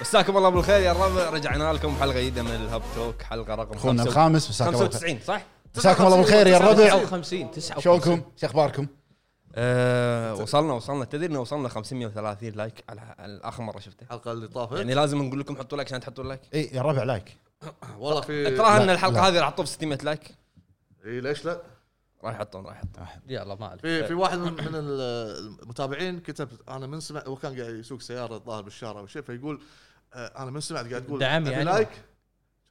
مساكم الله بالخير يا الربع رجعنا لكم حلقه جديده من الهب توك حلقه رقم اخونا خمسة- الخامس مساكم الله بالخير. 95 صح؟ مساكم الله بالخير يا الربع 59 59 شلونكم؟ شو اخباركم؟ آه، وصلنا وصلنا تدري انه وصلنا 530 لايك على على اخر مره شفته الحلقه اللي طافت يعني لازم نقول لكم حطوا لايك عشان تحطوا لايك اي إيه، يا الربع لايك يعني والله في تراها لا، ان الحلقه لا. هذه راح تطوف 600 لايك اي إيه، ليش لا؟ راح يحطون راح يحطون يلا ما عليك في في واحد من من المتابعين كتب انا من سمع هو كان قاعد يسوق سياره الظاهر بالشارع او شيء فيقول آه، انا من سمعت قاعد تقول دعم أبي يعني. لايك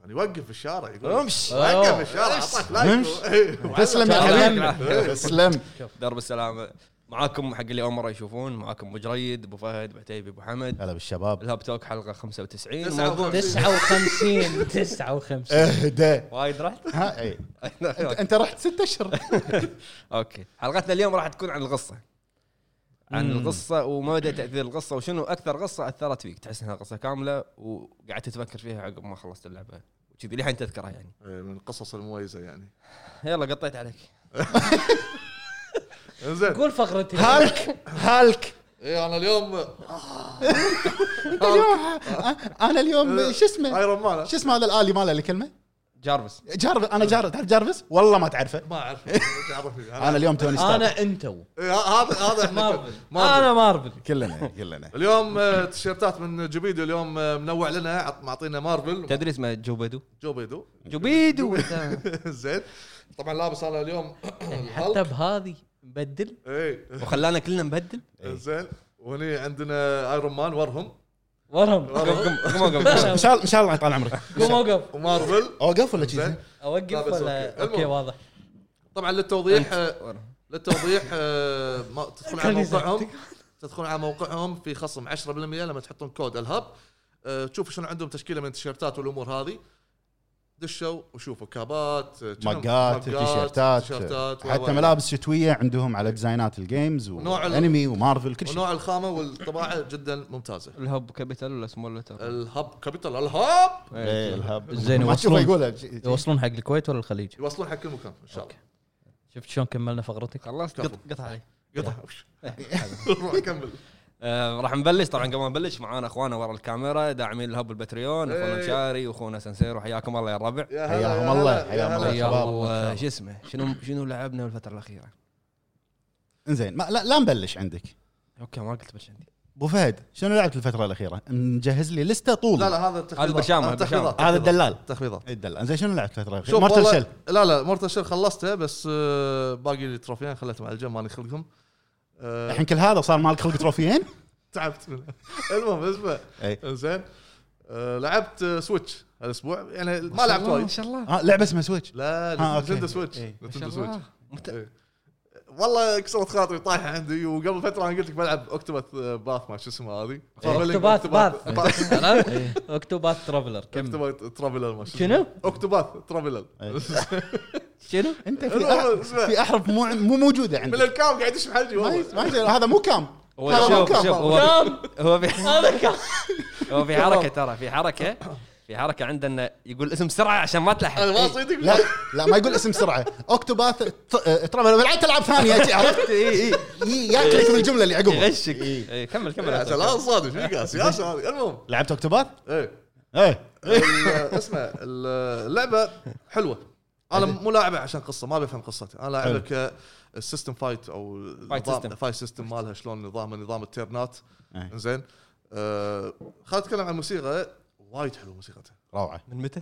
كان يوقف في الشارع يقول امشي. وقف في أوه. الشارع امشي. اعطاك لايك امشي. إيه. تسلم يا تسلم. حبيبي تسلم درب السلامه معاكم حق اللي اول مره يشوفون معاكم ابو جريد ابو فهد ابو عتيبي ابو حمد هلا بالشباب الهاب توك حلقه 95 تسعة موضوع- 59 إيه. 59 اهدى وايد رحت ها اي انت رحت ست اشهر اوكي حلقتنا اليوم راح تكون عن القصه عن القصه وما مدى تاثير القصه وشنو اكثر قصه اثرت فيك تحس انها قصه كامله وقعدت تفكر فيها عقب ما خلصت اللعبه وكذي لحين تذكرها يعني إيه، من القصص المميزه يعني يلا قطيت عليك زين قول فقرتي هالك هالك إيه، انا اليوم اليوم انا اليوم شو اسمه ايرون مان شو اسمه هذا الالي ماله اللي كلمه جارفس جارفس انا جارفس تعرف جارفس والله ما تعرفه ما اعرف تعرفني انا اليوم توني ستارك انا انتو إيه، هذا هذا مارفل احنا انا مارفل كلنا كلنا اليوم آه، تيشيرتات من جوبيدو اليوم آه، منوع لنا عط- معطينا مارفل تدري اسمه جوبيدو جوبيدو جوبيدو أنت. زين طبعا لابس انا اليوم حتى يعني الهلك بهذه مبدل اي وخلانا كلنا نبدل إيه. زين وهني عندنا ايرون مان ورهم ورم قم قم قم قم ان شاء الله ان شاء الله يطال عمرك قوم اوقف ومارفل اوقف ولا زين كذي؟ اوقف لا، بس ولا أوكي. اوكي واضح طبعا للتوضيح آه، قم. للتوضيح آه، ما تدخل على كنيسة. موقعهم تدخل على موقعهم في خصم 10% لما تحطون كود الهب آه، تشوفوا شنو عندهم تشكيله من التيشيرتات والامور هذه دشوا وشوفوا كابات آه، شنو؟ مقات تيشيرتات تيشيرتات، و- حتى و- ملابس شتويه عندهم على ديزاينات الجيمز ونوع ال- وانمي ومارفل كل شيء ونوع الخامه والطباعه جدا ممتازه الهب كابيتال ولا سمول لتر؟ الهب كابيتال الهب إيه، الهب. زين، ما تشوفه يوصلون. يقولها بشي- يوصلون حق الكويت ولا الخليج يوصلون حق كل مكان ان شاء الله شفت شلون كملنا فقرتك خلصت كفو. قط- قطع علي قطع روح كمل آه، راح نبلش طبعا قبل ما نبلش معانا اخوانا ورا الكاميرا داعمين الهب الباتريون اخونا إيه. مشاري واخونا سنسيرو حياكم الله يا الربع يا هلا، حياهم يا الله، هلا، يا حياهم الله. هلا. شباب. يلا شو اسمه شنو شنو لعبنا الفتره الاخيره انزين ما- لا, لا نبلش عندك اوكي ما قلت بس عندي ابو فهد شنو لعبت الفتره الاخيره؟ مجهز لي لسته طول لا لا هذا التخفيضات. البرشامة، هذا البرشامة. التخفيضات. هذا الدلال تخفيضات الدلال انزين شنو لعبت الفتره الاخيره؟ شوف مارتل والله- شيل لا لا مورتال شيل خلصته بس آه، باقي لي تروفيان خليتهم على الجنب ماني خلقهم آه، الحين كل هذا صار مالك خلق تروفيين؟ تعبت منها المهم اسمع اي زين آه، لعبت آه، سويتش هالاسبوع يعني ما شاء لعبت الله، وايد ما شاء الله آه لعبه اسمها سويتش آه، لا أوكي. نتندو سويتش إيه. ما شاء نتندو سويتش الله مت- إيه. والله كسرت خاطري طايحه عندي وقبل فتره انا قلت لك بلعب اكتوباث باث ما شو اسمه إيه. هذه اكتوبات باث باث عرفت؟ اكتوبات ترافلر كمل اكتوباث ترافلر ما شو اسمه. شنو؟ اكتوباث ترافلر إيه. شنو؟ انت في المهم، أح- اسمع. في احرف مو مو موجوده من عندك الكام قاعد يشم حلجي ما والله يصير- ما يصير، هذا مو كام هو هذا مو شوف كام شوف هو كم؟ هو في هذا كم؟ هو في حركه ترى في حركه في حركه عندنا يقول اسم بسرعه عشان ما تلحق إيه. انا ما صدق لا لا ما يقول اسم سرعه اوكتوباث ترافل بالعكس العاب ثانيه شي، عرفت؟ اي اي ي- ياكلك من الجمله اللي عقبها يغشك إيه. إيه، كمل كمل لا لا صادق في قاس يا هذه المهم لعبت اوكتوباث؟ ايه ايه ال- اسمع ال- اللعبه حلوه انا مو لاعبه عشان قصه ما بفهم قصتها انا لاعبها كالسيستم فايت او system. النظام فايت سيستم مالها شلون نظام نظام التيرنات أي. زين آه، خلينا نتكلم عن الموسيقى وايد حلوه موسيقتها روعه من متى؟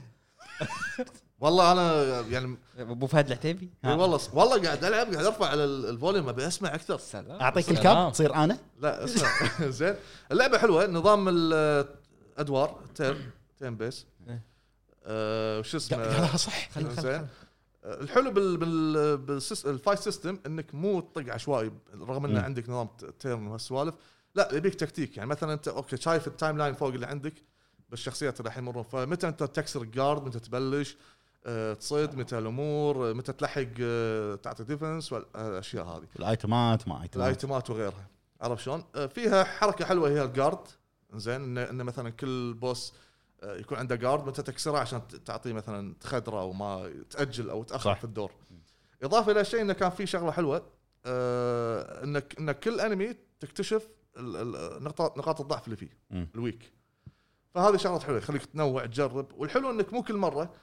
والله انا يعني ابو فهد العتيبي ها. والله والله قاعد العب قاعد ارفع على ال- الفوليوم ابي اسمع اكثر سلام اعطيك سلام. آه. الكاب تصير انا لا اسمع زين اللعبه حلوه نظام الادوار تيرن تيرن بيس إيه. آه، وش اسمه لا صح خل- خل- زين آه، الحلو بال بال بالسيس- الفايت سيستم انك مو تطق عشوائي رغم ان مم. عندك نظام ت- تيرن وهالسوالف لا يبيك تكتيك يعني مثلا انت اوكي شايف التايم لاين فوق اللي عندك بالشخصيات اللي راح يمرون فمتى انت تكسر الجارد متى تبلش آه، تصيد متى الامور آه، متى تلحق آه، تعطي ديفنس والاشياء هذه الايتمات ما ايتمات الايتمات وغيرها عرفت شلون؟ آه، فيها حركه حلوه هي الجارد زين انه إن مثلا كل بوس آه، يكون عنده جارد متى تكسره عشان ت- تعطيه مثلا تخدره وما تاجل او تاخر صح. في الدور. اضافه الى شيء انه كان في شغله حلوه آه، انك انك كل انمي تكتشف ال- ال- نقاط نقاط الضعف اللي فيه مم. الويك فهذه شغلات حلوه يخليك تنوع تجرب والحلو انك مو كل مره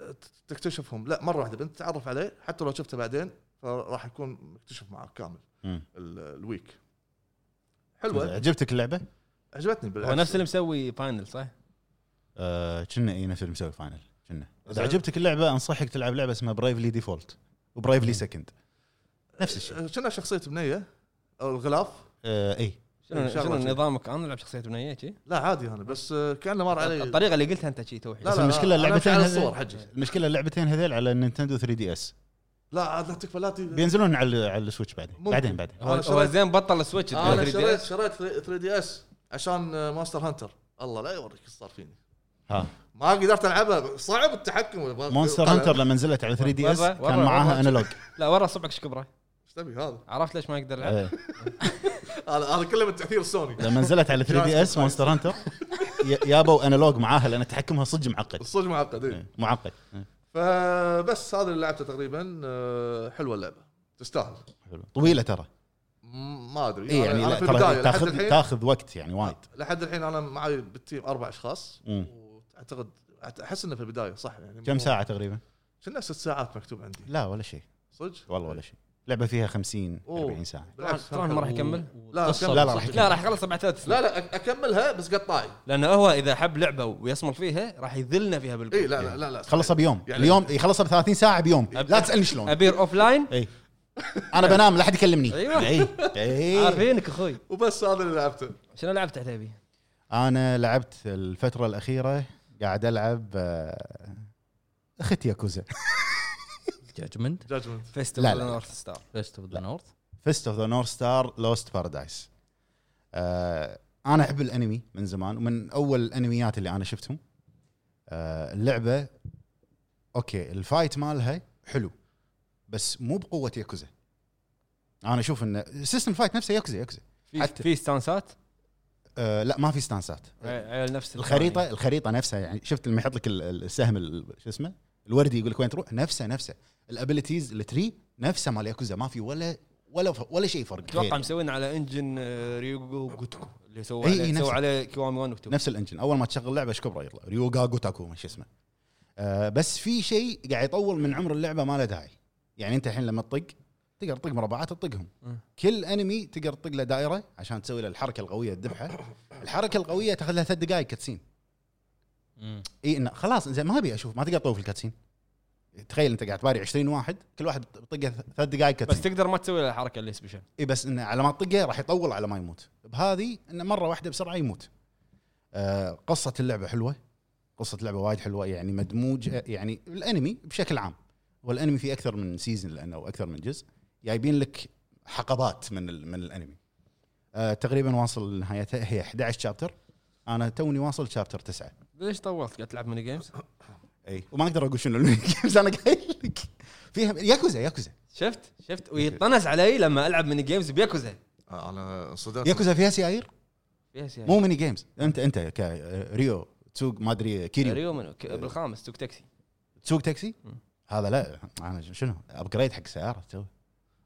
آه، ت- تكتشفهم لا مره واحده بنت تعرف عليه حتى لو شفته بعدين فراح يكون مكتشف معك كامل مم. ال- الويك زين، حلوه عجبتك اللعبه؟ عجبتني هو بالعكس نفس اللي مسوي فاينل صح؟ آه، كنا اي نفس اللي مسوي فاينل كنا اذا زين. عجبتك اللعبه انصحك تلعب لعبه اسمها برايفلي ديفولت وبرايفلي سكند نفس الشيء آه، كنا شخصيه بنيه او الغلاف آه اي شنو شغلة شنو شي. نظامك انا العب شخصيه بنيه شي؟ لا عادي انا بس آه، كانه مر علي لا الطريقه اللي قلتها انت شي توحي لا بس لا، المشكلة أنا أمشي اللعبتين على هذي- الصور حجي المشكله اللعبتين هذيل على النينتندو 3 دي اس لا عاد لا تكفى لا تي بينزلون على على السويتش بعدين ممكن. بعدين بعدين أنا هو هو شريت- زين بطل السويتش انا 3DS. شريت شريت 3 دي اس عشان آه، ماستر هانتر الله لا يوريك ايش صار فيني ها ما قدرت العبها صعب التحكم مونستر طلع- هانتر لما نزلت على 3 دي اس والله- كان والله- معاها والله. انالوج لا ورا صبعك ايش كبره ايش تبي هذا؟ عرفت ليش ما يقدر يلعب؟ إيه. هذا هذا كله من تاثير سوني لما نزلت على 3 دي اس مونستر هانتر ي- يابوا انالوج معاها لان تحكمها صدق معقد الصج معقد إيه. إيه، معقد إيه. فبس هذا اللي لعبته تقريبا آه، حلوه اللعبه تستاهل حلو. طويله ترى م- ما ادري اي يعني أنا- لا انا في البدايه ترى لحد تاخذ الحين تاخذ وقت يعني وايد لحد الحين انا معي بالتيم اربع اشخاص مم. واعتقد احس انه في البدايه صح يعني كم ساعه تقريبا؟ كنا ست ساعات مكتوب عندي لا ولا شيء صدق؟ والله ولا شيء لعبه فيها 50 أوه. 40 ساعه بالعكس ترى ما راح يكمل؟ لا، قصة لا لا، بس- لا راح لا يكمل. راح يخلص بعد ثلاث سنين لا لا أك- اكملها بس قطاعي لانه هو اذا حب لعبه ويصمر فيها راح يذلنا فيها بالكل اي لا لا لا, لا خلصها بيوم يعني- اليوم يخلصها ب 30 ساعه بيوم أب- لا تسالني شلون ابير اوف لاين اي انا بنام لا حد يكلمني أيوة. اي اي إيه. عارفينك اخوي وبس هذا اللي لعبته شنو لعبت عتيبي؟ انا لعبت الفتره الاخيره قاعد العب آه، اخت ياكوزا جاجمنت جاجمنت لا، فيستيفال لا. نورث ستار فيست اوف ذا نورث فيست اوف ذا نورث ستار لوست بارادايس Uh, انا احب الانمي من زمان ومن اول الانميات اللي انا شفتهم آه اللعبه اوكي الفايت مالها حلو بس مو بقوه ياكوزا انا اشوف ان سيستم الفايت نفسه ياكوزا ياكوزا في إيه. حتى. في ستانسات آه لا ما في ستانسات على نفس الخريطه الخريطه نفسها يعني شفت لما يحط لك ال- ال- السهم ال- شو اسمه الوردي يقول لك وين تروح نفسه نفسه الابيلتيز التري نفسه مال ياكوزا ما في ولا ولا ولا شيء فرق اتوقع غير. مسوين على انجن آه، ريوجو جوتوكو اللي سووا إي، عليه إي، سووا نفسه. عليه كيوامي 1 وكتو نفس الانجن اول ما تشغل لعبه ايش كبره يطلع ريوغا جوتاكو ما شو اسمه آه بس في شيء قاعد يطول من عمر اللعبه ما له داعي يعني انت الحين لما تطق تقدر تطق مربعات تطقهم م. كل انمي تقدر تطق له دائره عشان تسوي له الحركه القويه الذبحه الحركه القويه تاخذ لها ثلاث دقائق كاتسين اي انه خلاص زين ما ابي اشوف ما تقدر تطوف الكاتسين تخيل انت قاعد تباري 20 واحد كل واحد طقه ثلاث دقائق بس كاتسين تقدر ما تسوي له الحركه اللي سبيشل اي إيه بس انه على ما تطقه راح يطول على ما يموت بهذه انه مره واحده بسرعه يموت آه قصه اللعبه حلوه قصه اللعبه وايد حلوه يعني مدموج يعني الانمي بشكل عام والانمي في اكثر من سيزون لانه او اكثر من جزء جايبين لك حقبات من ال- من الانمي آه تقريبا واصل نهايتها هي 11 شابتر انا توني واصل شابتر 9 ليش طولت قاعد تلعب ميني جيمز؟ اي وما اقدر اقول شنو بس انا قايل لك فيها ياكوزا ياكوزا شفت شفت ويطنز علي لما العب ميني جيمز بياكوزا آه، انا انصدمت ياكوزا فيها سيايير فيها سيارة. مو ميني جيمز انت انت كريو تسوق ما ادري كيريو ريو منو ك- بالخامس توك تاكسي تسوق تاكسي مم. هذا لا انا شنو ابجريد حق سياره تسوي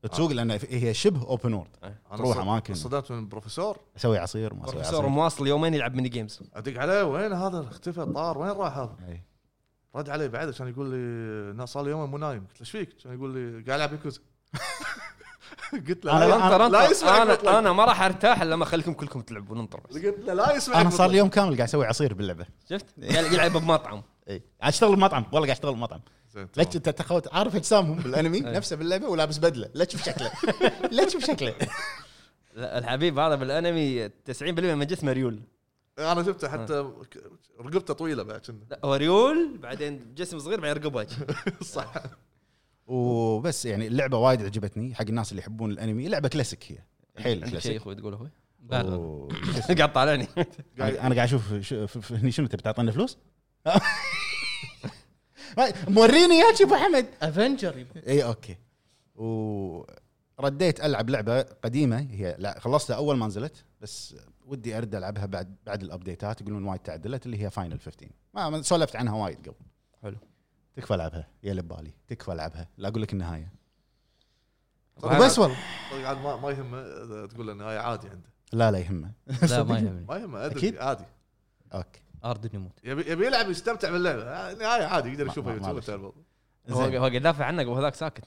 آه. تسوق لان هي شبه اوبن وورد أنا تروح انصد- أماكن. انصدمت من البروفيسور اسوي عصير ما اسوي بروفيسور عصير مواصل يومين يلعب ميني جيمز ادق عليه وين هذا اختفى طار وين راح هذا؟ أي. رد علي بعد عشان يقول لي "نا- صار لي يومين مو نايم قلت له ايش فيك؟ عشان يقول لي قاعد العب يكوزا قلت له أنا- "لا- انطر لا انطر يسمعك انا مطلق انا ما راح ارتاح الا لما اخليكم كلكم تلعبون انطر بس قلت له لا يسمعك انا صار مطلق." لي يوم كامل قاعد اسوي عصير باللعبه شفت قاعد يلعب بمطعم اي قاعد اشتغل بمطعم والله قاعد اشتغل بمطعم آه. زين، لا تمام. انت تخوت عارف اجسامهم بالانمي إيه. نفسه باللعبه ولابس بدله لا تشوف شكله لا تشوف شكله لا، الحبيب هذا بالانمي 90% من جسمه ريول انا شفته حتى ك- رقبته طويله بعد كنا لا هو ريول بعدين جسم صغير بعدين رقبه صح وبس يعني اللعبه وايد عجبتني حق الناس اللي يحبون الانمي لعبه كلاسيك هي حيل عندك شيء كلاسيك اخوي تقول اخوي لا لا و- قاعد طالعني انا أنا قاعد اشوف شو- ف- ف- هني شنو تبي تعطينا فلوس؟ موريني يا ابو حمد افنجر اي اوكي ورديت العب لعبه قديمه هي لا خلصتها اول ما نزلت بس ودي ارد العبها بعد بعد الابديتات يقولون وايد تعدلت اللي هي فاينل 15 ما ما سولفت عنها وايد قبل حلو. تكفى العبها يا اللي ببالي تكفى العبها لا اقول لك النهايه طبعاً. وبس والله طيب عاد ما ما يهمه إذا تقول له النهايه عادي عنده لا لا يهمه لا ما يهمني ما يهمه أكيد. ادري عادي اوكي اردن يموت يبي يبي يلعب يستمتع باللعبه آه، نهايه عادي يقدر ما- يشوفها ما- ما يوتيوب بشوف. وتعرف. هو زين هو قاعد يدافع عنك وهذاك ساكت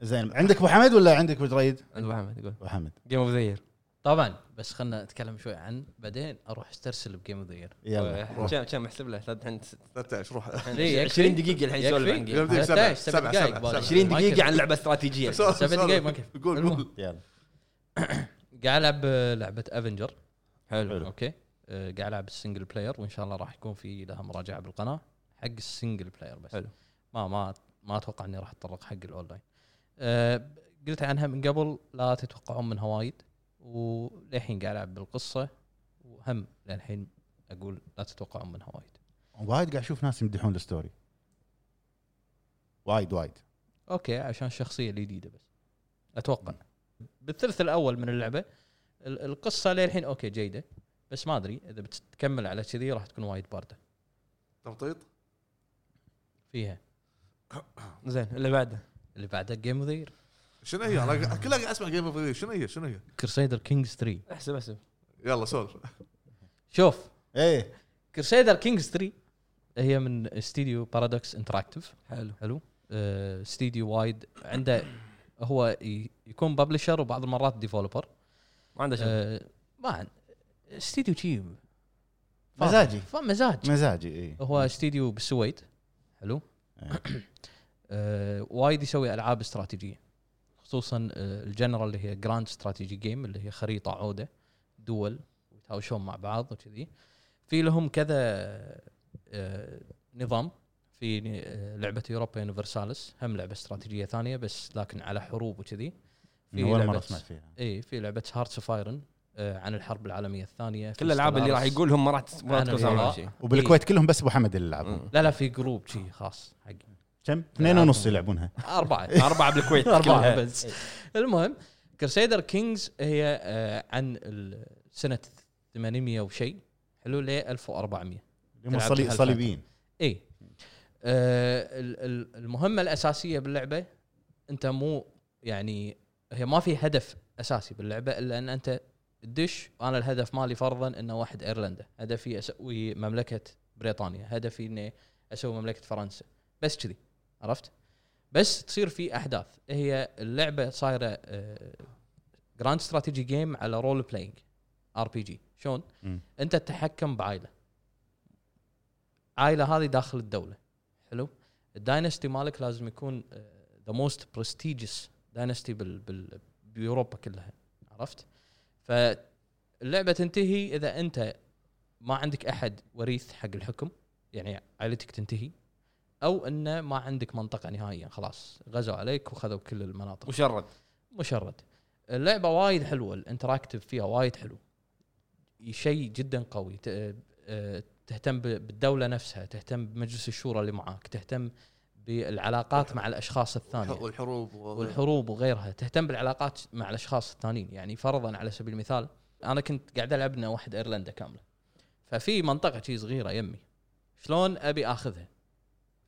زين عندك ابو حمد ولا عندك ابو دريد؟ ابو حمد يقول ابو حمد جيم اوف ذا يير طبعا بس خلنا نتكلم شوي عن بعدين اروح استرسل بجيم اوف ذا يير يلا روح. كم كم احسب له لا، الحين 13 روح ليه، يكفي؟ 20 دقيقه الحين يكفي؟ سولف عن جيم يبديك سبع، 13 سبع، سبع سبع، دقائق سبع. بالي. 20 ما دقيقه يكفي. عن لعبه استراتيجيه سولف، سبع سولف. دقايق ما كفي. قول المهم. قول يلا قاعد العب آه، لعبه افنجر حلو اوكي آه، قاعد العب السنجل بلاير وان شاء الله راح يكون في لها مراجعه بالقناه حق السنجل بلاير بس حلو. ما ما ما اتوقع اني راح اتطرق حق الاونلاين آه، قلت عنها من قبل لا تتوقعون منها وايد وللحين قاعد العب بالقصه وهم للحين اقول لا تتوقعون منها وايد وايد قاعد اشوف ناس يمدحون الستوري وايد وايد اوكي عشان الشخصيه الجديده بس اتوقع بالثلث الاول من اللعبه ال- القصه للحين اوكي جيده بس ما ادري اذا بتكمل على كذي راح تكون وايد بارده تمطيط فيها زين اللي بعده اللي بعده جيم اوف ذير شنو هي انا قا- كلها قاعد اسمع جيم اوف شنو هي شنو هي كرسيدر كينجز 3 احسب احسب يلا سولف شوف ايه كرسيدر كينجز 3 هي من استديو بارادوكس انتراكتيف حلو حلو آه، استديو وايد عنده هو ي- يكون ببلشر وبعض المرات ديفولبر ما عنده شغل آه، ما عن- استديو شي فاضي. مزاجي فمزاج مزاجي ايه هو استديو بالسويد حلو إيه. آه، وايد يسوي العاب استراتيجيه خصوصا آه، الجنرال اللي هي جراند استراتيجي جيم اللي هي خريطه عوده دول ويتهاوشون مع بعض وكذي في لهم كذا آه، نظام في آه، لعبه يوروبا يونيفرسالس هم لعبه استراتيجيه ثانيه بس لكن على حروب وكذي من اول مره لعبة- اسمع فيها اي في لعبه هارتس اوف ايرون آه، عن الحرب العالميه الثانية في كل الالعاب اللي راح Stellaris. يقولهم ما راح تس- ما راح أنا تكون سامع إيه. شيء وبالكويت كلهم بس ابو حمد اللي يلعبون مم. لا لا في جروب شي خاص حق كم؟ اثنين ونص يلعبونها اربعه اربعه بالكويت اربعه كلها. بس المهم كرسيدر كينجز هي آه، عن ال- سنه 800 وشيء حلو ل 1400 هم تلعب الصلي- بهالفترة. الصليبيين اي إيه. آه، ال- ال- المهمه الاساسيه باللعبه انت مو يعني هي ما في هدف اساسي باللعبه الا ان انت تدش انا الهدف مالي فرضا انه واحد ايرلندا هدفي اسوي مملكه بريطانيا هدفي اني اسوي مملكه فرنسا بس كذي عرفت بس تصير في احداث هي آه، اللعبه صايره جراند استراتيجي جيم على رول بلاينج ار بي جي شلون مم. انت تتحكم بعائله عائله هذه داخل الدوله حلو الداينستي مالك لازم يكون آه، ذا موست برستيجس داينستي بال بال- بيوروبا كلها عرفت فاللعبه تنتهي اذا انت ما عندك احد وريث حق الحكم يعني عائلتك تنتهي او انه ما عندك منطقه نهائيا خلاص غزوا عليك وخذوا كل المناطق مشرد مشرد اللعبه وايد حلوه الانتراكتيف فيها وايد حلو شيء جدا قوي ت- آه، تهتم ب- بالدوله نفسها تهتم بمجلس الشورى اللي معاك تهتم بالعلاقات مع الاشخاص الثانيه والحروب و- والحروب وغيرها تهتم بالعلاقات مع الاشخاص الثانيين يعني فرضا على سبيل المثال انا كنت قاعد العب مع واحد ايرلندا كامله ففي منطقه شي صغيره يمي شلون ابي اخذها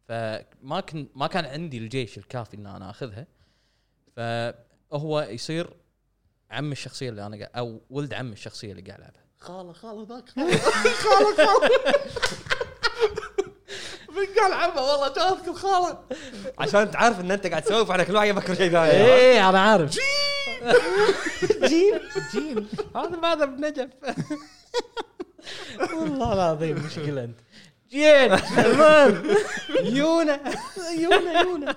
فما كن ما كان عندي الجيش الكافي ان انا اخذها فهو يصير عم الشخصيه اللي انا قاعد او ولد عم الشخصيه اللي قاعد العبها خاله خاله ذاك خاله خاله خاله من قال عمه والله جابك الخاله عشان تعرف ان انت قاعد تسولف على كل واحد يفكر شيء ثاني ايه انا عارف جيل جيل هذا ما هذا بنجف والله العظيم مشكله انت جين المهم يونا يونا يونا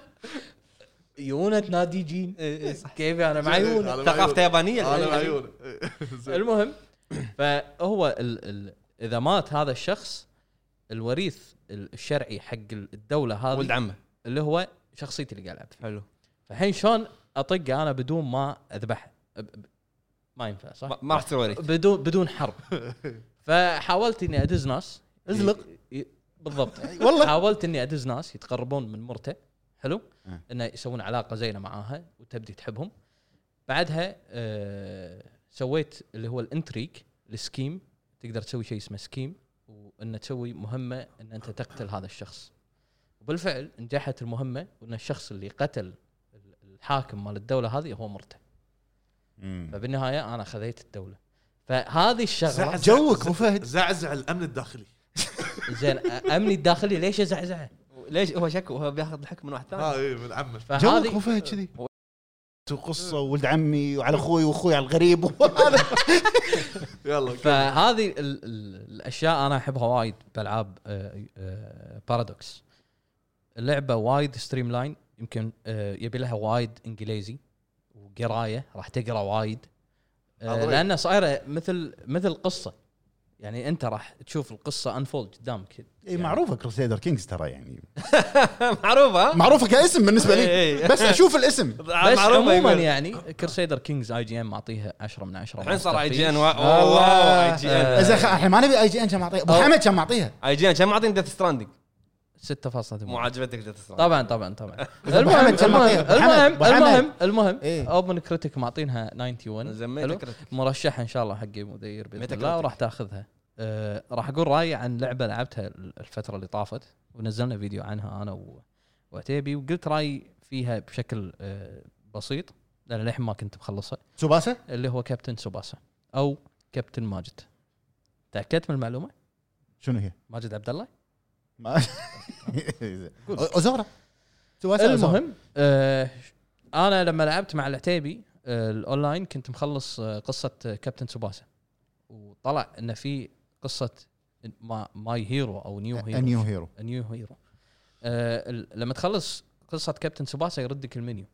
يونا تنادي جين إيه، كيف انا مع يونا أنا مع ثقافته يونا. يابانيه انا مع الحين. يونا. زين. المهم فهو ال ال اذا مات هذا الشخص الوريث الشرعي حق الدوله ولد هذه عمه اللي هو شخصيتي اللي قاعد العب فيها حلو فالحين شلون اطق انا بدون ما اذبحه ب- ب- ما ينفع صح؟ ما- ما راح تصير وريث بدون بدون حرب فحاولت اني ادز ناس ازلق. ي- ي- بالضبط والله. حاولت اني ادز ناس يتقربون من مرته حلو أه. انه يسوون علاقه زينه معاها وتبدي تحبهم بعدها آه سويت اللي هو الانتريك السكيم تقدر تسوي شيء اسمه سكيم وان تسوي مهمه ان انت تقتل هذا الشخص وبالفعل نجحت المهمه وان الشخص اللي قتل الحاكم مال الدوله هذه هو مرته مم. فبالنهايه انا خذيت الدوله فهذه الشغله زعزع- جوك أبو فهد. زعزع الامن الداخلي زين أ- امني الداخلي ليش يزعزعه؟ ليش هو شكو هو بياخذ الحكم من واحد ها ثاني اي من عمه جوك فهذه وفهد كذي وقصه وولد عمي وعلى اخوي واخوي على الغريب إيه، وهذا يلا كمل. فهذه ال- ال- الاشياء انا احبها وايد بالعاب آه، آه، بارادوكس اللعبه وايد ستريم لاين يمكن آه، يبي لها وايد انجليزي وقرايه راح تقرا وايد آه، عظيم. لانها صايره مثل مثل قصه يعني انت راح تشوف القصه انفولد قدامك اي معروفه كروسيدر كينجز ترى يعني معروفه ها؟ معروفه كاسم بالنسبه لي إي. بس اشوف الاسم بس معروفة عموما يقول. يعني كرسيدر كينجز اي جي ام معطيها 10 من 10 الحين صار اي جي ان الله. واو اي جي ان زين خ- احنا ما نبي اي جي ان كان معطيها ابو أو- حمد كان معطيها اي جي ان كم معطين ديث ستراندنج 6.8 مو عاجبتك ديث ستراندنج طبعا طبعا طبعا أبو المهم حمد كم معطيها؟ المهم أبو حمد، المهم أبو حمد. المهم المهم إيه. اوبن كريتيك معطينها 91 زين حلو؟ Metacritic. مرشحه ان شاء الله حق مدير باذن Metacritic. الله وراح تاخذها أه راح اقول رايي عن لعبه لعبتها الفتره اللي طافت ونزلنا فيديو عنها انا و- وعتيبي وقلت رايي فيها بشكل أه بسيط لان للحين ما كنت مخلصها سوباسا اللي هو كابتن سوباسا او كابتن ماجد تاكدت من المعلومه شنو هي؟ ماجد عبد الله ما اوزورا سوباسا أوزورا. المهم آه انا لما لعبت مع العتيبي آه الاونلاين كنت مخلص آه قصه آه، كابتن سوباسا وطلع ان في قصه ما ماي هيرو او نيو هيرو A new hero. نيو هيرو آه ال- لما تخلص قصه كابتن سوباسا يردك المنيو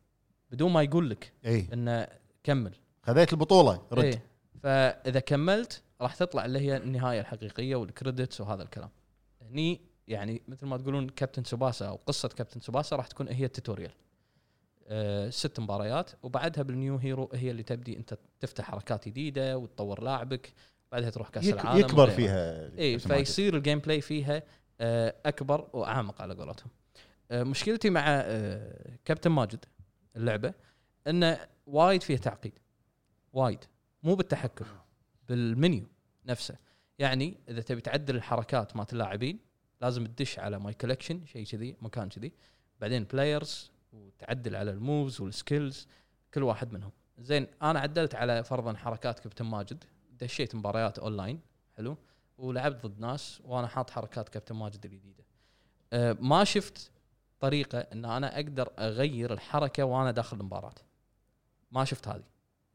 بدون ما يقول لك اي انه كمل إيه. خذيت البطوله رد إيه. فاذا كملت راح تطلع اللي هي النهايه الحقيقيه والكريدتس وهذا الكلام هني يعني مثل ما تقولون كابتن سوباسا او قصه كابتن سوباسا راح تكون هي التوتوريال أه ست مباريات وبعدها بالنيو هيرو هي اللي تبدي انت تفتح حركات جديده وتطور لاعبك بعدها تروح كاس يك- العالم يكبر وغيرها. فيها اي اسم واجد. إيه، فيصير الجيم بلاي فيها آه، اكبر واعمق على قولتهم آه، مشكلتي مع آه، كابتن ماجد اللعبه انه وايد فيها تعقيد وايد مو بالتحكم بالمنيو نفسه يعني اذا تبي تعدل الحركات مالت اللاعبين لازم تدش على ماي كولكشن شيء كذي مكان كذي بعدين بلايرز وتعدل على الموفز والسكيلز كل واحد منهم زين انا عدلت على فرضا حركات كابتن ماجد دشيت مباريات اونلاين حلو ولعبت ضد ناس وانا حاط حركات كابتن ماجد الجديده أه، ما شفت طريقه ان انا اقدر اغير الحركه وانا داخل المباراه ما شفت هذه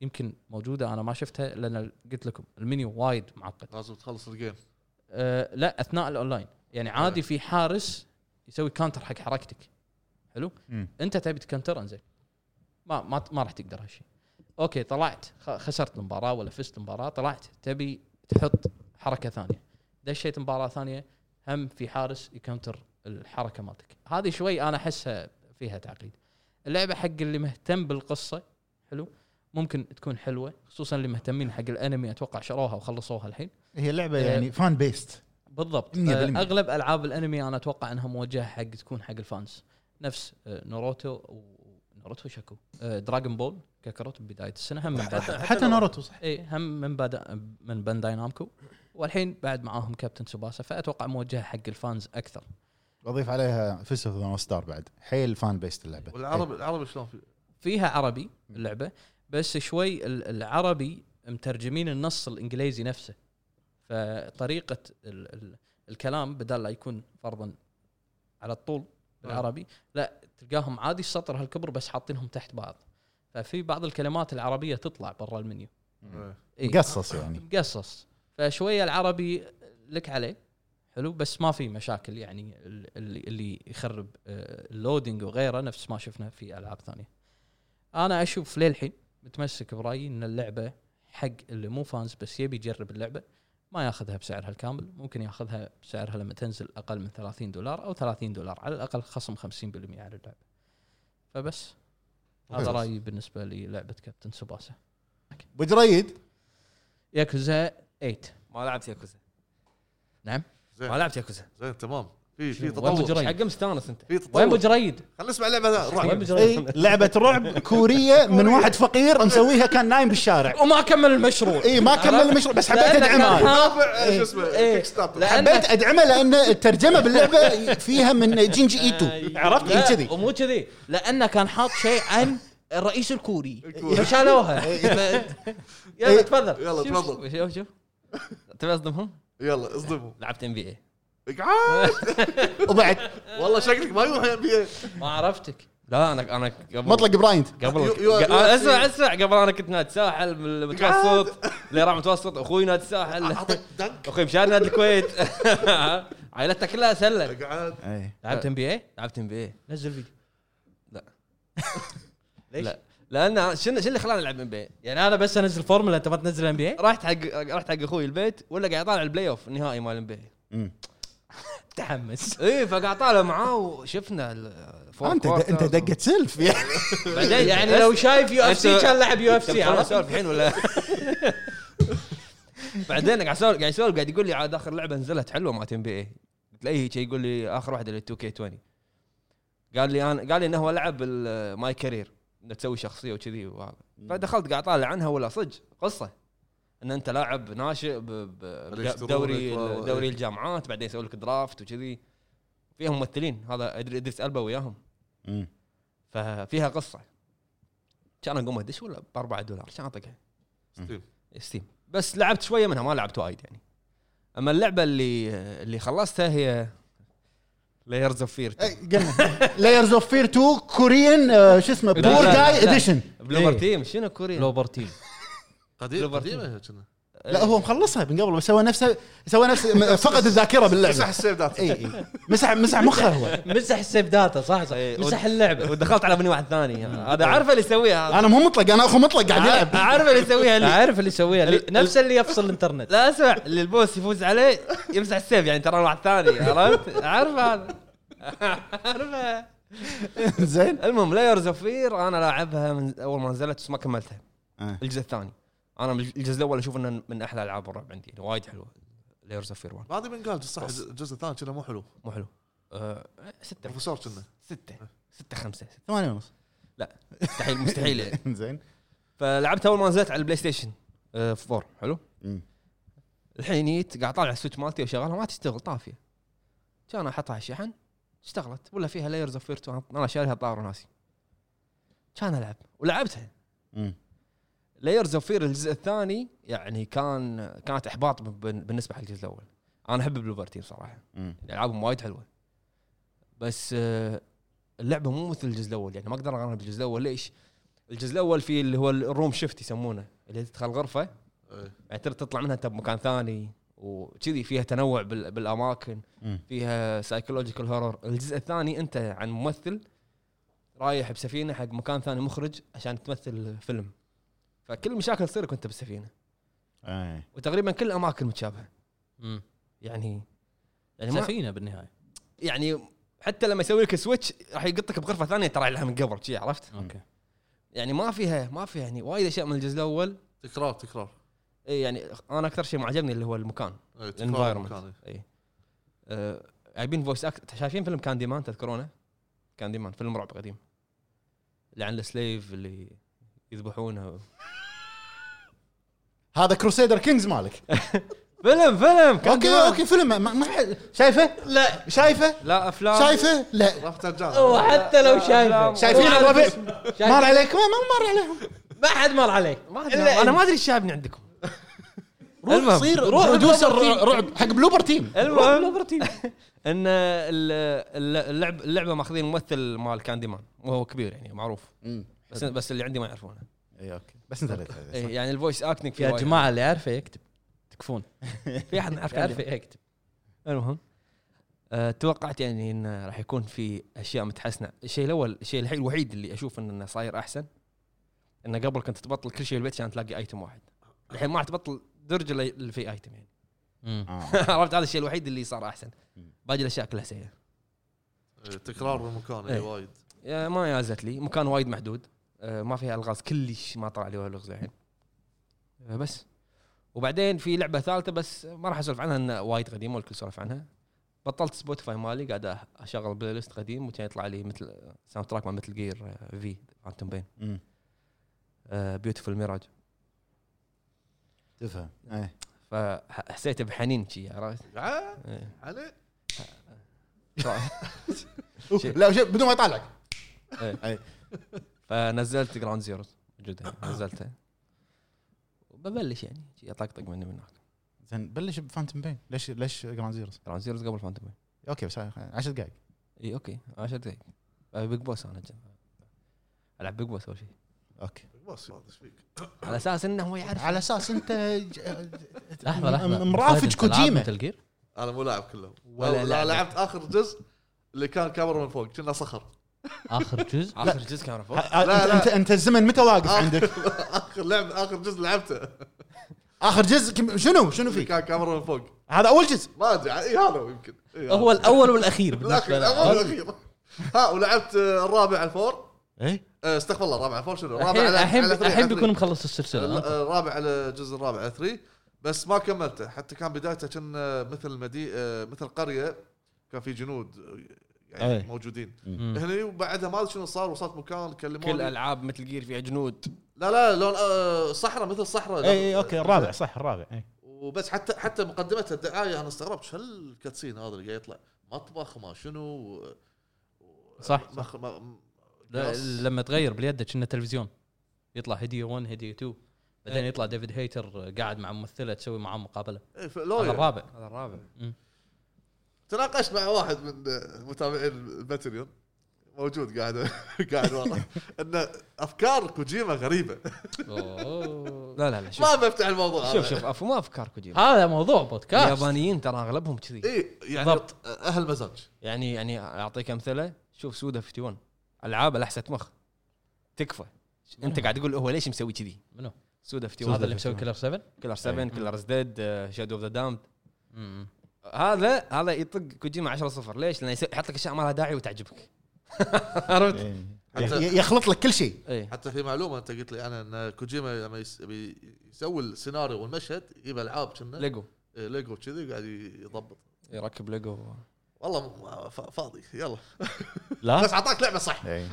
يمكن موجوده انا ما شفتها لان قلت لكم المنيو وايد معقد لازم تخلص الجيم أه، لا اثناء الاونلاين يعني عادي في حارس يسوي كانتر حق حركتك حلو مم. انت تبي تكنتر انزين ما ما ما راح تقدر هالشيء اوكي طلعت خ- خسرت المباراه ولا فزت المباراه طلعت تبي تحط حركه ثانيه دشيت مباراه ثانيه هم في حارس يكنتر الحركه مالتك هذه شوي انا احسها فيها تعقيد اللعبه حق اللي مهتم بالقصه حلو ممكن تكون حلوه خصوصا اللي مهتمين حق الانمي اتوقع شروها وخلصوها الحين هي لعبه إيه. يعني فان بيست بالضبط 100%. آه، اغلب العاب الانمي انا اتوقع انها موجهه حق تكون حق الفانز نفس آه، ناروتو و- ناروتو شكو آه، دراغون بول كاكاروت ببدايه السنه هم من بدا- حتى ناروتو صح اي هم من بدا من بانداي نامكو والحين بعد معاهم كابتن سوباسا فاتوقع موجهه حق الفانز اكثر اضيف عليها فيست اوف ذا ستار بعد حيل فان بيست اللعبه والعرب العرب شلون في فيها عربي اللعبه بس شوي ال- العربي مترجمين النص الانجليزي نفسه فطريقه ال ال الكلام بدل لا يكون فرضا على الطول بالعربي لا تلقاهم عادي السطر هالكبر بس حاطينهم تحت بعض ففي بعض الكلمات العربيه تطلع برا المنيو إيه. إيه. قصص يعني مقصص فشويه العربي لك عليه حلو بس ما في مشاكل يعني ال- اللي, اللي يخرب آه، اللودينج وغيره نفس ما شفنا في العاب ثانيه. انا اشوف للحين متمسك برايي ان اللعبه حق اللي مو فانز بس يبي يجرب اللعبه ما ياخذها بسعرها الكامل ممكن ياخذها بسعرها لما تنزل اقل من 30 دولار او 30 دولار على الاقل خصم 50% على اللعبه. فبس هذا خلاص. رايي بالنسبه للعبه كابتن سوباسا. ابو جريد ياكوزا 8 ما لعبت ياكوزا نعم. ما لعبت ياكوزا زين تمام في في شنو؟ وين تطور بجريد؟ حق مستانس انت في وين ابو تطور جريد؟ خلينا نسمع لعبه وين ابو رعب إي، جريد؟ لعبه إيه. رعب كوريه من واحد فقير مسويها كان نايم بالشارع وما كمل المشروع اي ما كمل المشروع بس إيه. حبيت لأنك ادعمه رافع شو اسمه إيه. كيك ستارتر لأن- حبيت ادعمه لان الترجمه باللعبه فيها من جينجي ايتو أيوه. عرفت هي لا، كذي ومو كذي لانه كان حاط شيء عن الرئيس الكوري الكوري. فشالوها ف- إيه. يلا تفضل يلا، شوف- تفضل. شوف شوف شوف تبي اصدمهم؟ يلا اصدموا لعبت ام بي اي اقعد وبعد والله شكلك ما يروح يبي ما عرفتك لا انا انا قبل مطلق برايند قبل يو- يو- قبل- يو- اسمع اسمع قبل انا كنت نادي ساحل بال- متوسط ليرة متوسط اخوي نادي ساحل اعطيك دنك اخوي مشان نادي الكويت عائلتنا كلها سله اقعد اي أه. لعبت ام بي اي لعبت ام بي اي نزل فيديو ليش؟ لا لان أنا- شنو شنو اللي خلاني العب ام بي يعني انا بس انزل فورمولا انت ما تنزل ام بي اي رحت حق رحت حق اخوي البيت ولا قاعد طالع البلاي اوف النهائي مال ام بي متحمس اي إيه، فقاعد طالع معاه وشفنا الفور انت انت دقه سلف يعني بعدين يعني لو شايف يو اف سي أنت- كان لعب يو اف تبي سي خلنا عرفت؟ نسولف الحين ولا بعدين قاعد اسولف قاعد يسولف قاعد يقول لي عاد اخر لعبه نزلت حلوه مالت ام بي اي قلت له شيء يقول لي اخر واحده اللي 2 كي 20 قال لي انا قال لي انه هو لعب ال- ماي كارير انه تسوي شخصيه وكذي وهذا فدخلت قاعد طالع عنها ولا صدق قصه ان انت لاعب ناشئ ب- ب- اللي يشترونك بدوري و- دوري الجامعات بعدين يسوي لك درافت وكذي فيهم ممثلين هذا إدري- ادريس البا وياهم ففيها قصه كان اقوم ادش ولا ب 4 دولار كان اطقها ستيم. ستيم بس لعبت شويه منها ما لعبت وايد يعني اما اللعبه اللي اللي خلصتها هي لايرز اوف إيه. فير لايرز اوف فير 2 كوريان آه، شو اسمه لا، بور لا، إيه. جاي لا. اديشن بلوبر ليه؟ تيم شنو كوريا؟ لوبر تيم قديم لوبرتون. قديمه هي كنا لا هو مخلصها من قبل بس سوى نفسه سوى نفسه فقد الذاكره صح باللعبه السيف ذاته اي اي مسح مسح مخه هو مسح السيف داتا صح صح إيه، مسح اللعبه ودخلت على بني واحد ثاني هذا عارفه اللي يسويها هذا. انا مو مطلق انا اخو مطلق قاعد عارف- يلعب عارفه اللي يسويها اللي عارف اللي يسويها اللي- ال- نفس اللي يفصل الانترنت لا اسمع اللي البوس يفوز عليه يمسح السيف يعني ترى أنا واحد ثاني عرفت؟ عارف هذا عارفه زين المهم لايرز اوف فير انا لاعبها من اول ما نزلت بس ما كملتها آه. الجزء الثاني انا من الجزء الاول اشوف انه من احلى العاب الرعب عندي يعني وايد حلوه لايرز اوف فير 1 ما ادري من قال صح الجزء الثاني كنا مو حلو مو حلو أه ستة بروفيسور كنا ستة ستة خمسة ستة. ثمانية ونص مستحيل مستحيل يعني. زين فلعبت اول ما نزلت على البلاي ستيشن أه، فور حلو مم. الحين جيت قاعد طالع السويتش مالتي وشغلها ما تشتغل طافية كان احطها على الشحن اشتغلت ولا فيها لايرز اوف فير 2 انا شاريها طار وناسي كان العب ولعبتها مم. لايرز اوف فير الجزء الثاني يعني كان كانت احباط بن- بالنسبه حق الجزء الاول انا احب بلوبر تيم صراحه مم. العابهم وايد حلوه بس آه، اللعبه مو مثل الجزء الاول يعني ما اقدر اقارنها بالجزء الاول ليش؟ الجزء الاول فيه اللي هو الروم شيفت يسمونه اللي تدخل غرفه إيه. بعدين تر- تطلع منها انت بمكان ثاني وكذي فيها تنوع بال- بالاماكن مم. فيها سايكولوجيكال هورر الجزء الثاني انت عن ممثل رايح بسفينه حق مكان ثاني مخرج عشان تمثل فيلم فكل المشاكل تصير وانت بالسفينه آه. وتقريبا كل الاماكن متشابهه يعني يعني ما سفينه بالنهايه يعني حتى لما يسوي لك سويتش راح يقطك بغرفه ثانيه ترى لها من قبل شي عرفت؟ اوكي يعني ما فيها ما فيها يعني وايد اشياء من الجزء الاول تكرار تكرار إي يعني انا اكثر شيء معجبني اللي هو المكان إيه، تكرار الانفايرمنت مكاني. اي آه، جايبين فويس اكت شايفين فيلم كاندي مان تذكرونه؟ كاندي مان فيلم رعب قديم اللي عن السليف اللي يذبحونه هذا كروسيدر كينجز مالك فيلم فيلم كاندي اوكي مان. اوكي فيلم ما- ما حد- شايفه؟ لا شايفه؟ لا آه. افلام شايفه؟ لا رفت الجان وحتى لو شايفه شايفين ما الربع؟ شايف- مر عليكم ما ما مر عليهم ما حد مر عليك ما أدري، انا ما ادري ايش شايبني عندكم روح المهم. صير روح روح برودوسر بلوبر تيم. رعب حق بلوبر تيم المهم ان ال- ال- اللعب اللعبه ماخذين ممثل مال كاندي مان وهو كبير يعني معروف بس بس اللي عندي ما يعرفونه اي اوكي بس انت إيه، يعني الفويس اكتنج يا جماعه اللي يعرفه يكتب تكفون في احد ما يعرف كاندي يعرفه مان؟ يكتب المهم أه، توقعت يعني انه راح يكون في اشياء متحسنه الشيء الاول الشيء الحي- الوحيد اللي اشوف انه صاير احسن انه قبل كنت تبطل كل شيء بالبيت عشان تلاقي ايتم واحد الحين ما راح تبطل درج الا اللي فيه ايتم يعني آه، عرفت هذا الشيء الوحيد اللي صار احسن باقي الاشياء كلها سيئه إيه، تكرار بالمكان إيه. اي وايد يا- ما يازت لي مكان وايد محدود آه، ما فيها الغاز كلش ما طلع لي ولا لغز الحين آه، بس وبعدين في لعبه ثالثه بس ما راح اسولف عنها انها وايد قديمه والكل سولف عنها بطلت سبوتيفاي مالي قاعد أ- اشغل بلاي ليست قديم وكان يطلع لي مثل ساوند تراك مال مثل آه، جير في فانتوم بين بيوتيفول ميراج تفهم إيه. فحسيت بحنين شي عرفت؟ آه، إيه. علي شيء. لا شوف بدون ما يطالعك فنزلت جراوند زيرو موجوده نزلتها وببلش يعني شي اطقطق من هناك زين بلش بفانتوم بين ليش ليش جراند زيروز؟ جراوند زيروز قبل فانتوم بين اوكي بس 10 دقائق اي اوكي 10 دقائق أبي بيج بوس انا جن. العب بيج بوس اول شيء اوكي بس يلا، ايش فيك؟ على اساس انه هو يعرف على اساس انت ج- لحظه لحظه مرافج كوجيما تلقير انا مو لاعب كله ولا ولا لا لاعب. لعبت اخر جزء اللي كان كاميرا من فوق كنا صخر اخر جزء اخر جزء كان فوق ه- لا، انت لا. انت انت الزمن متى واقف عندك؟ اخر لعب اخر جزء لعبته اخر جزء كم- شنو شنو اللي فيك؟ كان كاميرا من فوق هذا اول جزء ما ادري اي هذا هو يمكن إي هذا. هو الاول والاخير الاخير بالنسبه الاول لنا الاخير ها ولعبت آه، الرابع على الفور اي آه، استغفر الله الرابع على الفور شنو الرابع إيه؟ الحين على- الحين على ثري، الحين على بيكون ثري. مخلص السلسله ال- آه، الرابع على الجزء الرابع على 3 بس ما كملته حتى كان بدايته كان آه، مثل مدي آه، مثل قريه كان في جنود آه، أي. إيه. يعني موجودين مم. هني وبعدها ما ادري شنو صار وصلت مكان كلموني كل العاب مثل جير فيها جنود لا لا لون آه، صحراء مثل صحراء اي اوكي إيه، الرابع صح الرابع إيه. اي وبس حتى حتى مقدمه الدعايه انا استغربت شو الكاتسين هذا اللي قاعد يطلع مطبخ ما شنو و- و- صح، ما صح. ما لا، قص. لما تغير باليد كنا تلفزيون يطلع هديه 1 هديه 2 بعدين يطلع ديفيد هيتر قاعد مع ممثله تسوي معاه مقابله إيه، هذا فلويا الرابع هذا الرابع تناقشت مع واحد من آه، متابعين الباتريون موجود قاعد قاعد ورا ان افكار كوجيما غريبه لا لا لا شوف ما بفتح الموضوع شوف هذا. شوف أف- مو افكار كوجيما هذا موضوع بودكاست اليابانيين ترى اغلبهم كذي اي يعني بالضبط. اهل مزاج يعني يعني اعطيك امثله شوف سودا 51 العاب لحسه مخ تكفى انت قاعد تقول هو ليش مسوي كذي منو سودا 51 هذا اللي مسوي كيلر 7 كلر 7 كلر آه، ديد شادو اوف ذا دامد هذا هذا يطق كوجيما 10 صفر ليش؟ لانه يس- يحط لك اشياء ما لها داعي وتعجبك عرفت؟ إيه. إي. حتى- إيه. ي- يخلط لك كل شيء اي حتى في معلومه انت قلت لي انا ان كوجيما لما يس- يبي يسوي السيناريو والمشهد يجيب العاب كنا ليجو إيه، ليجو كذي قاعد يضبط يركب ليجو والله م- ف- فاضي يلا لا بس اعطاك لعبه صح إيه.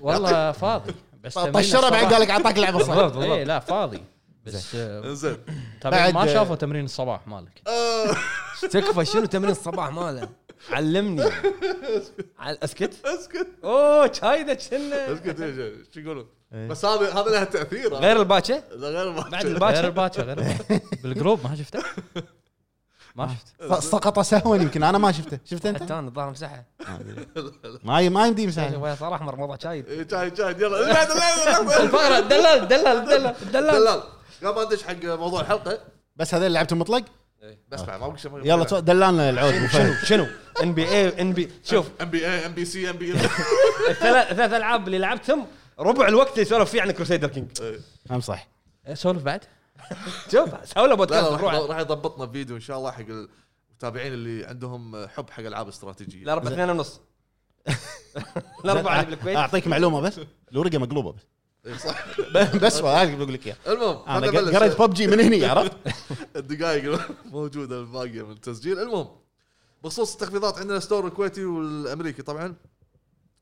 والله فاضي بس طيب، طشره بعد قال لك اعطاك لعبه صح بالضبط اي إيه، لا فاضي بس آه، زين تابعين ما بعد- شافوا تمرين الصباح مالك آه. تكفى شنو تمرين الصباح ماله؟ علمني عل- اسكت؟ اسكت اوه شايده كنا اسكت إيه، شو يقولون إيه. بس هذا هذا لها تاثير هذا. غير الباكه لا، غير ما بعد غير الباكه الباكر غير آه. الباكر. بالجروب ما شفته ما شفته ف- سقط سهوا يمكن انا ما شفته شفته انت؟ حتى انا الظاهر مسحه ما ي- ما يمدي طيب. مساعد أيوة. ويا صلاح احمر موضع شايد إيه، جاي جاي يلا لا، لا، لا، لا، لا. الفقره طيب، دلال دلال دلال دلال دلال قبل ما ندش حق موضوع الحلقه بس هذا اللي لعبته مطلق إيه. بس بعد ما بقى شيء يلا تو- دلالنا العود أبو شنو فهد. شنو؟ ان بي اي ان بي شوف ام بي اي ام بي سي ام بي الثلاث ثلاث العاب اللي لعبتهم ربع الوقت اللي سولف فيه عن كروسيدر كينج هم صح سولف بعد شوف سوي له لا بودكاست لا، راح مشروع راح يضبطنا فيديو ان شاء الله حق المتابعين اللي عندهم حب حق العاب استراتيجيه لا ربع اثنين ونص الاربعه اللي بالكويت اعطيك معلومه بس الورقه مقلوبه بس إيه، صح بس هذا بقول لك اياه المهم انا خلنا نبلش. ق- قريت ببجي من هني عرفت؟ الدقائق الموجوده الباقيه من التسجيل المهم بخصوص التخفيضات عندنا ستور الكويتي والامريكي طبعا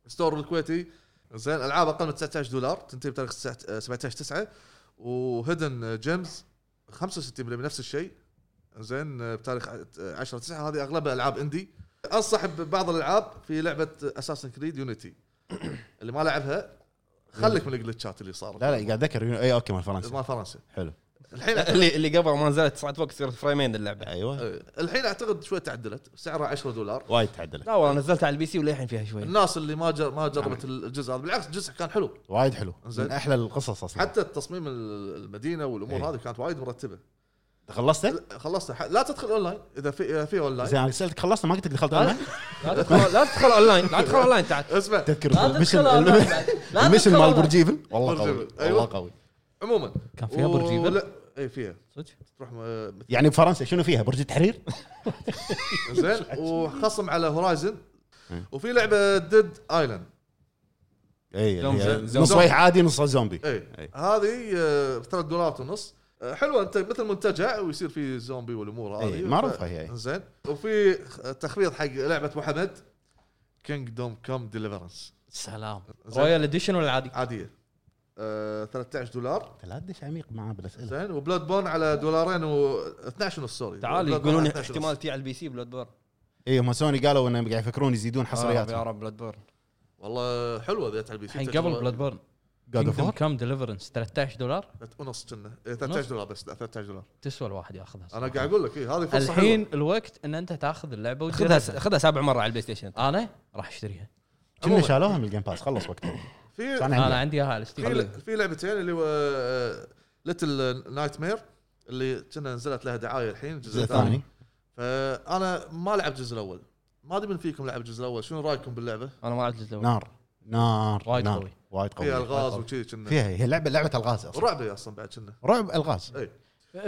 ستور الكويتي زين العاب اقل من 19 دولار تنتهي بتاريخ 19 17 9 وهيدن جيمز 65% نفس الشيء زين بتاريخ 10 9 هذه اغلبها العاب اندي انصح ببعض الالعاب في لعبه اساسن كريد يونيتي اللي ما لعبها خليك من الجلتشات اللي صارت لا لا قاعد اذكر اي اوكي مال فرنسا مال فرنسا حلو الحين اللي اللي قبل ما نزلت صعد فوق صارت فريمين اللعبه ايوه إيه. الحين اعتقد شوي تعدلت سعرها 10 دولار وايد تعدلت لا والله نزلتها على البي سي وللحين فيها شوي الناس اللي ما جر... ما جربت نعم. الجزء هذا بالعكس الجزء كان حلو وايد حلو زين. من احلى القصص اصلا حتى التصميم ال- المدينه والامور إيه. هذه كانت وايد مرتبه خلصته؟ خلصتها ح... لا تدخل اونلاين اذا في إذا في اونلاين زين انا سالتك خلصت ما قلت لك دخلت انا لا تدخل لا تدخل اونلاين لا تدخل اونلاين تعال اسمع تذكر تدخل المشن أونلاين بعد. لا المشن تدخل مال أونلاين. برج ايفل والله برج قوي إيفل. أيوة. والله قوي عموما آه، كان فيها برج إيفل؟ لا اي فيها صدق إيه، تروح م- يعني بفرنسا شنو فيها برج التحرير؟ زين وخصم على هورايزن إيه. وفي لعبه ديد ايلاند اي زومبي. هي زومبي. إيه، نص ويح عادي نص زومبي اي إي. إيه. هذه آه، ب 3 دولارات ونص آه، حلوه انت مثل منتجع ويصير في زومبي والامور هذه إي، إيه، معروفة هي، إي. زين وفي تخفيض حق لعبه محمد كينجدوم كوم ديليفرنس سلام زين. رويال اديشن ولا العادي؟ عاديه آه 13 دولار لا تدش عميق معاه بالاسئله زين وبلاد بون على دولارين و 12 ونص سوري تعال Bloodborne يقولون على 12 ونص. احتمال تي على البي سي بلود بورن اي هم إيه، سوني قالوا انهم قاعد يفكرون يزيدون آه، يا حصريات رب بلود بورن والله حلوه ذات البي سي الحين تجربة. قبل بلاد بورن جاد اوف Kingdom Come ديليفرنس 13 دولار ونص كنا إيه، 13 دولار بس لا 13 دولار تسوى الواحد ياخذها انا قاعد اقول لك إيه، هذه فرصه الحين الحين الوقت ان انت تاخذ اللعبه خذها وتجربها خذها سابع مره على البلاي ستيشن انا راح اشتريها كنا شالوها من الجيم باس خلص وقتها في كان انا عندي عندي اياها على ستيم في في لعبتين اللي هو ليتل نايت مير اللي كنا نزلت لها دعايه الحين الجزء الثاني فانا ما لعبت الجزء الاول ما ادري من فيكم لعب الجزء الاول شنو رايكم باللعبه؟ انا ما لعبت الجزء الأول. نار نار وايد نار. قوي. وايد فيها قوي الغاز وكذي كنا فيها هي لعبه لعبه الغاز اصلا رعبه اصلا بعد كنا إيه. رعب الغاز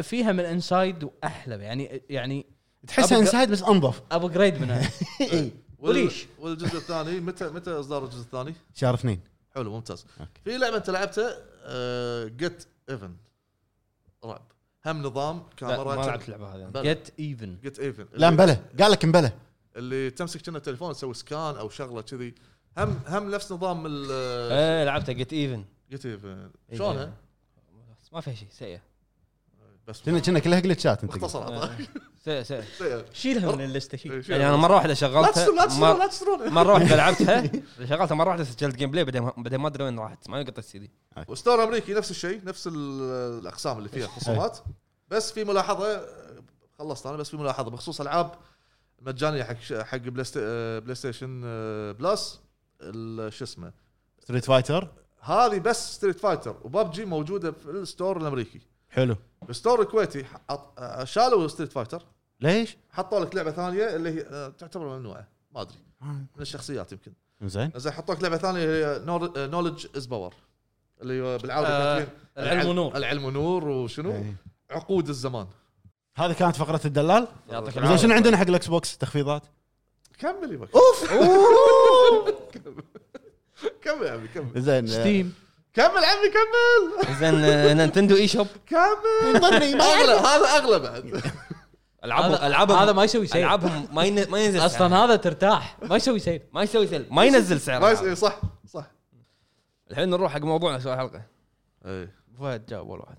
فيها من انسايد واحلى يعني يعني تحسها انسايد بس انظف ابجريد منها وال- وليش؟ والجزء الثاني متى متى اصدار الجزء الثاني؟ شهر اثنين حلو ممتاز أوكي. في لعبه انت لعبتها جيت ايفن رعب هم نظام لا، ما كاميرا لعبت اللعبه هذه أنا. جت ايفن جيت ايفن لا مبلى قال لك مبلى اللي تمسك كنا تليفون تسوي سكان او شغله كذي هم هم نفس نظام ال ايه لعبتها جيت ايفن جيت ايفن شلونها؟ بس ما فيها شيء سيئه بس كنا كنا كلها جلتشات انت مختصر أعطاك. سيئه سيئه سيئة. شيلها من اللسته شيل شيء. يعني انا مره واحده لا تشترون لا شغلتها تشترون لا مر- تشترون مره واحده لعبتها شغلتها مره واحده سجلت جيم بلاي بعدين بعدين ما ادري وين راحت ما قطعت السي دي وستور امريكي نفس الشيء نفس ال- الاقسام اللي فيها خصومات بس في ملاحظه خلصت انا بس في ملاحظه بخصوص العاب مجانيه حق ش- حق بلاي ست- آه، بلاي ستيشن آه، بلس ال- شو اسمه ستريت فايتر هذه بس ستريت فايتر وببجي موجوده في الستور الامريكي حلو الستور الكويتي حط- آه، شالوا ستريت فايتر ليش؟ حطوا لك لعبه ثانيه اللي هي آه، تعتبر ممنوعه ما ادري من الشخصيات يمكن زين زين حطوا لك لعبه ثانيه هي آه، نولج از باور اللي هو بالعربي آه، كاتبين العلم ونور العلم ونور وشنو إيه. عقود الزمان هذه كانت فقره الدلال يعطيك زين شنو العافيه عندنا حق الاكس بوكس تخفيضات؟ كمل يبك اوف كمل عمي كمل زين ستيم كمل عمي كمل زين آه، نينتندو اي شوب كمل اغلى هذا اغلى بعد العابهم هذا العابهم هذا ما يسوي سيل العابهم ما ين- ما ينزل اصلا سعرها. هذا ترتاح ما يسوي سيل ما يسوي سعر ما ينزل ما يس- سعر إيه، صح صح الحين نروح حق موضوعنا سؤال الحلقه إيه. فهد جاوب اول واحد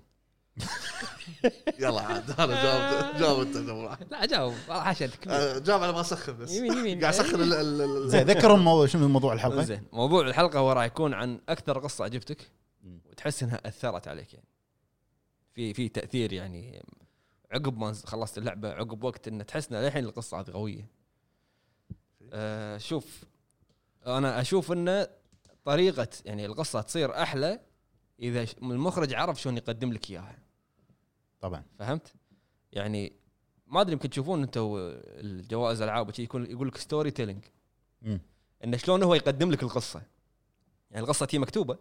يلا عاد انا جاوبت جاوبت أنا والله. لا جاوب حاشتك آه، جاوب على ما اسخن بس يمين، يمين. قاعد اسخن ال- ال- ال- زين ذكرهم مو- شنو موضوع الحلقه؟ زين موضوع الحلقه هو راح يكون عن اكثر قصه عجبتك وتحس انها اثرت عليك يعني في في تاثير يعني عقب ما خلصت اللعبه عقب وقت ان تحس ان للحين القصه هذه قويه آه شوف انا اشوف ان طريقه يعني القصه تصير احلى اذا ش- المخرج عرف شلون يقدم لك اياها طبعا فهمت؟ يعني ما ادري يمكن تشوفون انتم الجوائز العاب وشي يكون يقول لك ستوري تيلينج مم. انه شلون هو يقدم لك القصه يعني القصه هي مكتوبه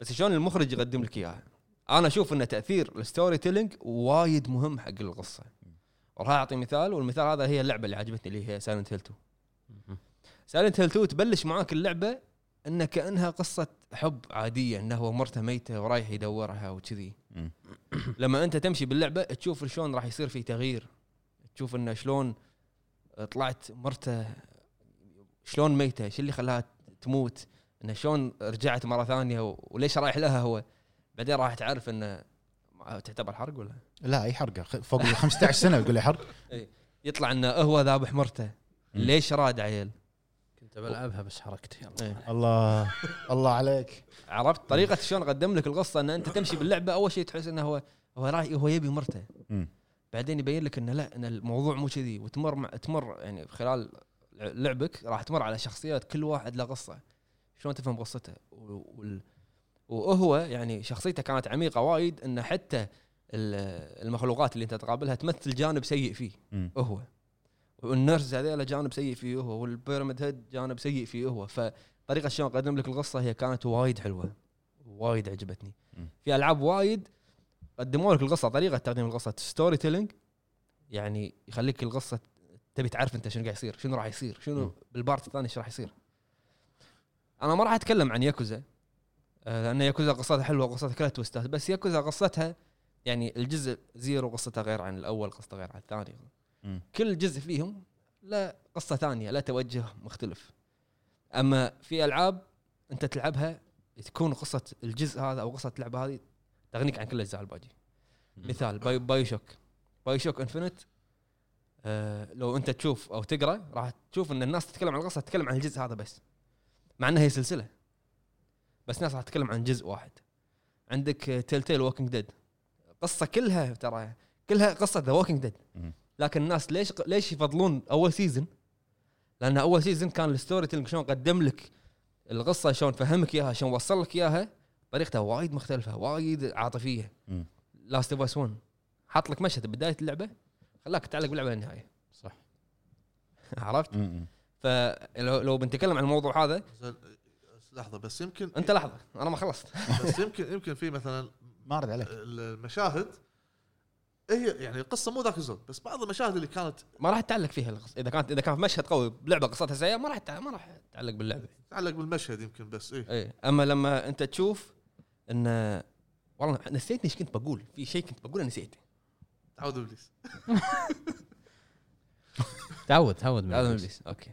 بس شلون المخرج يقدم لك اياها انا اشوف ان تاثير الستوري تيلينج وايد مهم حق القصه وراح اعطي مثال والمثال هذا هي اللعبه اللي عجبتني اللي هي سايلنت هيل 2 سايلنت هيل 2 تبلش معاك اللعبه ان كانها قصه حب عاديه انه هو مرته ميته ورايح يدورها وكذي مم. لما انت تمشي باللعبه تشوف شلون راح يصير في تغيير تشوف انه شلون طلعت مرته شلون ميته شو اللي خلاها تموت انه شلون رجعت مره ثانيه و- وليش رايح لها هو بعدين راح تعرف انه ما- تعتبر حرق ولا لا اي حرقه خ- فوق ال 15 سنه يقول لي حرق يطلع انه هو ذابح مرته ليش راد عيل كنت بلعبها بس حركت يلا إيه. الله الله عليك عرفت طريقه شلون قدم لك القصه ان انت تمشي باللعبه اول شيء تحس انه هو هو رايح هو يبي مرته مم. بعدين يبين لك انه لا ان الموضوع مو كذي وتمر مع تمر يعني خلال لعبك راح تمر على شخصيات كل واحد له قصه شلون تفهم قصته و- وال- وهو يعني شخصيته كانت عميقه وايد انه حتى ال- المخلوقات اللي انت تقابلها تمثل جانب سيء فيه مم. هو والنرز هذيلا جانب سيء فيه هو والبيراميد هيد جانب سيء فيه هو فطريقه شلون قدم لك القصه هي كانت وايد حلوه وايد عجبتني مم. في العاب وايد قدموا لك القصه طريقه تقديم القصه ستوري تيلينج يعني يخليك القصه تبي تعرف انت شنو قاعد يصير شنو راح يصير شنو مم. بالبارت الثاني شو راح يصير انا ما راح اتكلم عن ياكوزا آه، لان ياكوزا قصتها حلوه قصتها كلها تويستات بس ياكوزا قصتها يعني الجزء زيرو قصته غير عن الاول قصته غير عن الثاني مم. كل جزء فيهم لا قصه ثانيه لا توجه مختلف اما في العاب انت تلعبها تكون قصه الجزء هذا او قصه اللعبه هذه تغنيك عن كل الاجزاء الباقي مم. مثال باي باي شوك باي شوك انفنت آه لو انت تشوف او تقرا راح تشوف ان الناس تتكلم عن القصه تتكلم عن الجزء هذا بس مع انها هي سلسله بس ناس راح تتكلم عن جزء واحد عندك تيل تيل ووكينج ديد قصه كلها ترى كلها قصه ذا ووكينج ديد مم. لكن الناس ليش ليش يفضلون اول سيزون لان اول سيزون كان الستوري تيلينج شلون قدم لك القصه شلون فهمك اياها شلون وصل لك اياها طريقتها وايد مختلفه وايد عاطفيه مم. لاست اوف اس 1 حاط لك مشهد بدايه اللعبه خلاك تعلق باللعبه للنهايه صح. عرفت مم. فلو لو بنتكلم عن الموضوع هذا زين، لحظه بس يمكن انت لحظه انا ما خلصت بس يمكن يمكن في مثلا ما ارد عليك المشاهد هي يعني القصه مو ذاك الزود بس بعض المشاهد اللي كانت ما راح تتعلق فيها القصة. اذا كانت اذا كان مشهد قوي بلعبه قصتها سيئه ما راح تع- ما راح تتعلق باللعبه تعلق بالمشهد يمكن بس ايه اي اما لما انت تشوف ان والله نسيت ايش كنت بقول في شيء كنت بقوله نسيته تعود ابليس تعود تعود من هذا الإبليس. ابليس اوكي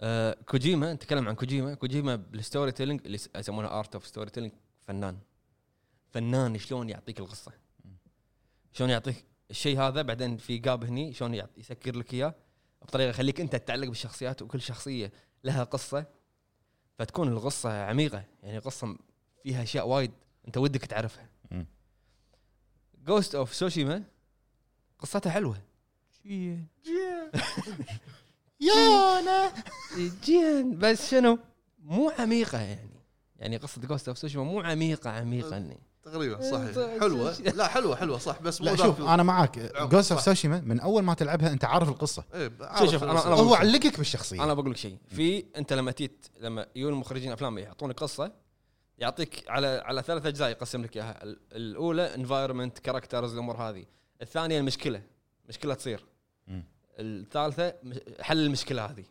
آه كوجيما نتكلم عن كوجيما كوجيما بالستوري تيلينج اللي يس- يسمونها ارت اوف ستوري تيلينج فنان فنان شلون يعطيك القصه شلون يعطيك الشيء هذا بعدين في قاب هني شلون يعط- يسكر لك اياه بطريقه يخليك انت تتعلق بالشخصيات وكل شخصيه لها قصه فتكون القصه عميقه يعني قصه م- فيها اشياء وايد انت ودك تعرفها مم. جوست اوف سوشيما قصتها حلوه يونا جين بس شنو مو عميقه يعني يعني قصه جوست اوف سوشيما مو عميقه عميقه اني تقريبا صحيح حلوه لا حلوه حلوه صح بس مو لا ذاك شوف ال- انا معاك جوست اوف صح. سوشيما من اول ما تلعبها انت عارف القصه ايه آه، شوف، شوف، أنا- أنا- انا آه، هو علقك بالشخصيه انا بقول لك شيء في انت لما تيت لما يجون المخرجين افلام يعطونك قصه يعطيك على على ثلاث اجزاء يقسم لك اياها ال- الاولى انفايرمنت كاركترز الامور هذه الثانيه المشكله مشكله تصير مم. الثالثه مش- حل المشكله هذه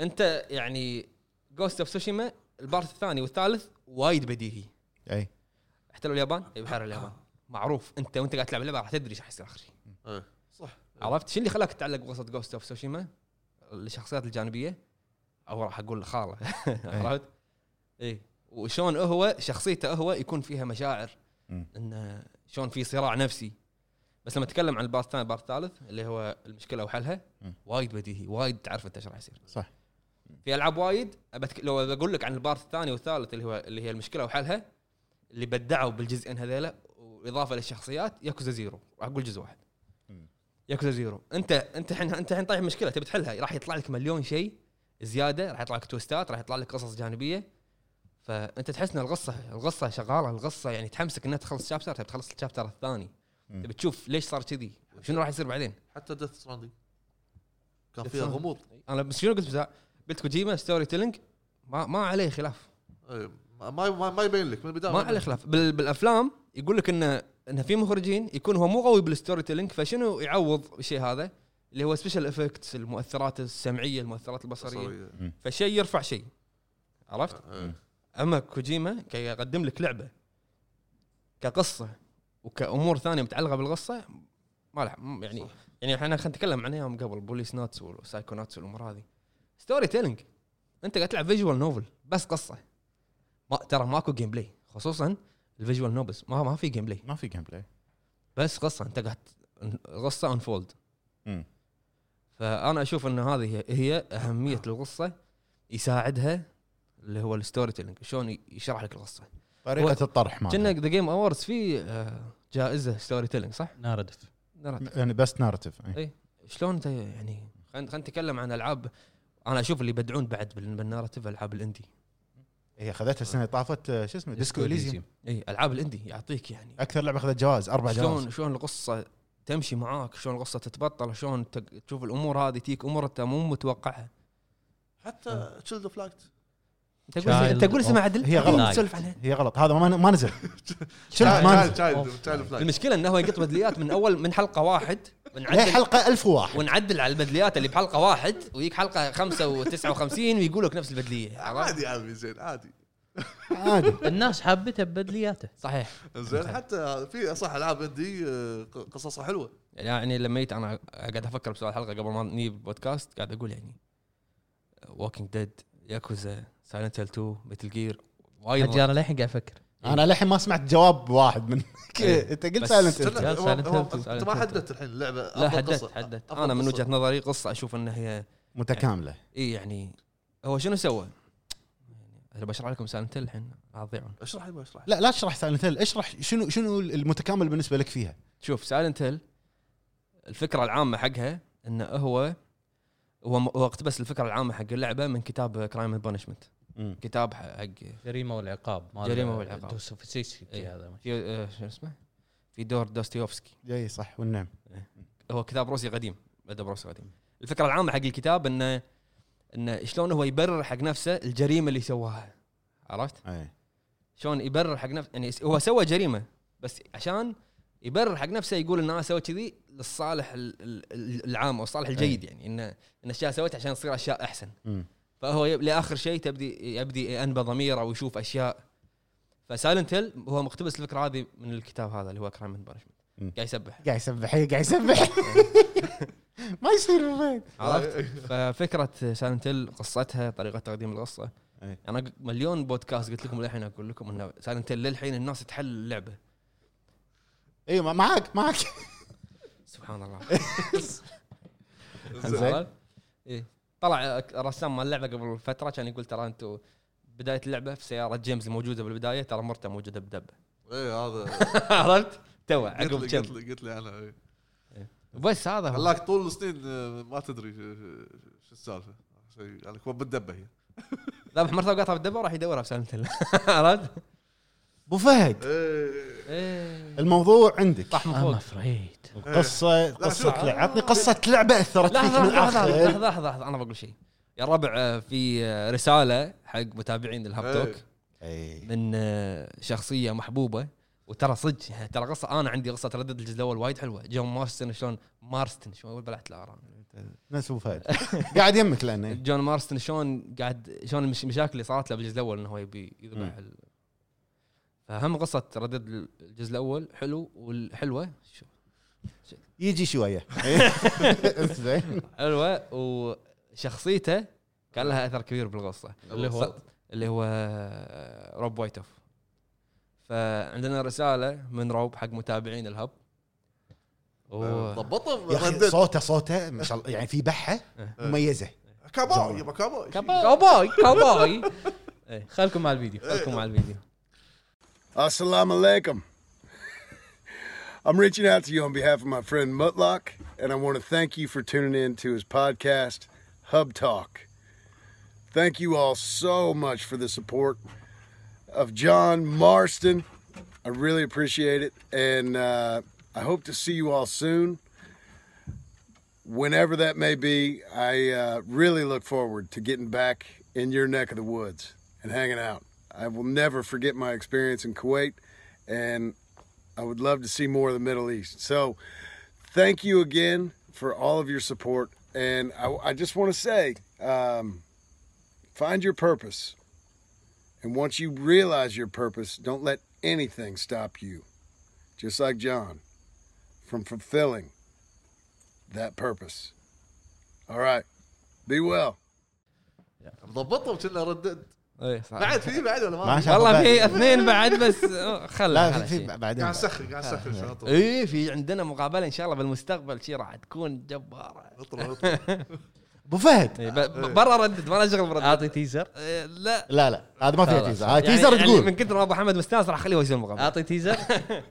انت يعني جوست اوف سوشيما البارت الثاني والثالث وايد بديهي اي احتلوا اليابان اي بحر اليابان معروف انت وانت قاعد تلعب اللعبه راح تدري ايش راح يصير اخر شيء ايه صح عرفت شو اللي خلاك تتعلق بقصه جوست اوف سوشيما الشخصيات الجانبيه او راح اقول خاله عرفت اي وشون هو شخصيته هو يكون فيها مشاعر مم. انه شلون في صراع نفسي بس لما اتكلم عن البارت الثاني البارت الثالث اللي هو المشكله وحلها مم. وايد بديهي وايد تعرف انت ايش راح يصير صح. في العاب وايد أبتك... لو بقول لك عن البارت الثاني والثالث اللي هو اللي هي المشكله وحلها اللي بدعوا بالجزئين هذيلا واضافه للشخصيات ياكوزا زيرو راح اقول جزء واحد مم. ياكوزا زيرو انت انت الحين انت الحين طايح مشكله تبي تحلها راح يطلع لك مليون شيء زياده راح يطلع لك توستات راح يطلع لك قصص جانبيه فانت تحس ان القصه القصه شغاله القصه يعني تحمسك انها تخلص شابتر تبي تخلص الشابتر الثاني مم. تبي تشوف ليش صار كذي شنو راح يصير بعدين حتى ديث ستراندنج كان Death فيها Stranding. غموض انا بس شنو قلت بزا- قلت كوجيما ستوري تيلينج ما ما عليه خلاف إيه، ما ما ما يبين لك من البدايه ما يبين عليه لك. خلاف بال بالافلام يقول لك انه انه في مخرجين يكون هو مو قوي بالستوري تيلينج فشنو يعوض الشيء هذا اللي هو سبيشال افكتس المؤثرات السمعيه المؤثرات البصريه بصرية. فشيء يرفع شيء عرفت إيه. اما كوجيما كي يقدم لك لعبه كقصه وكامور ثانيه متعلقه بالقصه ما لح يعني صح. يعني احنا خلينا نتكلم عنها يوم قبل بوليس ناتس والسايكو ناتس والامور هذه ستوري تيلينج انت قاعد تلعب فيجوال نوفل بس قصه ما ترى ماكو جيم بلاي خصوصا الفيجوال نوبلز ما ما في جيم بلاي ما في جيم بلاي بس قصه انت قاعد قصه انفولد مم. فانا اشوف ان هذه هي, هي اهميه القصه يساعدها اللي هو الستوري تيلينج شلون يشرح لك القصه طريقه الطرح كنا ما ذا جيم اووردز في آه، جائزه ستوري تيلينج صح؟ ناردف نرد. يعني بس نارتيف شلون انت يعني خلينا خلينا نتكلم عن العاب انا اشوف اللي يبدعون بعد بال- بالناراتيف العاب الاندي هي اخذتها السنه اللي طافت آه، شو اسمه ديسكو اليزيوم اي العاب الاندي يعطيك يعني اكثر لعبه اخذت جوائز اربع شلون جوائز شلون القصه تمشي معاك شلون القصه تتبطل شلون تق- تشوف الامور هذه تيك امور انت مو متوقعها إيه. حتى تشيلد اوف لايت انت تقول Child انت تقول اسمها of عدل هي غلط. قاعدين نسولف عنها هي غلط هذا ما ما نزل شنو ما نزل تشايلد اوف لايت المشكله انه هو يقط بدليات من اول من حلقه واحد هي ونعدل حلقه 1001 ونعدل على البدليات اللي بحلقه واحد ويجيك حلقه 55 ويقول لك نفس البدليه عرفت؟ عادي عادي زين عادي عادي الناس حابته ببدلياته صحيح زين حتى في صح العاب اندي آه، قصصها حلوه يعني لما جيت انا قاعد افكر بسؤال الحلقه قبل ما نجيب البودكاست قاعد اقول يعني ووكينج ديد ياكوزا سايلنت هيل 2 مثل جير حجي وايد انا للحين قاعد افكر انا للحين ما سمعت جواب واحد من إيه. انت قلت بس سايلنت ترى Silent هو- Hill هو- two. انت Silent ما Hill حددت الحين اللعبه لا أفضل حددت قصة. حددت أفضل انا من قصة. وجهه نظري قصه اشوف انها هي إيه متكامله اي يعني هو شنو سوى؟ انا بشرح لكم سالنت الحين راح تضيعون اشرح يبا اشرح لا لا تشرح سايلنت هيل اشرح شنو شنو المتكامل بالنسبه لك فيها شوف سايلنت هيل الفكره العامه حقها انه هو هو م- هو اقتبس الفكره العامه حق اللعبه من كتاب كرايم اند بانشمنت كتاب ح- حق جريمه والعقاب مال جريمة والعقاب. دوستويفسكي إي. هذا ما- في آه، شو اسمه فيدور دوستويفسكي اي صح والنعم هو كتاب روسي قديم ادب روسي قديم الفكره العامه حق الكتاب انه انه شلون هو يبرر حق نفسه الجريمه اللي سواها عرفت؟ اي شلون يبرر حق نفسه يعني هو سوى جريمه بس عشان يبرر حق نفسه يقول ان انا سويت كذي للصالح ال- ال- ال- العام او الصالح الجيد يعني ان ان الاشياء سويتها عشان تصير اشياء احسن مم. فهو يب... لاخر شيء تبدي يبدي انبى ضميره ويشوف اشياء فسايلنت هيل هو مقتبس الفكره هذه من الكتاب هذا اللي هو كرايم اند بانشمنت مم. قاعد يسبح قاعد يسبح هي قاعد يسبح ما يصير بالبيت عرفت ففكره سايلنت هيل قصتها طريقه تقديم القصه أي. انا ق- مليون بودكاست قلت لكم للحين اقول لكم انه سايلنت هيل للحين الناس تحل اللعبه اي إيه، معاك معاك سبحان الله زين. زين إيه. طلع رسام مال اللعبه قبل فتره كان يقول ترى انتم بدايه اللعبه في سياره جيمس الموجوده بالبدايه ترى مرته موجوده بدبه اي إيه، هذا عرفت؟ تو قلت عقب لي- كم قلت لي قلت لي انا إي. بس هذا هو خلاك طول السنين آه، ما تدري شو- شو- شو السالفه شيء يعني عليك بالدبه هي ذبح مرته وقاطها بالدبه وراح يدورها في سالمة الله عرفت؟ ابو فهد إي. إيه. الموضوع عندك طاح من I'm فوق afraid. قصه شوف. قصه لعبه عطني قصه لعبه اثرت فيك لحظه من لحظه الاخر لحظه لحظه لحظه انا بقول شيء يا ربع آه، في آه، رساله حق متابعين الهاب توك إيه. إي. من آه، شخصيه محبوبه وترى صدق يعني ترى قصه انا عندي قصه تردد الجزء الاول وايد حلوه جون مارستن شلون مارستن شلون اقول بلعت الاران نفس ابو فهد قاعد يمك إيه. لانه جون مارستن شلون قاعد شلون المش- المشاكل اللي صارت له بالجزء الاول انه هو يبي إيه. يذبح ال... فهم قصه تردد الجزء الاول حلو والحلوه شو- يجي شويه زين حلوه وشخصيته كان لها اثر كبير بالقصه اللي هو اللي هو روب وايتوف فعندنا رساله من روب حق متابعين الهب و- ضبطهم يا اخي ردت صوته صوته ما شاء الله يعني في بحه مميزه كاباي يبا كاباي كاباي كاباي إيه. خلكم مع الفيديو خلكم مع الفيديو Assalamu alaikum. I'm reaching out to you on behalf of my friend Mutlock, and I want to thank you for tuning in to his podcast, Hub Talk. Thank you all so much for the support of John Marston. I really appreciate it, and uh, I hope to see you all soon. Whenever that may be, I uh, really look forward to getting back in your neck of the woods and hanging out. I will never forget my experience in Kuwait, and I would love to see more of the Middle East. So, thank you again for all of your support. And I, I just want to say um, find your purpose. And once you realize your purpose, don't let anything stop you, just like John, from fulfilling that purpose. All right. Be well. ضبطهم كنا ردد ايه صح. بعد في بعد ولا ما ما في؟ شاء والله الله بعد. في اثنين بعد بس خل لا في- في بعدين قاعد نسخن قاعد آه. نسخن شاطر اي إيه، في عندنا مقابله ان شاء الله بالمستقبل شي راح تكون جباره اطلع اطلع ابو فهد إيه، ب- ب- برا ردد ما له شغل برد اعطي تيزر آه. إيه، لا لا لا هذا ما فيها خلاص. تيزر هاي يعني- تيزر يعني آه، تقول من كثر ما ابو حمد مستانس راح اخليه هو يسوي المقابله اعطي تيزر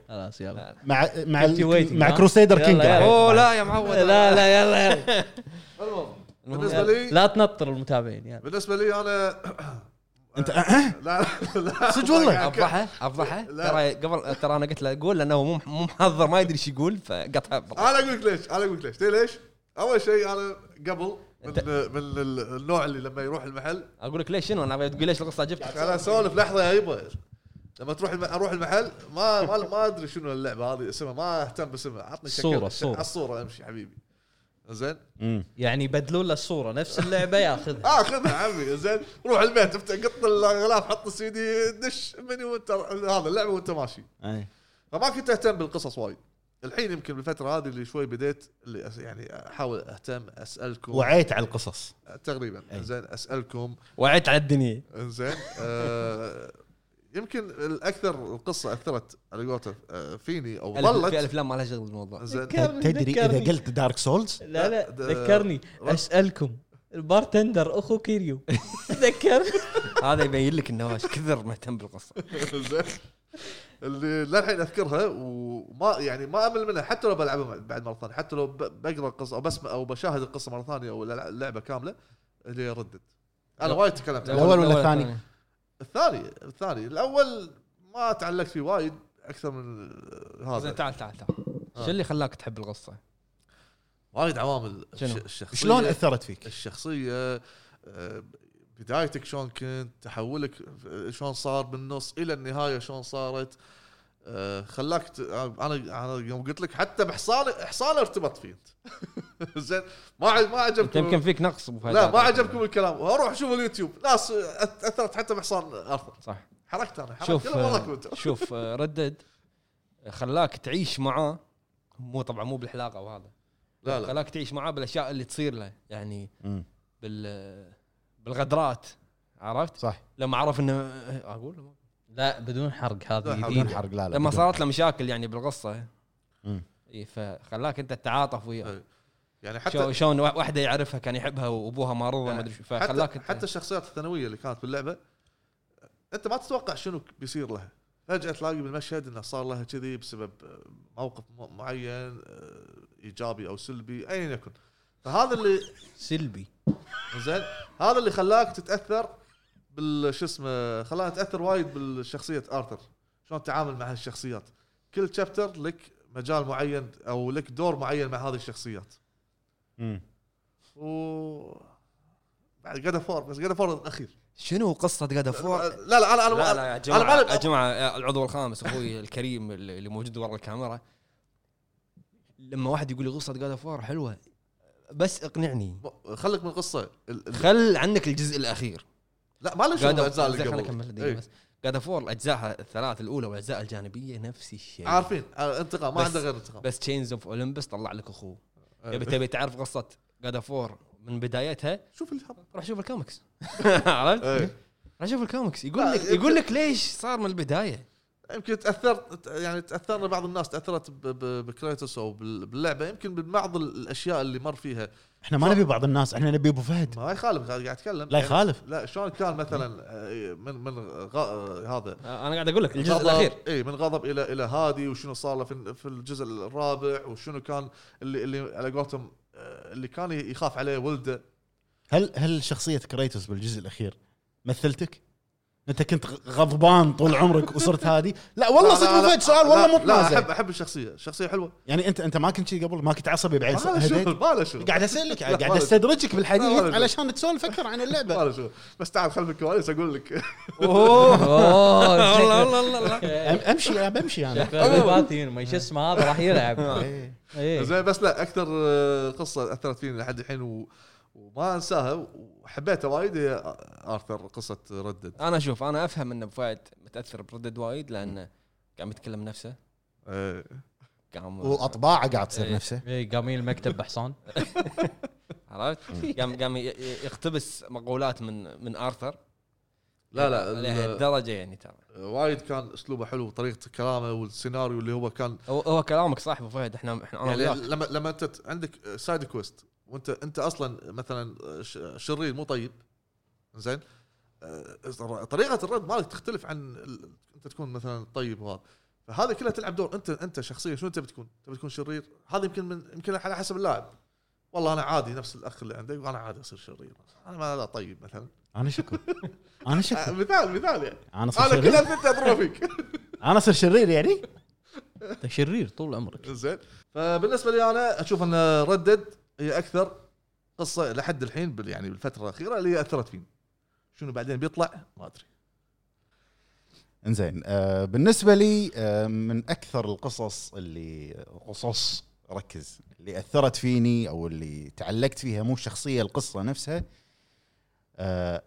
خلاص يلا مع مع kept you waiting، مع ها؟ كروسيدر يلا، كينج يلا. الحين. اوه لا يا معود لا لا يلا يلا المهم بالنسبه يلا. لي لا تنطر المتابعين يلا بالنسبه لي انا انت أه؟ لا لا صدق والله؟ افضحه افضحه لا. ترى قبل ترى انا قلت له قول لانه هو مو مو محضر ما يدري ايش يقول فقطع برا. انا اقول لك ليش انا اقول لك ليش تدري ليش؟ اول شيء انا قبل من من ال- النوع اللي لما يروح المحل اقول لك ليش شنو انا أبي تقول ليش القصه جبتها انا اسولف لحظه يا يبا لما تروح الم... اروح المحل ما ما, ما ادري شنو اللعبه هذه اسمها ما اهتم باسمها عطني شكل- الصورة، ش- الصورة. الصوره امشي حبيبي زين يعني يبدلون له الصوره نفس اللعبه ياخذها اه خذها عمي زين روح البيت افتح قط الغلاف حط السي دي دش مني وانت هذا اللعبه وانت ماشي أي. فما كنت اهتم بالقصص وايد الحين يمكن بالفتره هذه اللي شوي بديت اللي أس- يعني احاول اهتم اسالكم وعيت على القصص تقريبا زين اسالكم وعيت على الدنيا زين آه يمكن الاكثر القصه اثرت على قولته آه، فيني او ألف- في ظلت الافلام ما لها شغل بالموضوع زين ذكرني، تدري اذا ذكرني. قلت دارك سولز لا لا ده- ذكرني اسالكم البارتندر اخو كيريو ذكرني هذا يبين لك انه واش كثر مهتم بالقصه زين اللي للحين اذكرها وما يعني ما امل منها حتى لو بلعبها بعد مره ثانيه حتى لو ب- بقرا القصه او بسمع او بشاهد القصه مره ثانيه او الع- اللعبه كامله اللي ردت انا لا. وايد تكلمت عنه. الأول ولا الثاني؟ الثاني الثاني الاول ما تعلقت فيه وايد اكثر من زين هذا آه. تعال تعال تعال شو اللي خلاك تحب القصه؟ وايد عوامل شنو؟ الش- الشخصيه شلون اثرت فيك؟ الشخصيه آه، بدايتك شلون كنت تحولك آه، شلون صار بالنص الى النهايه شلون صارت آه، خلاك ت- انا انا يوم قلت لك حتى بحصان حصان ارتبط فيه انت زين ما ع- ما انت يمكن عجبكم فيك نقص بهذا. لا ما عجبكم الكلام اروح شوف اليوتيوب ناس أت- اثرت حتى بحصان ارثر صح حركت انا حركت شوف يلا وراكم انت آه، شوف آه، ردد خلاك تعيش معاه مو طبعا مو بالحلاقه وهذا لا لا خلاك تعيش معاه بالاشياء اللي تصير له يعني مم. بال بالغدرات عرفت؟ صح لما عرف انه آه، اقول ولا ما؟ لا بدون حرق بدون هذا حرق. جديد بدون حرق لا لا لما بدون. صارت له مشاكل يعني بالقصه مم. اي فخلاك انت تتعاطف وياه أي. يعني شو- حتى شلون وا- واحده يعرفها كان يحبها وابوها ما رضى ما ادري شو حتى, فخلاك انت حتى الشخصيات الثانويه اللي كانت باللعبه انت ما تتوقع شنو بيصير لها فجاه تلاقي بالمشهد انه صار لها كذي بسبب آه، موقف م- معين آه، ايجابي او سلبي ايا يكن فهذا اللي سلبي زين هذا اللي خلاك تتاثر بال شو اسمه خلاها تاثر وايد بالشخصيه ارثر شلون تتعامل مع هالشخصيات كل شابتر لك مجال معين او لك دور معين مع هذه الشخصيات مم. و بعد جاد فور بس جاد فور الاخير شنو قصه جاد فور؟ لا لا انا انا لا لا يا انا جماعه يا غالب جماعه يا العضو الخامس اخوي الكريم اللي اللي موجود ورا الكاميرا لما واحد يقول لي قصه جاد فور حلوه بس اقنعني خليك من القصه ال- ال- خل عنك الجزء الاخير لا ما له شغل God of- الاجزاء اللي زين خليني قبل اكمل دقيقة إيه. بس جاد فور الاجزاء الثلاث الاولى والاجزاء الجانبيه نفس الشيء عارفين آه، انتقام ما إيه. بس- عنده غير انتقام بس تشينز اوف اولمبس طلع لك اخوه آه. تبي تبي يعني تعرف قصه جاد فور من بدايتها شوف الهب روح شوف الكوميكس عرفت؟ إيه. روح شوف الكوميكس يقول لا، لك يقول لك ليش صار من البدايه يمكن تاثرت يعني تاثرنا بعض الناس تاثرت ب- ب- بكريتوس او بال- باللعبه يمكن ببعض ال- الاشياء اللي مر فيها احنا ما نبي بعض الناس احنا نبي ابو فهد ما يخالف قاعد قاعد اتكلم لا يعني- يخالف لا شلون كان مثلا آه، من من غا- آه، هذا انا قاعد اقول لك الجزء غضب- الاخير اي من غضب الى الى هادي وشنو صار له في في الجزء الرابع وشنو كان اللي اللي على قولتهم آه، اللي كان يخاف عليه ولده هل هل شخصيه كريتوس بالجزء الاخير مثلتك؟ انت كنت غضبان طول عمرك وصرت هادي؟ لا والله لا، صدق لا، ابو لا. فهد سؤال لا، والله لا متنازع احب احب الشخصيه شخصيه حلوه يعني انت انت ما كنت شي قبل ما كنت عصبي بعين ما له شغل هديت ما له شغل قاعد اسالك لا، قاعد ولا استدرجك لا، بالحديث ولا علشان تسولف اكثر عن ما اللعبه له شغل بس تعال خلف الكواليس اقول لك اوه الله والله الله الله الله أم- امشي بمشي انا باتين ما شو اسمه هذا راح يلعب إيه. إيه. زين بس لا اكثر آه، قصه اثرت فيني لحد الحين و... وما انساها وحبيتها وايد هي ارثر قصه ردد انا اشوف انا افهم ان ابو فهد متاثر بردد وايد لانه قام يتكلم نفسه آه، قام واطباعه قاعد تصير إيه. نفسه إيه، قامين المكتب بحصان عرفت؟ قام قام ي- ي- يقتبس مقولات من من ارثر لا لا ال- لهالدرجه يعني ترى آه، وايد كان اسلوبه حلو وطريقه كلامه والسيناريو اللي هو كان هو هو كلامك صح ابو فهد احنا احنا انا يعني وياك لما لما انت ت- عندك آه، سايد كويست وانت انت اصلا مثلا آه، ش- شرير مو طيب زين آه، طريقه الرد مالك تختلف عن ال- انت تكون مثلا طيب وهذا فهذا كله تلعب دور انت انت شخصيا شنو تبي تكون؟ تبي تكون شرير؟ هذا يمكن من يمكن على حسب اللاعب والله انا عادي نفس الاخ اللي عندك وانا عادي اصير شرير انا ما لا طيب مثلا انا شكو انا آه، شكو مثال مثال يعني انا صرت انا كل شرير انت اضربه فيك انا صرت شرير يعني انت شرير طول عمرك زين فبالنسبه لي انا اشوف ان ردد هي اكثر قصه لحد الحين بال- يعني بالفتره الاخيره اللي هي اثرت فيني شنو بعدين بيطلع ما ادري انزين آه بالنسبه لي آه من اكثر القصص اللي قصص ركز اللي اثرت فيني او اللي تعلقت فيها مو الشخصيه القصه نفسها آه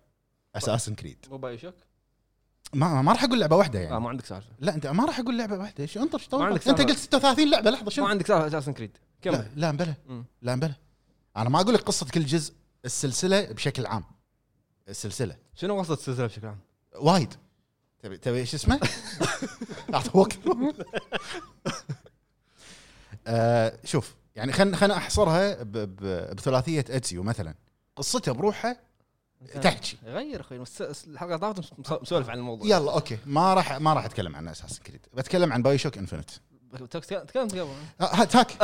اساسن كريد مو باي شوك ما ما راح اقول لعبه واحده لا يعني آه، ما عندك سالفه لا انت ما راح اقول لعبه واحده شو انطر شو ما طلبك؟ عندك انت سالفة. قلت 36 لعبه لحظه ما شنو عندك سالفه اساسن كريد لا كمل لا مبلى مم. لا مبلى انا ما اقول لك قصه كل جزء السلسله بشكل عام السلسله شنو وصلت السلسله بشكل عام؟ وايد تبي تبي ايش اسمه؟ اعطي وقت آه، شوف يعني خلينا خلينا احصرها ب- ب- بثلاثيه اتسيو مثلا قصته بروحها آه. تحكي غير اخوي مس- الحلقه طافت مس- مسولف عن الموضوع يلا اوكي ما راح ما راح اتكلم عن اساس كريد بتكلم عن آه، باي شوك انفنت تك- تكلمت قبل تاك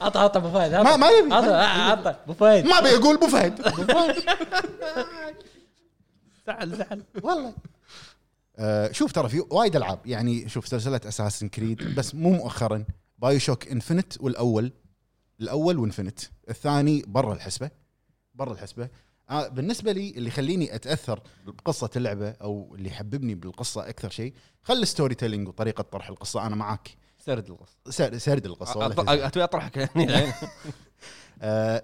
عطى عطى ابو فهد ما- ما يبي. عطى عطى ابو فهد ما بيقول ابو فهد زعل زعل والله آه، شوف ترى في وايد العاب يعني شوف سلسله اساسن كريد بس مو مؤخرا بايو شوك انفنت والاول الاول وانفنت الثاني برا الحسبه برا الحسبه آه بالنسبه لي اللي يخليني اتاثر بقصه اللعبه او اللي يحببني بالقصه اكثر شيء خلي الستوري تيلينج وطريقه طرح القصه انا معاك سرد القصه سرد سرد القصه ولا أط- تزعل. اتوقع اطرحك يعني آه،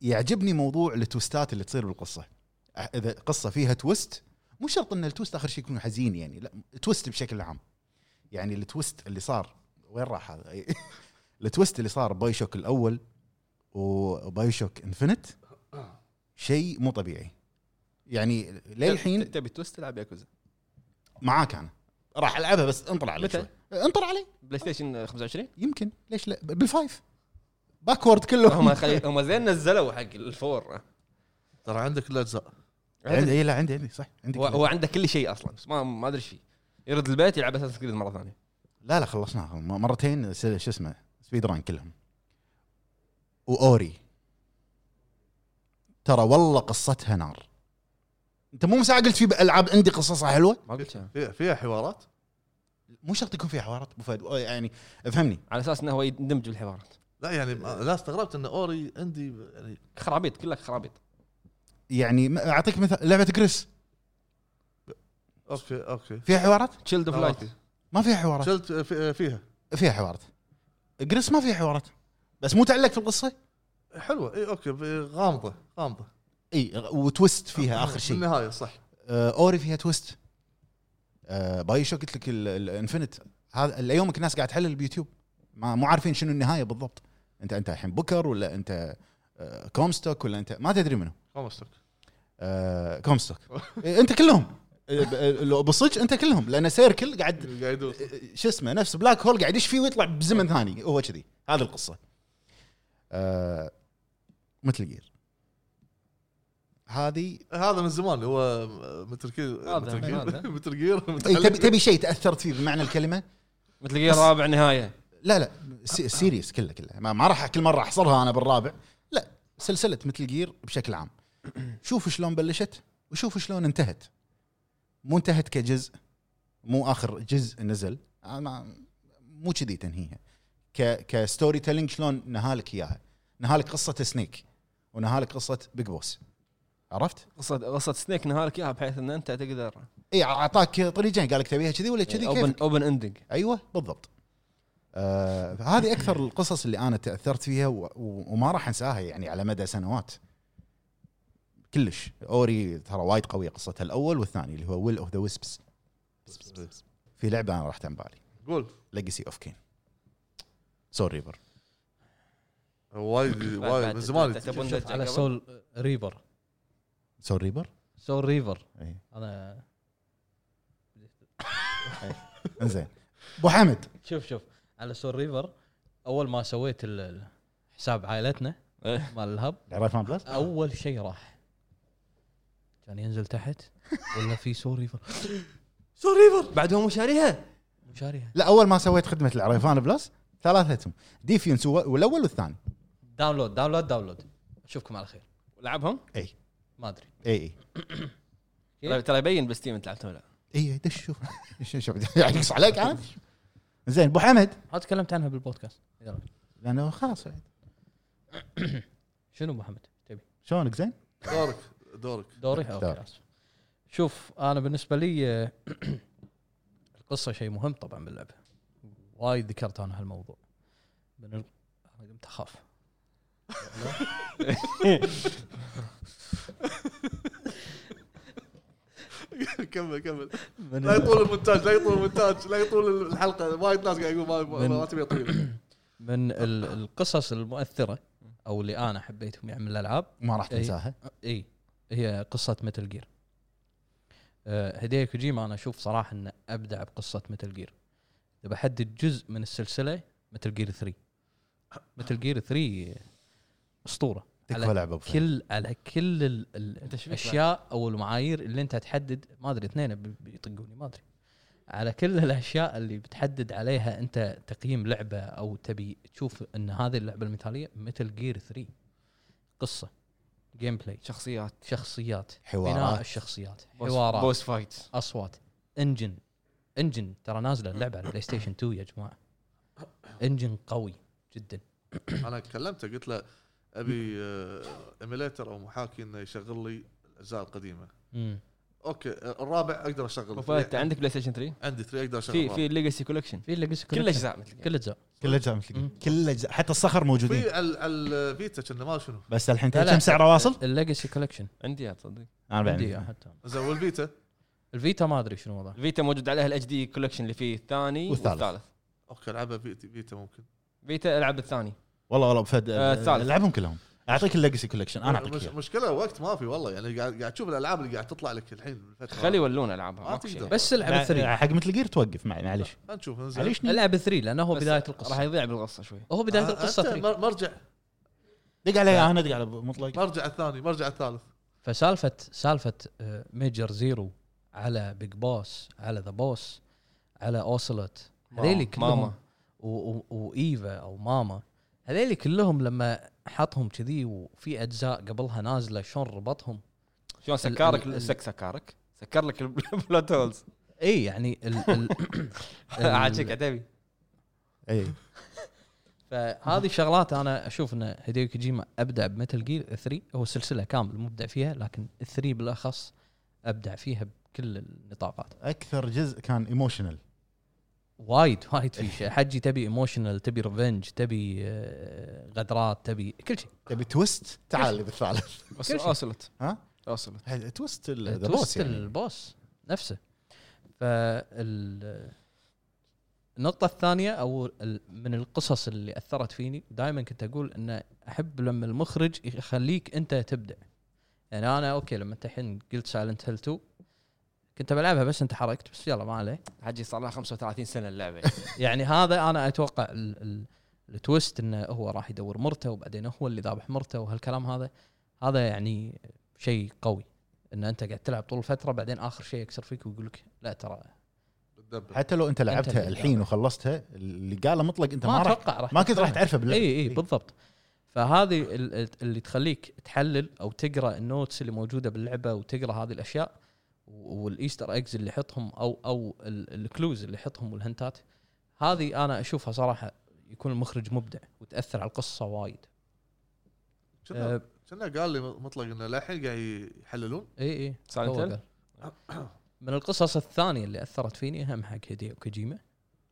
يعجبني موضوع التوستات اللي تصير بالقصه أح- اذا قصه فيها تويست مو شرط ان التويست اخر شيء يكون حزين يعني لا تويست بشكل عام يعني التويست اللي صار وين راح هذا التويست اللي صار باي شوك الاول وباي شوك انفنت شيء مو طبيعي يعني للحين تبي توست تلعب ياكوزا معاك انا راح العبها بس انطر علي متى؟ شوي انطر علي بلاي ستيشن 25 يمكن ليش لا بالفايف باكورد كله هم خلي هم زين نزلوا حق الفور ترى عندك الاجزاء عندي إي، لا عندي عندي صح عندي هو- هو عنده كل شيء اصلا بس ما ما ادري ايش فيه يرد البيت يلعب اساس كريد مره ثانيه لا لا خلصناها م- مرتين س- شو اسمه سبيد ران كلهم واوري ترى والله قصتها نار انت مو من ساعه قلت في العاب عندي قصصها حلوه ما قلت شيء. فيها- فيها حوارات مو شرط يكون فيها حوارات ابو فهد يعني افهمني على اساس انه هو يندمج بالحوارات لا يعني ما- لا استغربت ان اوري عندي يعني خرابيط كلها خرابيط يعني م- اعطيك مثال لعبه كريس اوكي اوكي فيها حوارات تشيلد اوف لايت أوكي. ما فيها حوارات شلت في- فيها فيها حوارات كريس ما فيها حوارات بس مو تعلقت بالقصه حلوه اي اوكي غامضه غامضه اي غ- وتويست فيها اخر شيء النهايه صح آه، اوري فيها تويست آه، باي شو قلت لك ال- الانفنت هذا ليومك الناس قاعد تحلل باليوتيوب ما مو عارفين شنو النهايه بالضبط انت انت الحين بوكر ولا انت آه، كومستوك ولا انت ما تدري منو كومستوك آه، كومستوك إيه، انت كلهم إيه، ب- إيه، لو بالصدق انت كلهم لان سيركل قاعد قاعد يدور إيه، شو اسمه نفس بلاك هول قاعد يشفي ويطلع بزمن ثاني هو كذي هذه القصه آه، مثل جير هذه هذا من زمان هو متر هذا- كير متر هذا. كير متر كير إيه، متعلق. تبي تبي شيء تاثرت فيه بمعنى الكلمه مثل جير رابع نهايه لا لا سي- سيريس كله كله ما, ما راح كل مره احصرها انا بالرابع لا سلسله مثل جير بشكل عام شوف شلون بلشت وشوف شلون انتهت مو انتهت كجزء مو اخر جزء نزل أنا ما مو كذي تنهيها ك كستوري تيلينج شلون نهالك اياها نهالك قصه سنيك ونهالك قصه بيج بوس عرفت؟ قصه قصه سنيك نهارك اياها بحيث ان انت تقدر اي اعطاك طريقين قال لك تبيها كذي ولا كذي اوبن كيفك اوبن اندنج ايوه بالضبط آه هذه اكثر القصص اللي انا تاثرت فيها و- و- وما راح انساها يعني على مدى سنوات كلش اوري ترى وايد قويه قصتها الاول والثاني اللي هو ويل اوف ذا ويسبس في لعبه انا راحت عن بالي قول ليجسي اوف كين سول ريبر وايد وايد من زمان تبون شوف نرجع على قبل؟ سول ريفر سول ريبر؟ سول ريفر اي انا انزين ابو حمد شوف شوف على سول ريفر اول ما سويت ال- ال- حساب عائلتنا إيه. مال الهب العراق فان بلس اول شيء راح كان ينزل تحت ولا في سول ريفر سول ريفر بعد هو مو شاريها مشاريها لا اول ما سويت خدمه العريفان بلس ثلاثتهم ديفينس هو- والاول والثاني داونلود داونلود داونلود اشوفكم على خير لعبهم ما ادري اي اي إيه. ترى- ترى يبين بالستيم انت لعبتهم ولا لا اي دش شوف شوف- شوف يعني يقص عليك انا زين ابو حمد ما تكلمت عنها بالبودكاست يلا لانه خلاص يعني. شنو محمد تبي شلونك زين؟ دورك دورك دوري اوكي دورك. آسف. شوف انا بالنسبه لي آه، القصه شيء مهم طبعا باللعبه وايد ذكرت انا هالموضوع من ال... انا قمت اخاف كمل كمل من لا ال... يطول المونتاج لا يطول المونتاج لا يطول الحلقه وايد ناس قاعد يقول ما- ما من- ما تبي طويله من ال... القصص المؤثره او اللي انا حبيتهم يعني من الالعاب ما راح إي. تنساها اي هي قصه متل جير هديه آه، كوجيما انا اشوف صراحه انه ابدع بقصه متل جير اذا بحدد جزء من السلسله متل جير 3 متل جير 3 اسطوره تكفى على لعبه بفن. كل على كل ال- ال- أنت شو فيك الاشياء او المعايير اللي انت تحدد ما ادري اثنين بي- بيطقوني ما ادري على كل الاشياء اللي بتحدد عليها انت تقييم لعبه او تبي تشوف ان هذه اللعبه المثاليه مثل جير 3 قصه جيم بلاي شخصيات شخصيات بناء حوارات الشخصيات بوس- حوارات بوس فايت اصوات انجن انجن ترى نازله اللعبه على بلاي ستيشن 2 يا جماعه انجن قوي جدا انا كلمته قلت له ابي ايميليتر او محاكي انه يشغل لي الاجزاء القديمه مم. اوكي آه، الرابع اقدر اشغل انت عندك بلاي ستيشن 3 عندي 3 اقدر اشغل في الرابع. في ليجاسي كولكشن في اللي قصة كل اجزاء مثل كل اجزاء كل الاجزاء مم. مثل كل الاجزاء حتى الصخر موجودين في على على الفيتا كنا ما شنو بس الحين لا، تدري لا. كم سعره واصل؟ الليجاسي كولكشن عندي يا تصدق انا عندي بعد حتى زين والفيتا الفيتا ما ادري شنو وضعه فيتا موجود عليها الاتش دي كولكشن اللي فيه الثاني والثالث. والثالث اوكي العبها فيتا فيتا ممكن فيتا العب الثاني والله والله بفد آه، الثالث. العبهم كلهم اعطيك الليجسي كولكشن انا اعطيك مش إياه. مشكله وقت ما في والله يعني قاعد قاعد تشوف الالعاب اللي قاعد تطلع لك الحين بالفتره خلي يولون العابها ما ماكو شيء تقدر. بس العب لا، الثري حق مثل جير توقف مع- معليش خلينا نشوف انزين معليش العب الثري لانه هو بس بدايه راح آه، القصه يضيع بالقصه شوي هو بدايه القصه آه، أنت ثري مر- مرجع دق علي انا دق على مطلق مرجع الثاني مرجع الثالث فسالفه سالفه آه، ميجر زيرو على بيج بوس على ذا بوس على اوسلوت ماما. هذيلي كلهم ماما. و- و- وايفا او ماما هذيلي كلهم لما حطهم كذي وفي اجزاء قبلها نازله شلون ربطهم شلون ال- سكرك ال- سك سكرك سكر لك البلوت هولز اي يعني ال ال عاجيك عتيبي اي فهذه الشغلات انا اشوف ان هيديو كوجيما ابدع بمتل جير 3 هو سلسله كامل مبدع فيها لكن 3 بالاخص ابدع فيها بكل النطاقات اكثر جزء كان ايموشنال وايد وايد في شيء حجي تبي ايموشنال تبي ريفنج تبي آه، غدرات تبي كل شيء تبي تويست تعال اللي بالثالث بس كل شيء. اوسلت ها؟ اوسلت تويست ال- ذا آه، توست بوس يعني البوس نفسه فال النقطة الثانية أو ال- من القصص اللي أثرت فيني دائما كنت أقول أن أحب لما المخرج يخليك أنت تبدع يعني أنا أوكي لما أنت الحين قلت سايلنت هيل 2 كنت بلعبها بس أنت حركت بس يلا ما عليه حجي صار لها 35 سنه اللعبه يعني هذا أنا أتوقع ال- ال- التويست أنه هو راح يدور مرته وبعدين هو اللي ذابح مرته وهالكلام هذا هذا يعني شيء قوي ان انت قاعد تلعب طول الفتره بعدين اخر شيء يكسر فيك ويقول لك لا ترى بتدبر حتى لو انت لعبتها اللي الحين وخلصتها اللي قاله مطلق انت ما ما راح اتوقع راح ما كنت راح تعرفه باللعبه اي اي إيه، بالضبط فهذه ال- ال- اللي تخليك تحلل او تقرا النوتس اللي موجوده باللعبه وتقرا هذه الاشياء و- والايستر ايجز اللي يحطهم او او ال- الكلوز اللي يحطهم والهنتات هذه انا اشوفها صراحه يكون المخرج مبدع وتاثر على القصه وايد كنا آه. كنا قال لي مطلق انه للحين قاعد يحللون اي اي Silent هو Hill؟ قال. إيه، من القصص الثانيه اللي اثرت فيني هم حق هيديو كوجيما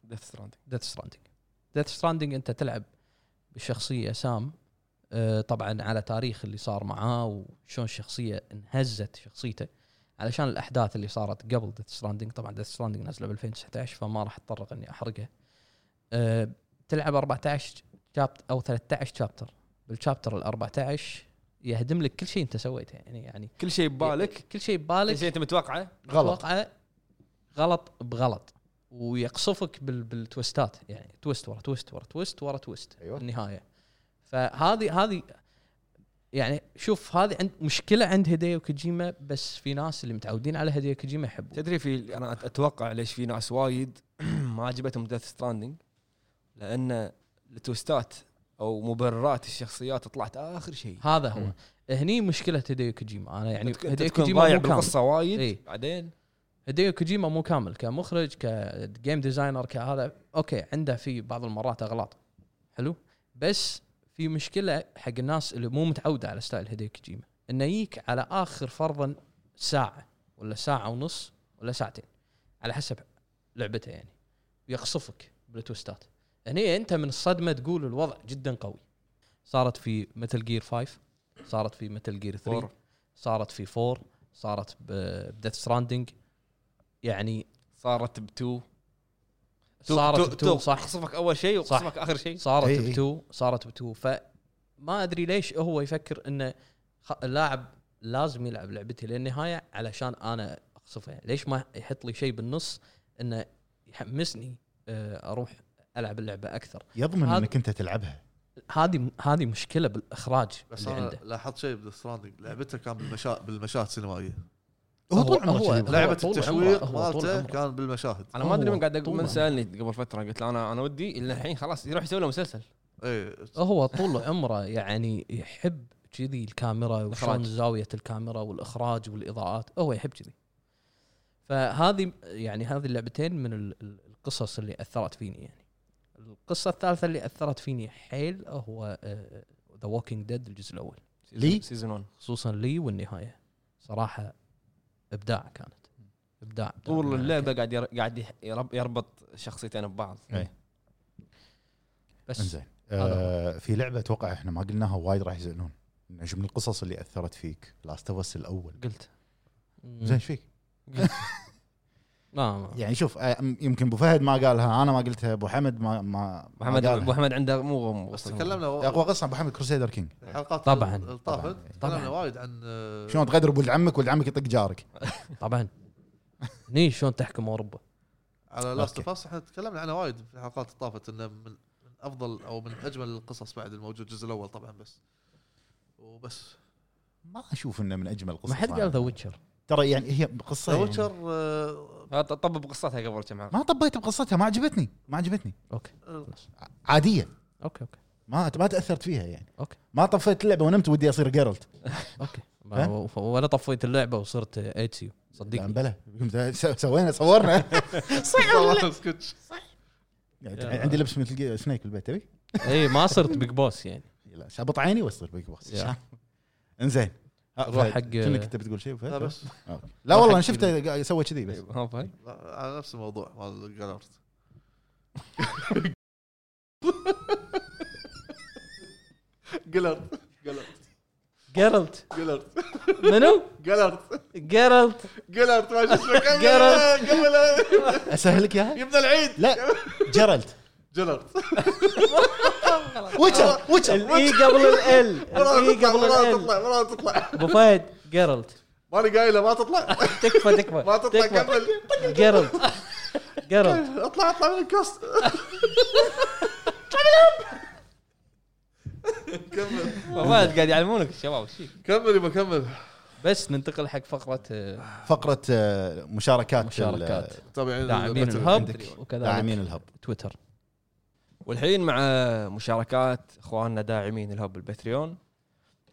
ديث ستراندنج ديث ستراندنج ديث ستراندنج انت تلعب بشخصيه سام آه، طبعا على تاريخ اللي صار معاه وشون الشخصيه انهزت شخصيته علشان الاحداث اللي صارت قبل ديث ستراندنج طبعا ديث ستراندنج نازله ب 2019 فما راح اتطرق اني احرقها آه، تلعب 14 شابتر او 13 شابتر بالشابتر ال 14 يهدم لك كل شيء انت سويته يعني يعني كل شيء ببالك كل شيء ببالك كل شيء انت متوقعه غلط اتوقع غلط بغلط ويقصفك بال بالتويستات يعني تويست ورا تويست ورا تويست ورا تويست أيوة. النهايه فهذه هذه يعني شوف هذه عند مشكله عند هديو كوجيما بس في ناس اللي متعودين على هديو كوجيما يحبوه تدري في انا أت- اتوقع ليش في ناس وايد ما عجبتهم ديث ستراندنج لان التوستات او مبررات الشخصيات طلعت اخر شيء هذا هو مم. هني مشكله هديو كوجيما انا يعني يعني انت هديو تكون كوجيما ضايع مو كامل إيه. بالقصه وايد إي. بعدين هديو كوجيما مو كامل كمخرج كجيم ديزاينر كهذا اوكي عنده في بعض المرات اغلاط حلو بس في مشكله حق الناس اللي مو متعوده على ستايل هديو كوجيما انه يجيك على اخر فرضا ساعه ولا ساعه ونص ولا ساعتين على حسب لعبته يعني يقصفك بالتوستات هني انت من الصدمه تقول الوضع جدا قوي صارت في متل جير 5 صارت في متل جير 3 فور. صارت في 4 صارت بديث ستراندنج يعني صارت بتو صارت تو- تو- إيه، بتو صح قصفك اول شيء وقصفك اخر شيء صارت إي إي. بتو صارت بتو فما ادري ليش هو يفكر انه خ- اللاعب لازم يلعب لعبتي للنهايه علشان انا اقصفه يعني ليش ما يحط لي شيء بالنص انه يحمسني آه، اروح العب اللعبه اكثر يضمن هذا- انك انت تلعبها هذه هذه مشكله بالاخراج بس اللي انا عنده لاحظت شيء بالستراندنج لعبته كان بالمشا... بالمشاهد السينمائيه هو طول عمره هو- كذي. هو لعبه طول التشويق عمره- هو طول مالته عمره. كان بالمشاهد انا ما ادري هو من قاعد أقول- طول من عمره. سالني قبل فتره قلت له انا انا ودي الا الحين خلاص يروح يسوي له مسلسل اي هو طول عمره يعني يحب كذي الكاميرا وشلون الإخراج. زاويه الكاميرا والاخراج والاضاءات هو يحب كذي فهذه يعني هذه اللعبتين من ال- ال- القصص اللي اثرت فيني يعني القصه الثالثه اللي اثرت فيني حيل هو آه، ذا ووكينج ديد الجزء الاول لي؟ سيزون 1 خصوصا لي والنهايه صراحه ابداع كانت ابداع إبداع. طول يعني اللعبه قاعد ير- قاعد يح- يرب- يربط شخصيتين ببعض إيه. بس انزين آه في لعبه اتوقع احنا ما قلناها وايد راح يزعلون إنه من القصص اللي اثرت فيك لاست اوف الاول قلت مم. زين ايش فيك؟ لا ما- يعني شوف آه، م- يمكن ابو فهد ما قالها انا ما قلتها ابو حمد ما ما ما محمد قالها. ابو حمد عنده مو غم بس وصل. تكلمنا اقوى قصه ابو حمد كروسيدر كينج حلقات طبعاً. طافت طبعاً. طبعاً. تكلمنا وايد عن آه، شلون تغدر بولد عمك ولد عمك يطق جارك طبعا ني شلون تحكم اوروبا على لاست اوف أوكي. اس احنا تكلمنا عنها وايد في الحلقات اللي طافت انه من من افضل او من اجمل القصص بعد الموجود الجزء الاول طبعا بس وبس ما اشوف انه من اجمل القصص ما حد قال ذا ويتشر ترى يعني هي قصه ذا طيب. يعني ويتشر آه، ها، ط- طبب قصتها قبل كم حلقه ما طبيت بقصتها ما عجبتني ما عجبتني اوكي آه، عاديه اوكي اوكي ما ما تاثرت فيها يعني أوكي. ما طفيت اللعبه ونمت ودي اصير جيرلت اوكي ها؟ ما- ف- ولا طفيت اللعبه وصرت ايتسيو صدقني بلا س- سوينا صورنا والله سكتش. يعني عندي لبس مثل جي- سنيك بالبيت تبي؟ اي إيه، ما صرت بيج بوس يعني لا شابط عيني واصير بيج بوس يا. انزين ها، روح فهد، حق- شنو كنت بتقول شيء لا فهد؟ بس أوكي. لا والله روح انا حق شفته قا- سوى كذي بس ها فهد؟ لا، على نفس الموضوع مال الجالرت جلرت جلرت جيرلت جلرت منو؟ جلرت جيرلت جلرت ما شو اسمه كمل جلرت. كمل اسهل لك اياها؟ يبدا العيد لا جيرلت جلرت ويتشر ويتشر الاي E قبل ال مرة الاي تطلع قبل مرة ال تطلع مرة تطلع ابو فهد جيرلت ماني قايله ما تطلع تكفى تكفى ما تطلع تكفى كمل جيرلت جيرلت اطلع اطلع من الكاست كمل ابو فهد قاعد يعلمونك الشباب شي كمل يبا كمل بس ننتقل حق فقره آه، فقره آه، مشاركات مشاركات تابعين داعمين الباتل. الهب داعمين وكذلك الهب تويتر والحين مع مشاركات اخواننا داعمين الهب البتريون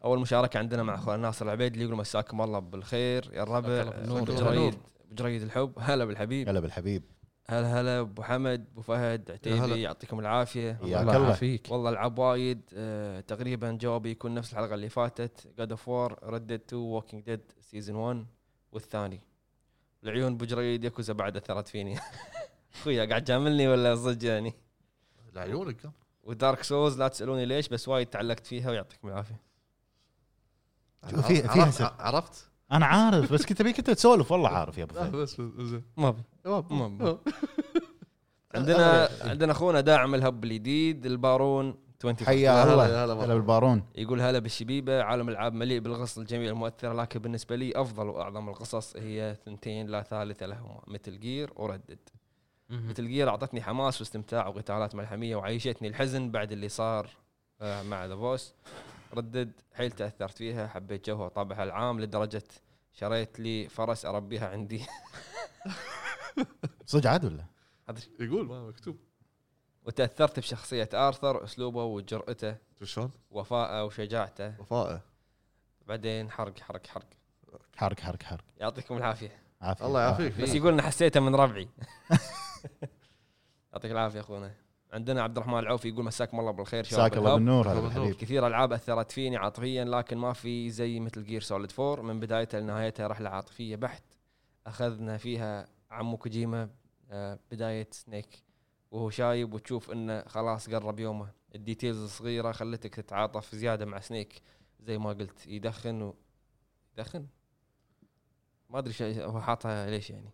اول مشاركه عندنا مع اخونا ناصر العبيد اللي يقول مساكم الله بالخير يا الربع مساك الله بالنور. أبو جريد أبو جريد الحب هلا بالحبيب هلا بالحبيب هلا هلا ابو حمد ابو فهد يا هلا. عتيبي يعطيكم العافيه يا الله كلا. يعافيك والله العاب وايد آه تقريبا جوابي يكون نفس الحلقه اللي فاتت جاد اوف وور ردد 2 ووكينج ديد سيزون 1 والثاني العيون ابو جريد ياكوزا بعد اثرت فيني اخويا قاعد جاملني ولا صدق يعني لا عيونك كم ودارك سولز لا تسالوني ليش بس وايد تعلقت فيها ويعطيكم العافيه شوف، في- فيها عرفت- سر. عرفت؟ انا عارف بس كنت ابيك كنت تسولف والله عارف يا ابو لا فهد بس زين ما بي ما بي. ما- عندنا عندنا اخونا داعم الهب الجديد البارون 20 حيا هلا، الله يا هلا هلا بالبارون يقول هلا بالشبيبه عالم العاب مليء بالقصص الجميله المؤثره لكن بالنسبه لي افضل واعظم القصص هي ثنتين لا ثالث لهما مثل جير وردد مثل جير اعطتني حماس واستمتاع وقتالات ملحميه وعيشتني الحزن بعد اللي صار آه، مع ذا بوس ردد حيل تاثرت فيها حبيت جوها وطابعها العام لدرجه شريت لي فرس اربيها عندي صدق عاد ولا؟ يقول ما مكتوب وتاثرت بشخصيه ارثر اسلوبه وجرأته شلون؟ وفاءه وشجاعته وفاءه بعدين حرق حرق حرق حرك حرك حرك يعطيكم العافيه عافية. الله يعافيك بس يقول انا حسيته من ربعي يعطيك العافيه اخونا عندنا عبد الرحمن العوفي يقول مساكم الله بالخير شباب مساك الله الهب بالنور هلا بالنور. بالحبيب كثير العاب اثرت فيني عاطفيا لكن ما في زي مثل جير سوليد 4 من بدايتها لنهايتها رحله عاطفيه بحت اخذنا فيها عمو كوجيما آه، بدايه سنيك وهو شايب وتشوف انه خلاص قرب يومه الديتيلز الصغيره خلتك تتعاطف زياده مع سنيك زي ما قلت يدخن و... يدخن ما ادري شا- هو حاطها ليش يعني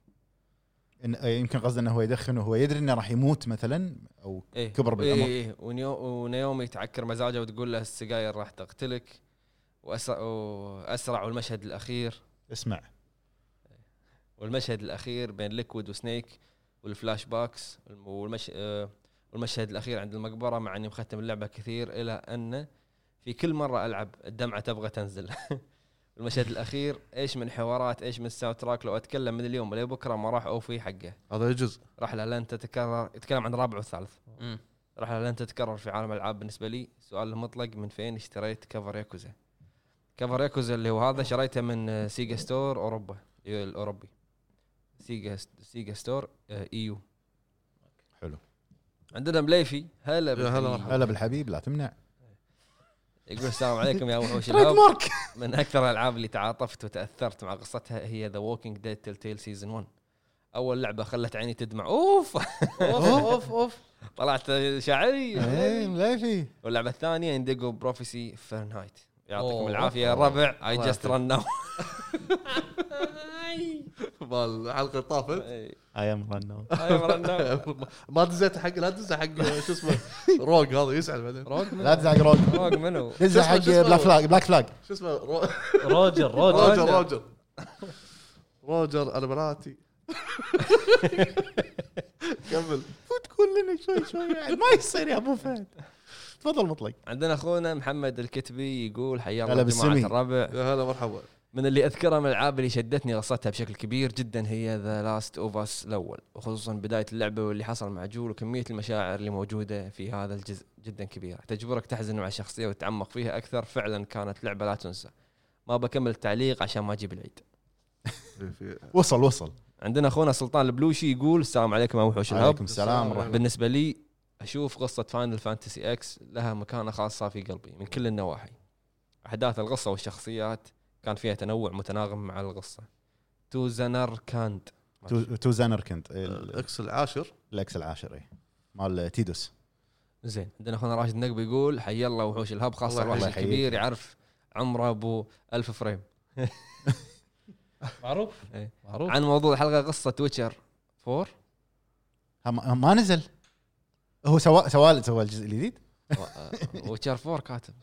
إن- آه، يمكن قصده انه هو يدخن وهو يدري انه راح يموت مثلا او إيه. كبر بالعمر. إيه إيه ونيو ونيومي تعكر مزاجه وتقول له السجاير راح تقتلك وأسرع, واسرع والمشهد الاخير اسمع والمشهد الاخير بين ليكويد وسنيك والفلاش باكس والمش... آه، والمشهد الاخير عند المقبره مع اني مختم اللعبه كثير الى ان في كل مره العب الدمعه تبغى تنزل المشهد الاخير ايش من حوارات ايش من الساوند تراك لو اتكلم من اليوم لبكره ما راح اوفي حقه هذا يجز رحله لن تتكرر يتكلم عن الرابع والثالث مم. رحلة لن تتكرر في عالم الألعاب بالنسبة لي سؤال المطلق من فين اشتريت كفر ياكوزا كفر ياكوزا اللي هو هذا شريته من آه، سيجا ستور أوروبا يو- الأوروبي سيجا سيجا ستور آه، اي يو حلو. عندنا مليفي هلا يا هلا بالحبيب. مرحبا. هلا بالحبيب لا تمنع يقول السلام عليكم يا وحوش تريد الهب مارك من اكثر الالعاب اللي تعاطفت وتاثرت مع قصتها هي ذا ووكينج ديد تيل تيل سيزون 1 اول لعبه خلت عيني تدمع اوف اوف اوف اوف طلعت شعري اي مليفي واللعبه الثانيه انديجو بروفيسي فهرنهايت يعطيكم أوه. العافيه يا الربع اي الله جاست رن ناو بالحلقه طافت إيه. اي ام رن ما دزيت حق لا دزه حق شو اسمه روج هذا يزعل بعدين روج منو؟ لا تزعق روج روج منو؟ دزه شو حق اسمه- شو اسمه؟ بلاك فلاج بلاك فلاج شو اسمه رو- روجر روجر روجر روجر روجر انا براتي كمل تقول لنا شوي شوي يعني ما يصير يا ابو فهد تفضل مطلق عندنا اخونا محمد الكتبي يقول حيا الله هلا جماعه بالسمي. الربع يا هلا مرحبا من اللي اذكرها من الالعاب اللي شدتني قصتها بشكل كبير جدا هي ذا لاست اوف اس الاول وخصوصا بدايه اللعبه واللي حصل مع جول وكميه المشاعر اللي موجوده في هذا الجزء جدا كبيره تجبرك تحزن مع الشخصيه وتتعمق فيها اكثر فعلا كانت لعبه لا تنسى ما بكمل التعليق عشان ما اجيب العيد في- في- وصل وصل عندنا اخونا سلطان البلوشي يقول السلام عليكم يا وحوش الهب عليكم السلام ورحمه بالنسبه لي اشوف قصه فاينل فانتسي اكس لها مكانه خاصه في قلبي من كل النواحي احداث القصه والشخصيات كان فيها تنوع متناغم مع القصه توزنر كاند تو- تو زانر كنت ال- الاكس العاشر الاكس العاشر إي. مال تيدوس زين عندنا اخونا راشد النقبي يقول حي الله وحوش الهب خاصه الله الوحش يحييك. الكبير يعرف عمره ابو ألف فريم معروف إيه. معروف عن موضوع الحلقه قصه ويتشر 4 ها ما ها ما نزل هو سوى سوى سوى الجزء الجديد ويتشر 4 كاتب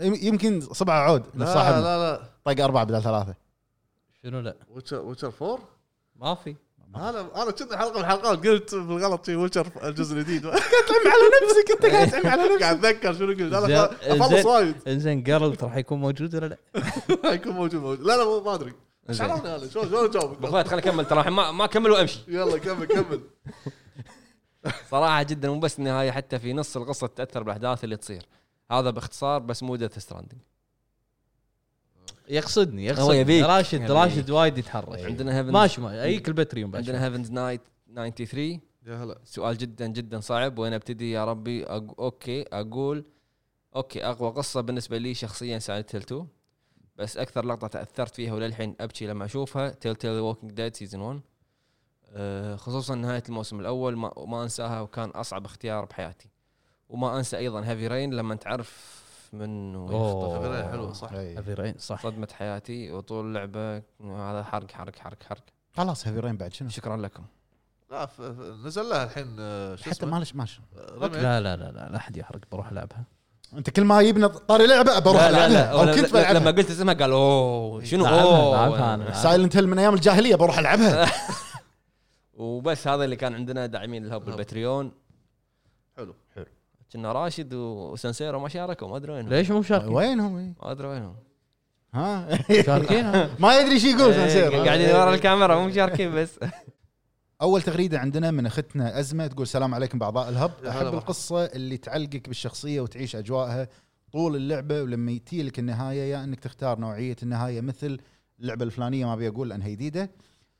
يم- يمكن صبعه عود لا صاحبنا لا لا طق اربعه بدل ثلاثه شنو لا ويتشر ويتشر 4 ما في انا انا كنت حلقه من الحلقات قلت بالغلط في ويتشر الجزء الجديد تعم على نفسك انت قاعد تعم على قاعد اتذكر شنو قلت انا زين- اخلص زين. وايد انزين جارلت راح يكون موجود ولا لا؟ يكون موجود موجود لا لا مو- ما ادري ايش زين. عرفني انا شلون شلون ابو اجاوبك فهد خليني اكمل ترى الحين ما ما كمل وامشي يلا كمل كمل صراحه جدا مو بس النهايه حتى في نص القصه تتاثر بالاحداث اللي تصير هذا باختصار بس مو ديث ستراندنج يقصدني هو يقصدني يبيك. راشد يبيك. إيه. راشد وايد يتحرك عندنا هيفنز طيب. ماشي ماشي ايك البتريوم بعد عندنا هيفنز نايت 93 يا هلا سؤال جدا جدا صعب وين ابتدي يا ربي أق... اوكي اقول اوكي اقوى قصه بالنسبه لي شخصيا سايلنت هيل 2 بس اكثر لقطه تاثرت فيها وللحين ابكي لما اشوفها تيل تيل ووكينج ديد سيزون 1 أه، خصوصا نهايه الموسم الاول ما, ما انساها وكان اصعب اختيار بحياتي وما انسى ايضا هيفي رين لما تعرف منه أوه. فكرة حلوه صح نفسك هيفي رين صح صدمة حياتي وطول اللعبة هذا حرق حرق حرق حرق خلاص هيفي رين بعد شنو شكرا لكم لا ف- ف- نزل لها الحين آه، شو حتى اسمه آه، مالش مالش ريميك. لا لا لا لا لا احد يحرق بروح العبها انت كل ما جبنا طاري لعبه بروح لا لا العبها لا او ولا- كنت لا- لما نعم. بلعبها قلت اسمها قال اوه شنو لعبها- اوه لعبها أنا. سايلنت هيل من ايام الجاهليه بروح العبها وبس هذا اللي كان عندنا داعمين الهب البتريون حلو كنا راشد وسنسيرو ما شاركوا ما ادري وينهم ليش مو مشاركين؟ وينهم إي؟ ما ادري وينهم ها مشاركين ما يدري شو إيه، يقول سانسيرو قاعدين ورا الكاميرا مو مشاركين بس اول تغريده عندنا من اختنا ازمه تقول السلام عليكم باعضاء الهب يا هلا احب مرحبا. القصه اللي تعلقك بالشخصيه وتعيش اجواءها طول اللعبه ولما يتي لك النهايه يا انك تختار نوعيه النهايه مثل اللعبه الفلانيه ما ابي اقول لانها جديده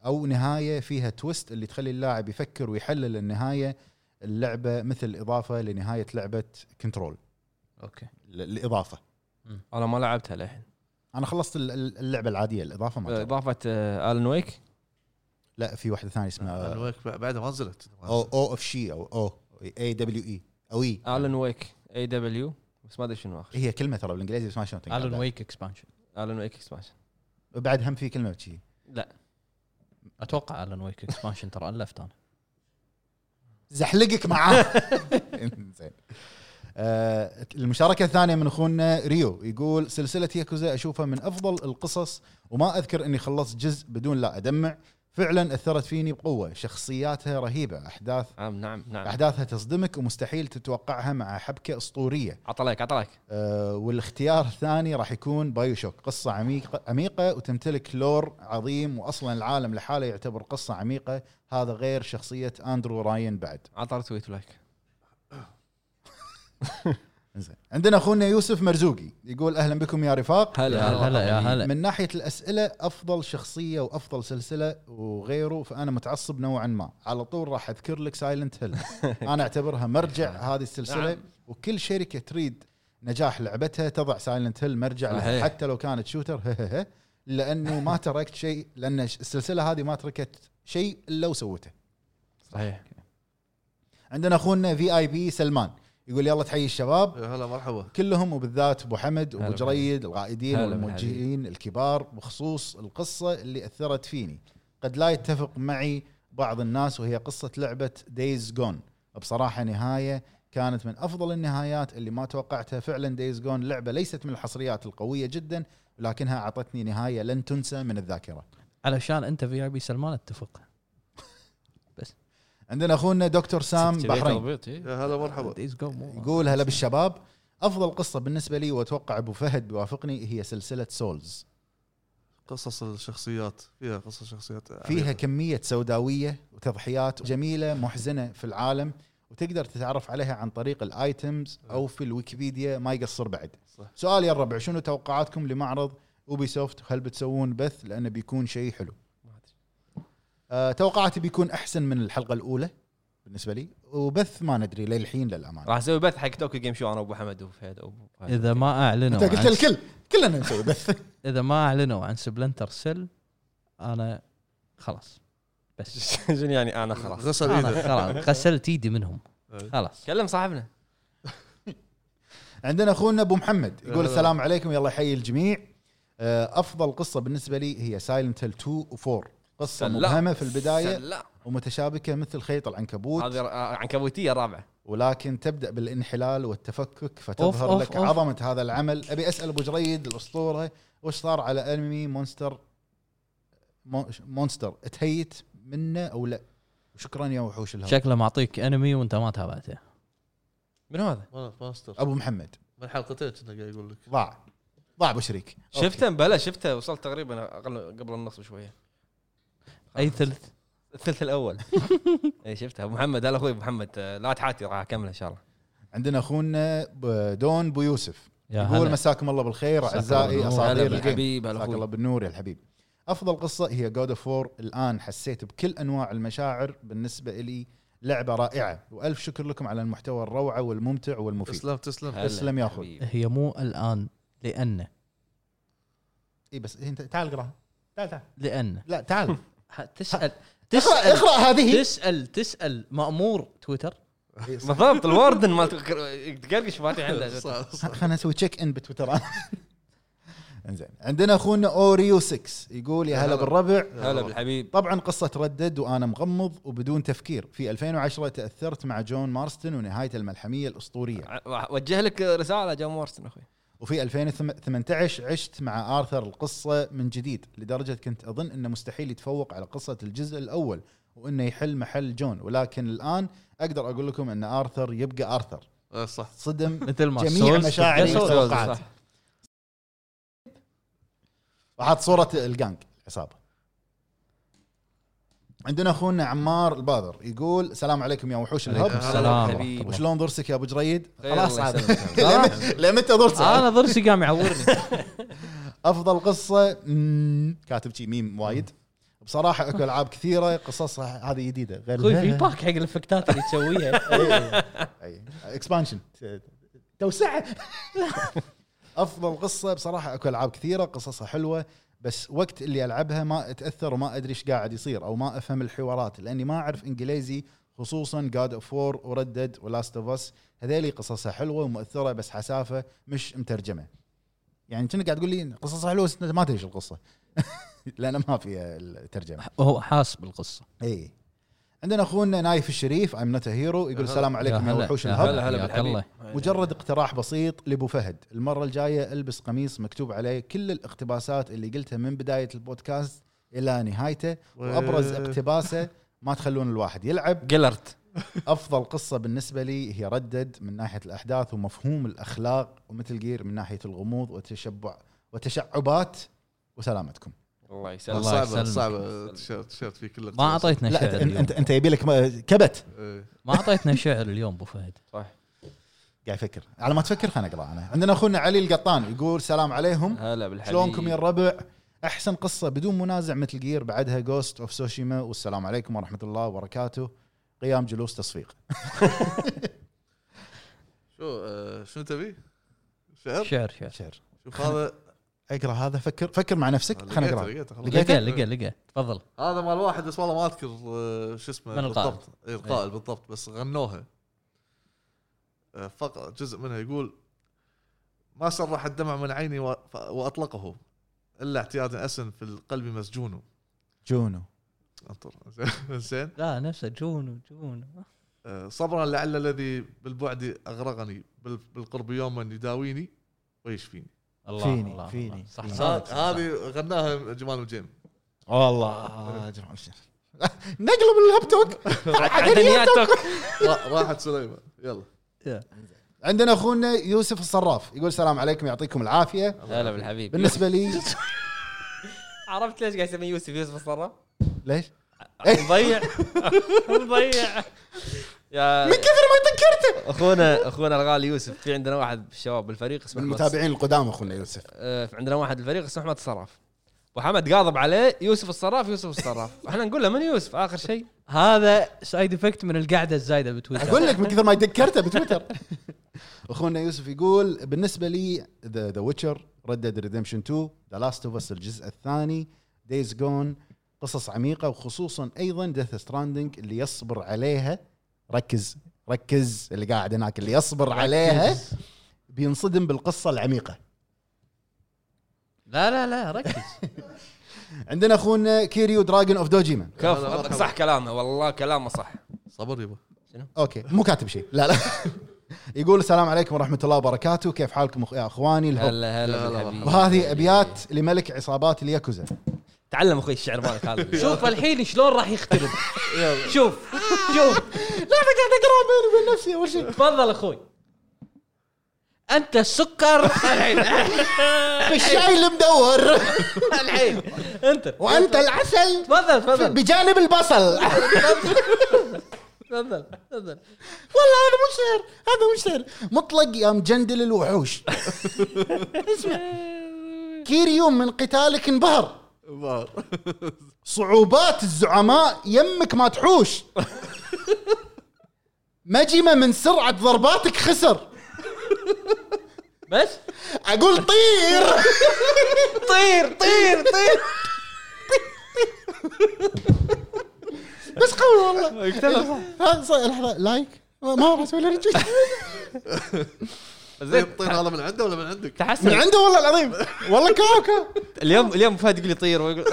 او نهايه فيها تويست اللي تخلي اللاعب يفكر ويحلل النهايه اللعبه مثل اضافه لنهايه لعبه كنترول اوكي ل- الاضافه انا ما لعبتها للحين انا خلصت ال- ال- اللعبه العاديه الاضافه ما جربت. اضافه آه، الن ويك لا في واحده ثانيه اسمها الويك بعدها ما نزلت او او اف شي او او اي دبليو اي او اي الن ويك اي دبليو بس ما ادري شنو اخر هي كلمه ترى بالانجليزي بس ما شلون تنقال الون بعد. ويك اكسبانشن الن ويك اكسبانشن بعد هم في كلمه بشي لا اتوقع الون ويك اكسبانشن ترى الفت انا زحلقك معاه زين آه، المشاركة الثانية من اخونا ريو يقول سلسلة ياكوزا اشوفها من افضل القصص وما اذكر اني خلصت جزء بدون لا ادمع فعلا اثرت فيني بقوه شخصياتها رهيبه احداث نعم نعم نعم احداثها تصدمك ومستحيل تتوقعها مع حبكه اسطوريه عطى لايك عطى لايك أه والاختيار الثاني راح يكون بايو شوك قصه عميقه عميقه وتمتلك لور عظيم واصلا العالم لحاله يعتبر قصه عميقه هذا غير شخصيه اندرو راين بعد عطى رتويت ولايك زين عندنا اخونا يوسف مرزوقي يقول اهلا بكم يا رفاق هلا هلا هلا يا هلا من ناحيه الاسئله افضل شخصيه وافضل سلسله وغيره فانا متعصب نوعا ما على طول راح اذكر لك سايلنت هيل انا اعتبرها مرجع هذه السلسله نعم. وكل شركه تريد نجاح لعبتها تضع سايلنت هيل مرجع لها صحيح. حتى لو كانت شوتر لانه ما تركت شيء لان السلسله هذه ما تركت شيء الا وسوته صحيح عندنا اخونا في اي بي سلمان يقول يلا تحيي الشباب يا هلا مرحبا كلهم وبالذات ابو حمد وابو هلا جريد القائدين هلا والموجهين الكبار بخصوص القصه اللي اثرت فيني قد لا يتفق معي بعض الناس وهي قصه لعبه دايز جون بصراحه نهايه كانت من افضل النهايات اللي ما توقعتها فعلا دايز جون لعبه ليست من الحصريات القويه جدا لكنها اعطتني نهايه لن تنسى من الذاكره علشان انت في اي بي سلمان اتفق عندنا اخونا دكتور سام بحرين إيه. يا هلا مرحبا Days Gone مو- يقول هلا بالشباب افضل قصه بالنسبه لي واتوقع ابو فهد بيوافقني هي سلسله سولز قصص الشخصيات فيها قصص شخصيات فيها كمية سوداوية وتضحيات جميلة محزنة في العالم وتقدر تتعرف عليها عن طريق الايتمز او في الويكيبيديا ما يقصر بعد صح. سؤالي الربع شنو توقعاتكم لمعرض اوبي سوفت هل بتسوون بث لانه بيكون شيء حلو أه توقعاتي بيكون احسن من الحلقه الاولى بالنسبه لي وبث ما ندري للحين للامانه راح اسوي بث حق توكيو جيم شو انا وابو حمد وفهد وابو فهد. اذا ما اعلنوا انت عن قلت الكل كلنا نسوي بث اذا ما اعلنوا عن سبلنتر سيل انا خلاص بس شنو يعني انا خلاص غسل انا ايده خلاص غسلت ايدي منهم خلاص كلم صاحبنا عندنا اخونا ابو محمد هلا. يقول السلام عليكم يلا يحيي الجميع آه، افضل قصه بالنسبه لي هي سايلنت هيل 2 و 4 قصه سلام. مبهمه في البدايه لا ومتشابكه مثل خيط العنكبوت هذه آه، عنكبوتيه رابعه ولكن تبدا بالانحلال والتفكك فتظهر أوف، لك أوف. عظمه هذا العمل ابي اسال ابو جريد الاسطوره وش صار على انمي مونستر مون- مونستر تهيت منه او لا شكرا يا وحوش الهوى شكله معطيك انمي وانت ما تابعته من هذا؟ ماستر ابو محمد من حلقتين كنا قاعد يقول لك ضاع ضاع ابو شريك شفته بلا شفته وصلت تقريبا اقل قبل النص بشويه اي ثلث الثلث الاول اي شفتها أبو محمد هلا اخوي أبو محمد آه، لا تحاتي راح اكمل ان شاء الله عندنا اخونا ب- دون بو يوسف يا يقول هلا مساكم الله بالخير مساكم اعزائي الله بالنور. اساطير هلا إيه، الجيم بالحبيب هلا مساك الله اخوي بالنور يا الحبيب افضل قصه هي جود اوف وور الان حسيت بكل انواع المشاعر بالنسبه لي لعبه رائعه والف شكر لكم على المحتوى الروعه والممتع والمفيد تسلم تسلم هلا تسلم يا أخوي. حبيبي. هي مو الان لانه اي إيه بس انت تعال اقراها تعال تعال لانه لا تعال ح- تسال اقرا تسال اقرا هذه تسال تسال مامور تويتر بالضبط الواردن مال تقلقش فاتي عنده صح، صح. خلينا نسوي تشيك ان بتويتر انزين عندنا اخونا اوريو 6 يقول يا هلا بالربع هلا بالحبيب طبعا قصة ردد وأنا مغمض وبدون تفكير في 2010 تأثرت مع جون مارستن ونهايته الملحمية الأسطورية ع- وجه لك رساله جون مورسون اخوي وفي 2018 عشت مع آرثر القصة من جديد لدرجة كنت أظن أنه مستحيل يتفوق على قصة الجزء الأول وأنه يحل محل جون ولكن الآن أقدر أقول لكم أن آرثر يبقى آرثر آه، صح صدم مثل ما جميع Souls مشاعري تبقى Souls. وتوقعاتي صح. وحط صورة الجانج العصابة عندنا اخونا عمار البادر يقول السلام عليكم يا وحوش عليكم الهب السلام حبيبي. ورحمة الله. وشلون ضرسك يا ابو جريد؟ خير خلاص الله عاد يسلمك. لمت- لمتى ضرسك؟ انا ضرسي قام يعورني افضل قصه مم، كاتب شي ميم وايد بصراحه اكو العاب كثيره قصصها هذه جديده غير اخوي في باك حق الافكتات اللي تسويها اكسبانشن توسعه افضل قصه بصراحه اكو العاب كثيره قصصها حلوه بس وقت اللي العبها ما اتاثر وما ادري ايش قاعد يصير او ما افهم الحوارات لاني ما اعرف انجليزي خصوصا جاد اوف وور وردد ولاست اوف اس هذيلي قصصها حلوه ومؤثره بس حسافه مش مترجمه يعني كأنك قاعد تقول لي قصصها حلوه بس أنت ما تدري ايش القصه لان ما فيها الترجمه هو حاس بالقصه اي إيه. عندنا اخونا نايف الشريف ام نوت هيرو يقول هلا. السلام عليكم يا هلا، وحوش يا الهب هلا هلا حياك بالحبيب الله. مجرد اقتراح بسيط لابو فهد المره الجايه البس قميص مكتوب عليه كل الاقتباسات اللي قلتها من بدايه البودكاست الى نهايته وابرز اقتباسه ما تخلون الواحد يلعب جلرت افضل قصه بالنسبه لي هي ردد من ناحيه الاحداث ومفهوم الاخلاق ومثل جير من ناحيه الغموض وتشبع وتشعبات وسلامتكم الله يسلمك الله صعبه يسلمك. صعبه تشيرت تشيرت فيه كله ما اعطيتنا شعر لا اليوم انت انت يبي لك م- كبت إيه. ما اعطيتنا شعر اليوم ابو فهد قاعد يفكر على ما تفكر خلينا اقرا انا عندنا اخونا علي القطان يقول سلام عليكم هلا بالحبيب شلونكم يا الربع احسن قصه بدون منازع مثل جير بعدها جوست اوف سوشيما والسلام عليكم ورحمه الله وبركاته قيام جلوس تصفيق شو آه، شنو تبي؟ شعر؟ شعر شعر شعر شوف هذا اقرا هذا فكر فكر مع نفسك خلينا لقيته- نقرا لقيته، خلاص. لقى لقى لقى تفضل هذا مال واحد بس والله ما اذكر آه، شو اسمه من القائل. بالضبط إيه، القائل بالضبط بس غنوها آه، فقط جزء منها يقول ما سرح الدمع من عيني و- ف- واطلقه الا اعتيادا اسن في القلب مسجون جونو انطر زين لا نفسه جون جون آه، صبرا لعل الذي بالبعد اغرقني بال- بالقرب يوما يداويني ويشفيني الله فيني، الله فيني، الله. صح فيني. صادق، هذه صح هذه غناها جمال وجيم والله جمال الشيخ آه، نقلب اللابتوب دنياتك را- راحت سليمه يلا عندنا اخونا يوسف الصراف يقول السلام عليكم يعطيكم العافيه هلا بالحبيب بالنسبه لي عرفت ليش قاعد يسميه يوسف يوسف الصراف؟ ليش؟ إيه. مضيع مضيع يا من كثر ما تذكرته اخونا اخونا الغالي يوسف في عندنا واحد من الشباب بالفريق من اسمه أحمد المتابعين القدام اخونا يوسف آه، عندنا واحد بالفريق اسمه احمد الصراف ابو حمد قاضب عليه يوسف الصراف يوسف الصراف احنا نقول له من يوسف اخر شيء هذا سايد افكت من القعده الزايده بتويتر اقول لك من كثر ما تذكرته بتويتر اخونا يوسف يقول بالنسبه لي ذا ذا ويتشر ردد ريدمشن 2 ذا لاست اوف اس الجزء الثاني دايز جون قصص عميقه وخصوصا ايضا ديث ستراندنج اللي يصبر عليها ركز ركز اللي قاعد هناك اللي يصبر عليها بينصدم بالقصه العميقه لا لا لا ركز عندنا اخونا كيريو دراجون اوف دوجيما كفو صح كلامه والله كلامه صح صبر يبا اوكي مو كاتب شيء لا لا يقول السلام عليكم ورحمه الله وبركاته كيف حالكم أخ- يا اخواني الهب هلا هلا بالحبيب وهذه ابيات لملك عصابات الياكوزا تعلم اخوي الشعر مالك هذا شوف الحين شلون راح يختلف يلا. شوف شوف لا انا قاعد اقرا بيني وبين نفسي اول شيء تفضل اخوي انت السكر الحين الشاي اللي مدور الحين انت وانت العسل تفضل في- تفضل بجانب البصل تفضل تفضل والله هذا مو شعر هذا مو شعر مطلق يا مجندل الوحوش اسمع كيريو من قتالك انبهر بار. صعوبات الزعماء يمك ما تحوش مجمة من سرعة ضرباتك خسر بس أقول طير طير طير طير بس قوي والله إيه، ها ص- لحظه لايك ما راح اسوي له رجل زين الطين طيب، هذا من عنده ولا من عندك؟ من تحسن عنده والله العظيم والله كاوكا اليوم اليوم أبو فهد يقول لي طير ويقول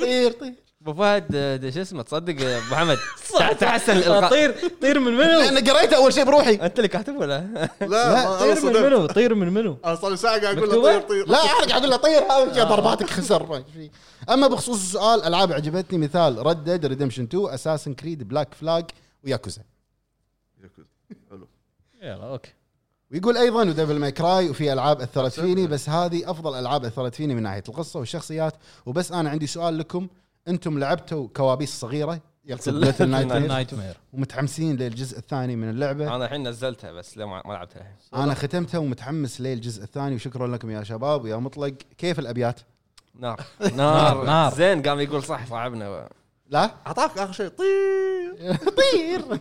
طير طير ابو فهد آه، شو اسمه تصدق آه، ابو حمد صح. تحسن الالقاء آه، طير طير من منو انا قريته اول شيء بروحي انت اللي كاتب ولا لا ما- أنا طير من صدمت. منو طير من منو انا صار لي ساعه قاعد اقول له مكتوبة؟ طير طير لا انا قاعد اقول له طير هذا جا ضرباتك خسر ما في. اما بخصوص السؤال العاب عجبتني مثال ردد ريدمشن 2 اساسن كريد بلاك فلاج وياكوزا حلو يلا اوكي ويقول ايضا وديفل ماي كراي وفي العاب اثرت فيني بس هذه افضل العاب اثرت فيني من ناحيه القصه والشخصيات وبس انا عندي سؤال لكم انتم لعبتوا كوابيس صغيره يقصد Little Little Nightmares. نايت مير ومتحمسين للجزء الثاني من اللعبه انا الحين نزلتها بس لا ما ما لعبتها الحين انا ختمتها ومتحمس للجزء الثاني وشكرا لكم يا شباب ويا مطلق كيف الابيات نار نار، نار. زين قام يقول صح صعبنا لا اعطاك اخر شيء طير طير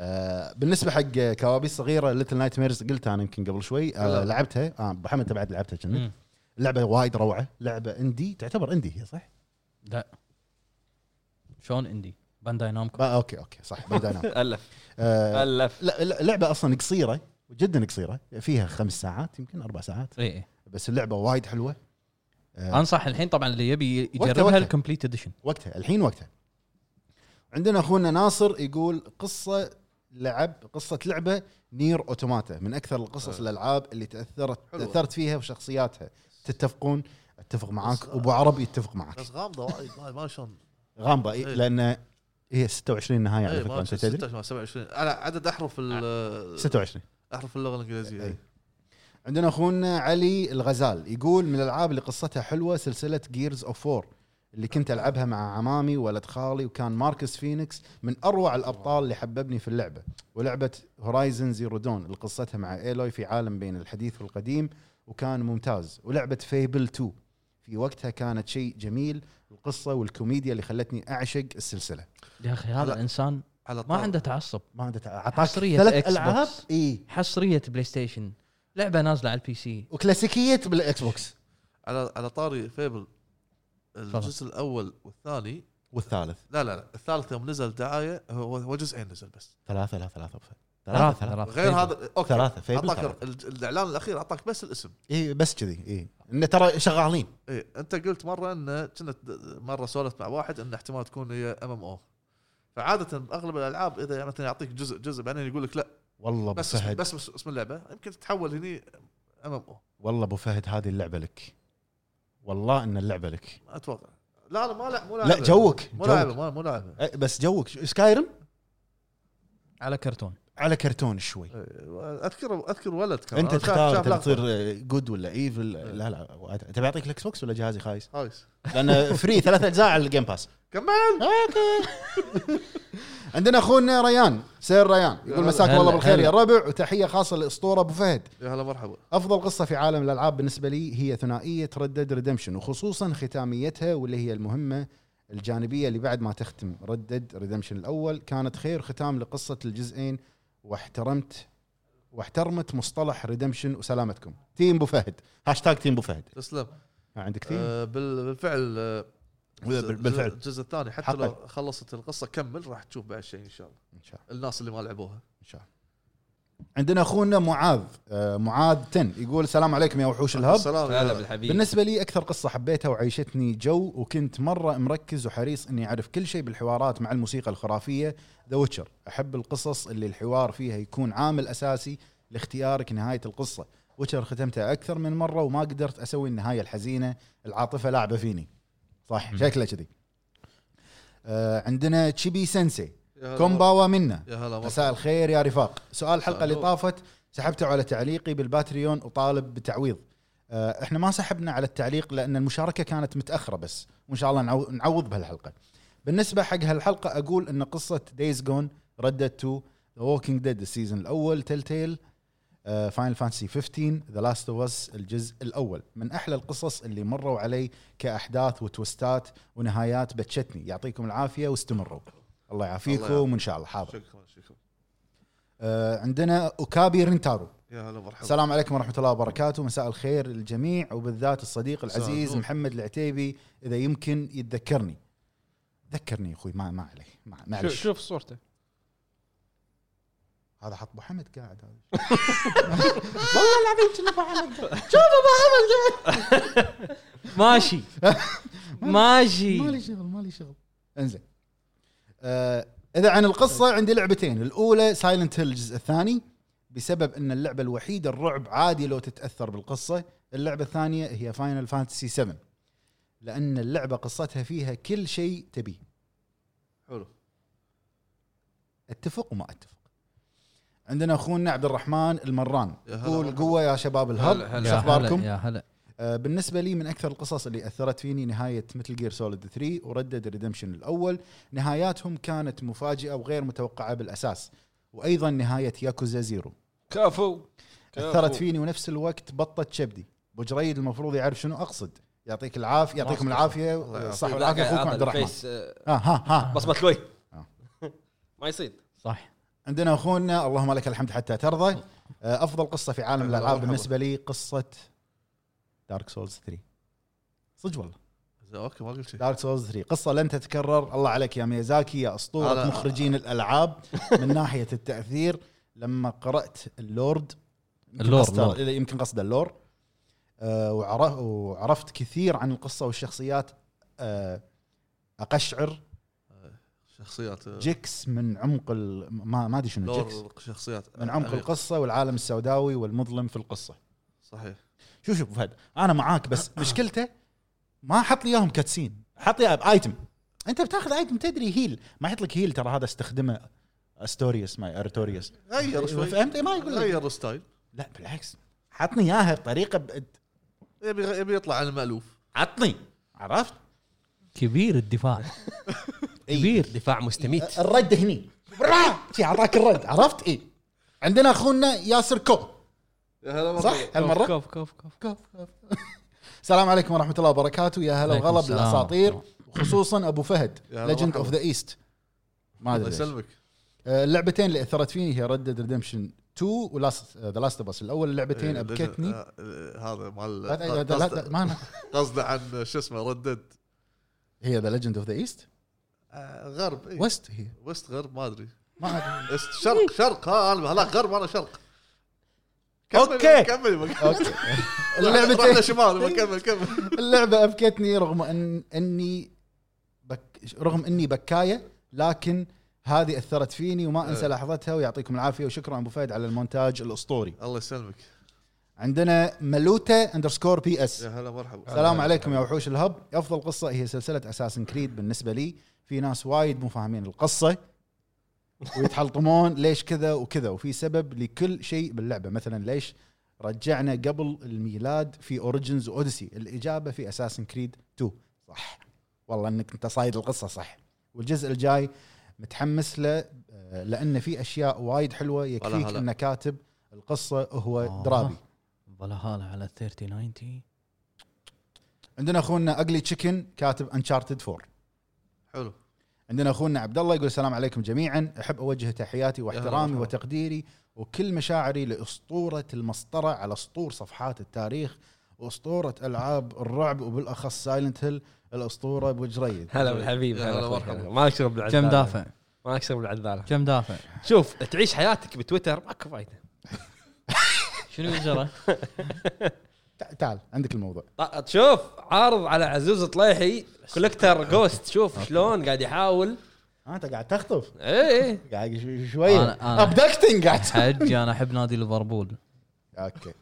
آه، بالنسبه حق كوابيس صغيره ليتل نايت ميرز قلت انا يمكن قبل شوي آه لعبتها آه ابو حمد انت بعد لعبتها كنا مم. لعبه وايد روعه لعبه اندي تعتبر اندي هي صح؟ لا شلون اندي بانداي نامكو با- اوكي اوكي آه، صح بعد أنا. الف آه، الف لا- لا- لعبه اصلا قصيره جدا قصيره فيها خمس ساعات يمكن اربع ساعات اي اي بس اللعبه وايد حلوه انصح إيه، الحين طبعا اللي يبي وقته، يجربها وقته. الكومبليت اديشن وقتها الحين وقتها عندنا اخونا ناصر يقول قصه لعب قصه لعبه نير اوتوماتا من اكثر القصص الالعاب اللي تاثرت حلوة. تاثرت فيها وشخصياتها تتفقون اتفق معاك ابو عربي يتفق معك بس غامضه وايد ما ما شلون غامبا إيه، إيه. لان هي 26 نهايه على إيه، فكره ما انت تدري 26 ما 27 انا عدد احرف ال- 26 احرف اللغه الانجليزيه إيه. إيه. عندنا اخونا علي الغزال يقول من الالعاب اللي قصتها حلوه سلسله جيرز اوف 4 اللي كنت العبها مع عمامي ولد خالي وكان ماركس فينيكس من اروع الابطال اللي حببني في اللعبه ولعبه هورايزن زيرو دون اللي قصتها مع ايلوي في عالم بين الحديث والقديم وكان ممتاز ولعبه فيبل 2 في وقتها كانت شيء جميل القصه والكوميديا اللي خلتني اعشق السلسله يا اخي هذا هلا. انسان على ما الطار- عنده تعصب ما عندك اعطاك حصرية ثلاث إكس العاب بوكس. اي حصريه بلاي ستيشن لعبه نازله على البي سي وكلاسيكيه بالاكس بوكس على على طاري فيبل تفضل. الجزء الاول والثاني والثالث لا لا لا الثالث يوم نزل دعايه هو هو جزئين نزل بس ثلاثه لا ثلاثه ثلاثة ثلاثة طيب. غير هذا اوكي ثلاثة، فيبل اعطاك ثلاثة. ال- الاعلان الاخير اعطاك بس الاسم اي إيه، بس كذي اي انه ترى شغالين ايه انت قلت مره ان كنت مره سولفت مع واحد ان احتمال تكون هي ام ام او فعاده باغلب الالعاب اذا مثلا يعني يعطيك جزء جزء بعدين يقول لك لا والله ابو بس اسم فهد بس بس اسم اللعبه يمكن تتحول هني ام ام او والله ابو فهد هذه اللعبه لك والله ان اللعبه لك اتوقع لا لا ما لا مو لا لاعبة. جوك مو جوك لاعبه ما- مو لاعبه أي، إيه، بس جوك سكايرم على كرتون على كرتون شوي إيه، اذكر اذكر ولد كان انت أنا شاف- تختار شاف تبي لقطة. تصير جود ولا ايفل لا لا تبي اعطيك الاكس بوكس ولا جهازي خايس خايس لان فري ثلاث اجزاء على الجيم باس كمان عندنا اخونا ريان سير ريان يقول مساك هلا، والله بالخير هلا. يا الربع وتحيه خاصه للاسطوره ابو فهد يا هلا مرحبا افضل قصه في عالم الالعاب بالنسبه لي هي ثنائيه ردد ريدمشن وخصوصا ختاميتها واللي هي المهمه الجانبيه اللي بعد ما تختم ردد ريدمشن الاول كانت خير ختام لقصه الجزئين واحترمت واحترمت مصطلح ريدمشن وسلامتكم تيم ابو فهد هاشتاج تيم ابو فهد تسلم ها، عندك تيم آه، بال- بالفعل آه، ولا بال- بالفعل. الجزء الثاني حتى حقك. لو خلصت القصه كمل راح تشوف بعد شيء ان شاء الله ان شاء الله الناس اللي ما لعبوها ان شاء الله عندنا اخونا معاذ آه، معاذ تن يقول السلام عليكم يا وحوش الهب السلام هلا يا- بالحبيب طيب. بالنسبة لي أكثر قصة حبيتها وعيشتني جو وكنت مرة مركز وحريص إني أعرف كل شيء بالحوارات مع الموسيقى الخرافية ذا ويتشر أحب القصص اللي الحوار فيها يكون عامل أساسي لاختيارك نهاية القصة ويتشر ختمتها أكثر من مرة وما قدرت أسوي النهاية الحزينة العاطفة لاعبة فيني صح شكله كذي آه عندنا تشيبي سensei يا هلا كومباوا منا يا هلا مرحبا مساء الخير يا رفاق سؤال الحلقه اللي النور. طافت سحبته على تعليقي بالباتريون وطالب بتعويض آه، احنا ما سحبنا على التعليق لان المشاركه كانت متاخره بس وان شاء الله نعو- نعوض بهالحلقه بالنسبه حق هالحلقه اقول ان قصه دايز جون ردت تو ذا ووكينج ديد السيزون آه، الاول تيل تيل فاينل فانتسي 15 ذا لاست اوف اس الجزء الاول من احلى القصص اللي مروا علي كاحداث وتوستات ونهايات بتشتني يعطيكم العافيه واستمروا الله يعافيكم يعافيك. وان شاء الله حاضر شكرا شكرا آه، عندنا اوكابي رينتارو يا هلا مرحبا السلام عليكم ورحمه الله وبركاته مساء الخير للجميع وبالذات الصديق العزيز النور. محمد العتيبي اذا يمكن يتذكرني ذكرني يا اخوي ما ما عليه ما- شوف- معلش شوف صورته هذا حط ابو حمد قاعد هذا والله العظيم كنا ابو حمد شوف ابو حمد قاعد ماشي مالي ماشي شغل مالي شغل انزين آه اذا عن القصه عندي لعبتين الاولى سايلنت هيل الجزء الثاني بسبب ان اللعبه الوحيده الرعب عادي لو تتاثر بالقصه اللعبه الثانيه هي فاينل فانتسي 7 لان اللعبه قصتها فيها كل شيء تبيه حلو اتفق وما اتفق عندنا اخونا عبد الرحمن المران يا هلا يقول والله. قوه يا شباب الهب هلا هلا. ايش يا هلا، اخباركم يا هلا آه، بالنسبه لي من اكثر القصص اللي اثرت فيني نهايه مثل جير سوليد 3 وردد ريدمشن الاول نهاياتهم كانت مفاجئه وغير متوقعه بالاساس وايضا نهايه ياكوزا زيرو كفو اثرت فيني ونفس الوقت بطت شبدي ابو جريد المفروض يعرف شنو اقصد يعطيك العافيه يعطيكم الله العافيه يعافيك. صح والعافيه اخوكم عبد الرحمن آه ها ها بصمة كوي آه. ما يصير صح عندنا اخونا اللهم لك الحمد حتى ترضى آه، افضل قصه في عالم مرحبا، الالعاب مرحبا. بالنسبه لي قصه دارك سولز 3 صدق والله زين، اوكي ما قلت شيء دارك سولز 3 قصه لن تتكرر الله عليك يا ميازاكي يا اسطوره هذا- مخرجين الالعاب من ناحيه التاثير لما قرات اللورد يمكن اللور، قصده- اللور. يمكن قصده اللور آه، وعر- وعرفت كثير عن القصه والشخصيات آه، اقشعر شخصيات آه، جيكس من عمق ال- ما ما ادري شنو جيكس دور شخصيات من عمق عميق. القصه والعالم السوداوي والمظلم في القصه صحيح شوف شوف فهد انا معاك بس مشكلته ما حط لي اياهم كاتسين حط لي ايتم انت بتاخذ ايتم تدري هيل ما يحط لك هيل ترى هذا استخدمه استوريوس ما ارتوريوس غير شوي إيه، فهمت ما يقول لك غير الستايل لا بالعكس عطني اياها بطريقه ب... يبي يبي يطلع على المالوف عطني عرفت؟ كبير الدفاع كبير دفاع مستميت الرد هني برا! شي اعطاك الرد عرفت؟ اي عندنا اخونا ياسر كو يا هلا والله. صح هالمره كوف كوف كوف السلام عليكم ورحمه الله وبركاته يا هلا عليكم وغلا السلام. بالاساطير وخصوصا ابو فهد يا هلا ليجند مرحبا. اوف ذا ايست ما الله ادري ليش. يسلمك آه، اللعبتين اللي اثرت فيني هي ردد ريدمشن 2 ولاست ذا لاست اوف اس الاول اللعبتين إيه، ابكتني آه، آه، هذا مال لا- لا- لا- قصده- لا- ما أنا- قصده عن شو اسمه ردد هي ذا ليجند اوف ذا ايست آه، غرب إيه. ويست هي وست غرب ما ادري ما ادري است شرق إيه. شرق ها انا هلا غرب انا شرق كمل- أوكي. كمل اوكي رحنا اللعبتين شمال كمل كمل اللعبه ابكتني رغم ان اني بك رغم اني بكايه لكن هذه اثرت فيني وما إيه. انسى لحظتها ويعطيكم العافيه وشكرا ابو فهد على المونتاج الاسطوري الله يسلمك عندنا ملوته اندرسكور بي اس يا هلا مرحبا السلام عليكم يا وحوش الهب افضل قصه هي سلسله اساسن كريد بالنسبه لي في ناس وايد مو فاهمين القصه ويتحلطمون ليش كذا وكذا وفي سبب لكل شيء باللعبه مثلا ليش رجعنا قبل الميلاد في اوريجنز واوديسي الاجابه في اساسن كريد 2 صح والله انك انت صايد القصه صح والجزء الجاي متحمس له آه، لان في اشياء وايد حلوه يكفيك هلا. ان كاتب القصه هو آه. درابي فالهالا على 3090 عندنا اخونا اقلي تشيكن كاتب انشارتد 4 حلو عندنا اخونا عبد الله يقول السلام عليكم جميعا احب اوجه تحياتي واحترامي مرحبا. وتقديري وكل مشاعري لاسطوره المسطره على سطور صفحات التاريخ واسطوره العاب الرعب وبالاخص سايلنت هيل الاسطوره ابو جريد هلا بالحبيب يا هلا هلا أخوي، مرحبا. هلا. ما اشرب بالعذالة كم دافع ما اشرب بالعذالة كم دافع شوف تعيش حياتك بتويتر ماكو فايده شنو يجرى تع- تعال عندك الموضوع ط- طيب، شوف عارض على عزوز طليحي كولكتر جوست شوف شلون قاعد يحاول إيه، آه، انت قاعد تخطف اي اي قاعد شو- شويه أنا- أنا- ابدكتنج قاعد حجي انا احب نادي ليفربول اوكي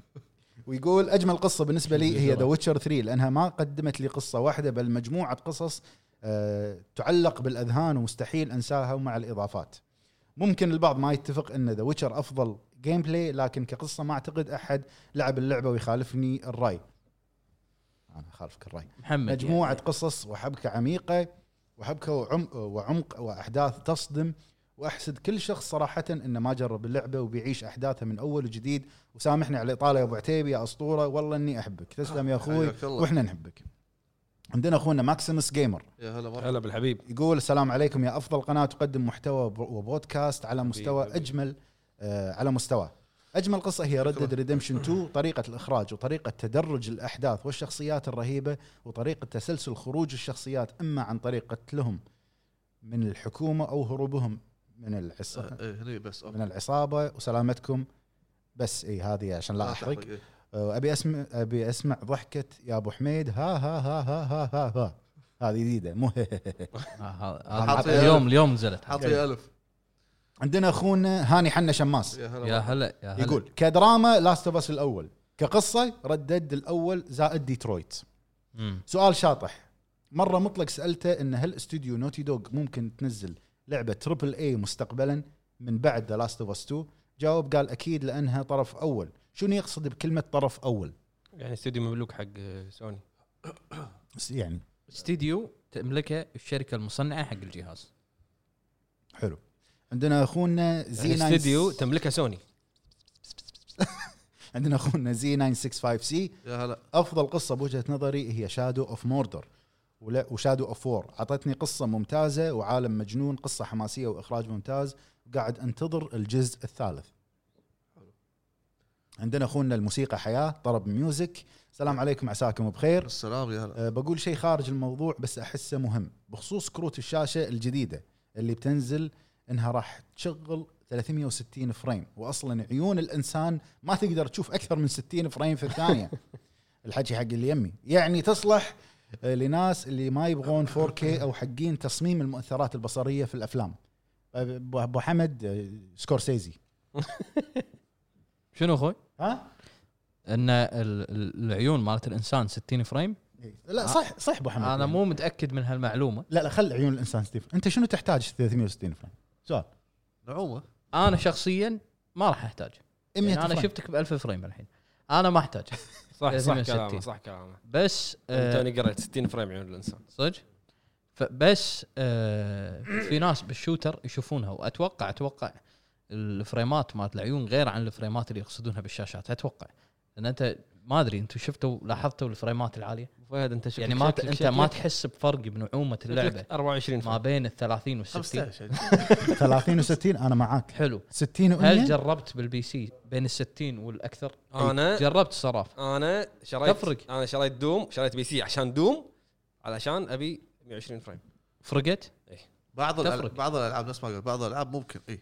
ويقول اجمل قصه بالنسبه لي هي ذا ويتشر 3 لانها ما قدمت لي قصه واحده بل مجموعه قصص آه، تعلق بالاذهان ومستحيل انساها ومع الاضافات. ممكن البعض ما يتفق ان ذا ويتشر افضل جيم بلاي لكن كقصه ما اعتقد احد لعب اللعبه ويخالفني الراي. انا خالفك الراي. محمد مجموعة قصص وحبكة عميقة وحبكة وعم وعمق وأحداث تصدم وأحسد كل شخص صراحة إنه ما جرب اللعبة وبيعيش أحداثها من أول وجديد وسامحني على الإطالة يا أبو عتيبي يا أسطورة والله إني أحبك تسلم يا أخوي حياك الله. وإحنا نحبك عندنا أخونا ماكسيمس جيمر يا هلا مرحبا هلا بالحبيب يقول السلام عليكم يا افضل قناه تقدم محتوى ب- وبودكاست على مستوى حبيبي. اجمل آه على مستوى اجمل قصه هي ردد ريدمشن 2 طريقه الاخراج وطريقه تدرج الاحداث والشخصيات الرهيبه وطريقه تسلسل خروج الشخصيات اما عن طريق قتلهم من الحكومه او هروبهم من العصابه آه، إيه، هني بس من العصابه وسلامتكم بس اي هذه عشان لا احرق إيه. آه، ابي اسمع ابي اسمع ضحكه يا ابو حميد ها ها ها ها ها ها, ها. هذه جديده مو آه، ه- حاط- هذا اليوم اليوم نزلت حاطي الف عندنا اخونا هاني حنا شماس يا هلا يا مرحبا. هلا يا هلا يقول كدراما لاست اوف اس الاول كقصه ردد الاول زائد ديترويت مم. سؤال شاطح مره مطلق سالته ان هل استوديو نوتي دوغ ممكن تنزل لعبه تربل اي مستقبلا من بعد ذا لاست اوف اس 2 جاوب قال اكيد لانها طرف اول شنو يقصد بكلمه طرف اول يعني استوديو مملوك حق سوني بس يعني استديو تملكه الشركه المصنعه حق الجهاز حلو عندنا اخونا زي يعني 9 استوديو تملكه سوني عندنا اخونا زي 965 سي يا هلا افضل قصه بوجهه نظري هي شادو اوف موردر وشادو اوف وور اعطتني قصه ممتازه وعالم مجنون قصه حماسيه واخراج ممتاز قاعد انتظر الجزء الثالث عندنا اخونا الموسيقى حياه طرب ميوزك السلام عليكم عساكم بخير السلام يا هلا أه، بقول شيء خارج الموضوع بس احسه مهم بخصوص كروت الشاشه الجديده اللي بتنزل انها راح تشغل 360 فريم واصلا عيون الانسان ما تقدر تشوف اكثر من 60 فريم في الثانيه الحكي حق اللي يمي يعني تصلح أه، لناس اللي ما يبغون 4K او حقين تصميم المؤثرات البصريه في الافلام ابو أبو حمد أه، سكورسيزي شنو اخوي؟ ها ان ال- ال- العيون مالت الانسان 60 فريم لا صح صح ابو حمد انا آه. مو متاكد من هالمعلومه لا لا خل عيون الانسان ستيف انت شنو تحتاج 360 فريم؟ سؤال نعومه انا شخصيا ما راح احتاج 100 يعني انا فريم. شفتك ب 1000 فريم الحين انا ما احتاج صح صح 360. كلامه صح كلامه بس آه، توني قريت 60 فريم عيون الانسان صدق فبس آه في ناس بالشوتر يشوفونها واتوقع اتوقع الفريمات مالت العيون غير عن الفريمات اللي يقصدونها بالشاشات اتوقع لان انت ما ادري انتم شفتوا لاحظتوا الفريمات العاليه فهد انت شكلك يعني ما ت- شكلك- انت شكلك- ما تحس بفرق بنعومه اللعبه شكلك 24 ما فريم بين ال 30 وال 60 15 30 و60 انا معاك حلو 60 هل و100 جربت بالبي سي بين ال 60 والاكثر؟ أنا- جربت صراف انا شريت تفرق. انا شريت دوم شريت بي سي عشان دوم علشان ابي 120 فريم فرقت؟ بعض تفرق. الألعاب بعض الالعاب نفس ما قلت بعض الالعاب ممكن اي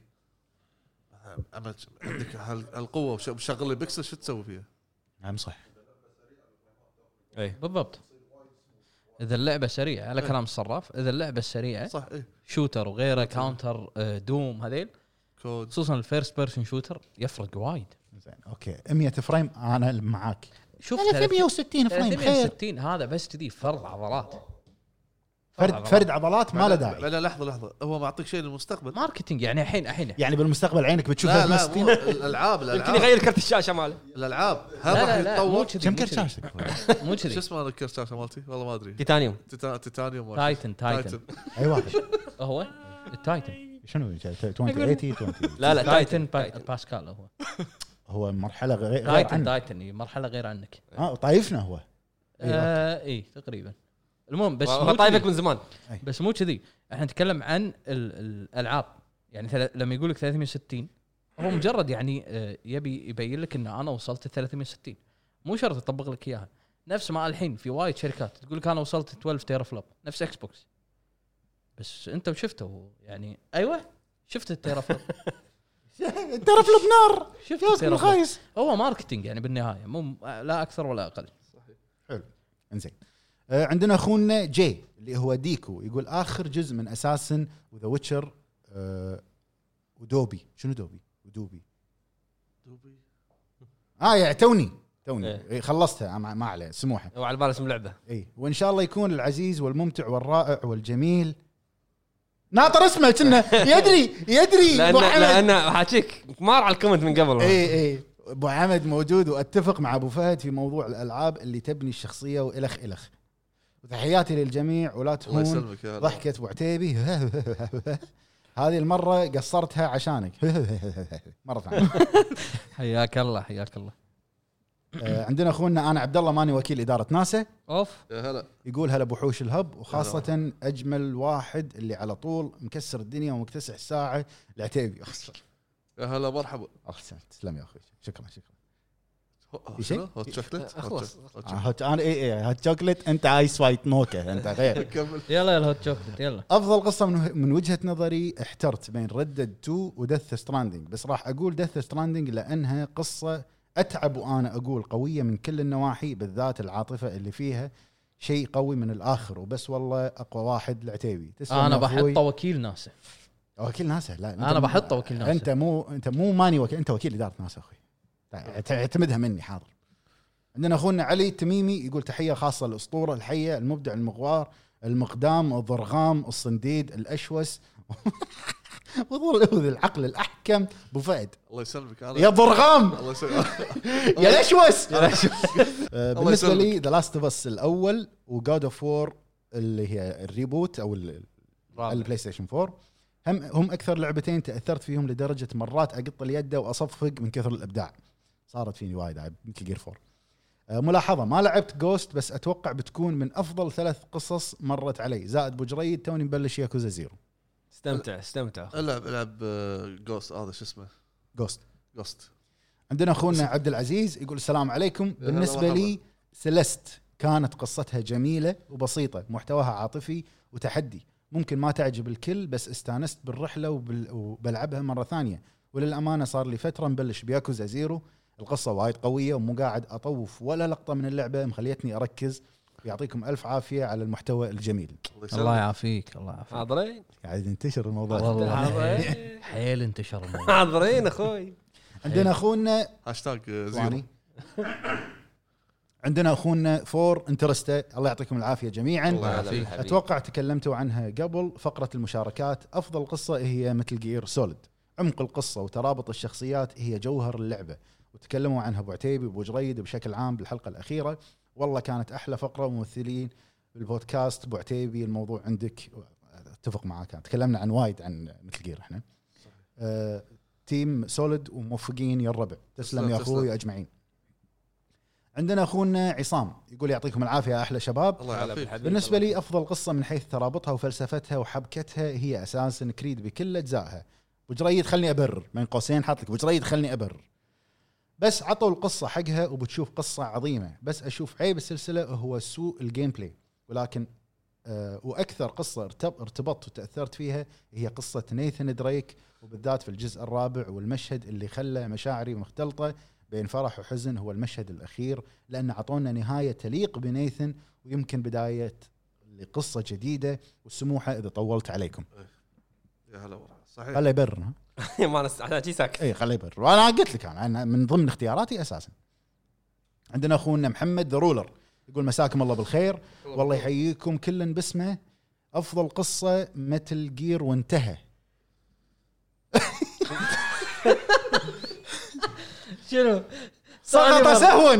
اما ت- عندك هال- هالقوه وش- وشغل البكسل شو تسوي فيها؟ نعم صح اي بالضبط اذا اللعبه سريعه إيه. على كلام الصراف اذا اللعبه سريعه صح إيه. اي شوتر وغيره كاونتر آه، دوم هذيل كود خصوصا الفيرست بيرسون شوتر يفرق وايد زين اوكي 100 فريم انا معاك شوف 360 فريم خير 360 هذا بس تدي فرض عضلات فرد فرد عضلات ما له داعي لا لحظه لحظه هو معطيك شيء للمستقبل ماركتينج يعني الحين الحين يعني بالمستقبل عينك بتشوف لا لا 360 مو الالعاب يمكن الالعاب يغير كرت الشاشه ماله الالعاب هل لا لا راح لا مو كذي يتطور؟ كم مو كرت كذي شاشتك؟ مو شو كذي اسمه هذا الكرت شاشه مالتي؟ والله ما ادري تitanium تيتا- تيتانيوم ولا شو تايتن اسمه؟ تايتن اي واحد هو التايتن شنو 20 20 لا لا تايتن تايتن با- باسكال هو هو مرحله غير غير تايتن عنك تايتن إي، مرحله غير عنك اه طايفنا هو آه، اي تقريبا المهم بس مو هو كذي. طايفك من زمان بس مو كذي احنا نتكلم عن ال- الالعاب يعني ثل... لما يقول لك 360 هو مجرد يعني آه، يبي يبين لك ان انا وصلت ال 360 مو شرط يطبق لك اياها نفس ما الحين في وايد شركات تقول لك انا وصلت 12 تيرا فلوب نفس اكس بوكس بس انت شفته يعني ايوه شفت التيرا فلوب تعرف بنار شفت يا التيرا فلوب الخايس هو ماركتينج يعني بالنهايه مو لا اكثر ولا اقل انزين آه، عندنا اخونا جي اللي هو ديكو يقول اخر جزء من اساسن وذا ويتشر ودوبي آه، شنو دوبي؟ ودوبي دوبي. اه يعني توني توني إيه. إيه، خلصتها آه، ما ما عليه سموحه هو على باله اسم لعبه اي وان شاء الله يكون العزيز والممتع والرائع والجميل ناطر اسمه كنا يدري يدري لان ابو حمد لان حاجيك مار على الكومنت من قبل إيه. اي اي ابو حمد موجود واتفق مع ابو فهد في موضوع الالعاب اللي تبني الشخصيه والخ الخ وتحياتي للجميع ولا الله تهون يسلمك يا ضحكه ابو عتيبي هذه المره قصرتها عشانك مره ثانيه حياك الله حياك الله آه، عندنا اخونا انا عبد الله ماني وكيل اداره ناسا اوف يا هلا يقول هلا بوحوش الهب وخاصة أجمل واحد اللي على طول مكسر الدنيا ومكتسح الساعة العتيبي أخسر يا هلا مرحبا أخسر تسلم يا أخوي شكرا شكرا هو- في شيء؟ شنو؟ هوت شوكليت هوت خلاص. شوكليت. هوت آه، هات أنا إي إي هات شوكليت أنت آيس وايت موكا أنت غير شوكليت. كمل يلا يلا هوت شوكلت يلا أفضل قصة من, من وجهة نظري احترت بين ردد 2 ودث ستراندنج بس راح أقول دث ستراندنج لأنها قصة أتعب وأنا أقول قوية من كل النواحي بالذات العاطفة اللي فيها شيء قوي من الآخر وبس والله أقوى واحد العتيبي تسلم انا يا أخوي. بحطه وكيل ناسا وكيل ناسا لا أنا أنت- بحطه وكيل ناسا. انت مو انت مو ماني وكيل انت وكيل اداره ناسا اخوي تع- تعتمدها طيب، مني حاضر عندنا اخونا علي التميمي يقول تحيه خاصه للاسطوره الحيه المبدع المغوار المقدام الضرغام الصنديد الاشوس وذو العقل الاحكم ابو فهد الله يسلمك انا يا ضرغام الله يسلمك يا الاشوس آه، بالنسبه يسلمك. لي ذا لاست اوف اس الاول وجاد اوف وور اللي هي الريبوت او ال- على البلاي ستيشن 4 هم هم اكثر لعبتين تاثرت فيهم لدرجه مرات اقط اليد واصفق من كثر الابداع صارت فيني وايد عاد مثل جير 4 آه، ملاحظه ما لعبت جوست بس اتوقع بتكون من افضل ثلاث قصص مرت علي زائد بجريد توني مبلش ياكوزا زيرو استمتع استمتع أه. العب العب جوست آه، هذا شو اسمه جوست جوست عندنا اخونا عبد العزيز يقول السلام عليكم هلا بالنسبه لي سيليست كانت قصتها جميله وبسيطه محتواها عاطفي وتحدي ممكن ما تعجب الكل بس استانست بالرحله وبال... وبلعبها مره ثانيه وللامانه صار لي فتره مبلش بياكوزا زيرو القصه وايد قويه ومو قاعد اطوف ولا لقطه من اللعبه مخليتني اركز يعطيكم الف عافيه على المحتوى الجميل الله الله يسلمك يعافيك الله يعافيك حاضرين قاعد ينتشر الموضوع والله حاضرين حيل انتشر الموضوع حاضرين اخوي عندنا اخونا هاشتاج آه، زيرو ثواني عندنا اخونا فور انترستا الله يعطيكم العافيه جميعا الله يعافيك. حبيبي. اتوقع تكلمتوا عنها قبل فقره المشاركات افضل قصه هي مثل جير سوليد عمق القصه وترابط الشخصيات هي جوهر اللعبه وتكلموا عنها ابو عتيبي وابو جريد بشكل عام بالحلقه الاخيره والله كانت احلى فقره وممثلين بالبودكاست ابو عتيبي الموضوع عندك اتفق معاك أنا. تكلمنا عن وايد عن مثل جير احنا آه، تيم سوليد وموفقين يا الربع تسلم تسلم، يا تسلم. اخوي اجمعين عندنا اخونا عصام يقول يعطيكم العافيه يا احلى شباب الله يعافيك بالنسبه لي افضل قصه من حيث ترابطها وفلسفتها وحبكتها هي اساسا كريد بكل اجزائها بجريد خلني ابرر بين قوسين حاط لك بجريد خلني ابرر بس عطوا القصه حقها وبتشوف قصه عظيمه بس اشوف عيب السلسله هو سوء الجيم بلاي ولكن آه واكثر قصه ارتب- ارتبطت وتاثرت فيها هي قصه نيثن دريك وبالذات في الجزء الرابع والمشهد اللي خلى مشاعري مختلطه بين فرح وحزن هو المشهد الاخير لان اعطونا نهايه تليق بنيثن ويمكن بدايه لقصه جديده والسموحه اذا طولت عليكم يا هلا والله صحيح خليه يبرر ها إيه، ما انا أنا شي ساكت اي خليه يبرر وانا قلت لك انا أنا من ضمن اختياراتي اساسا عندنا اخونا محمد ذا رولر يقول مساكم الله بالخير والله يحييكم كلا باسمه افضل قصه متل جير وانتهى شنو؟ سقط سهوا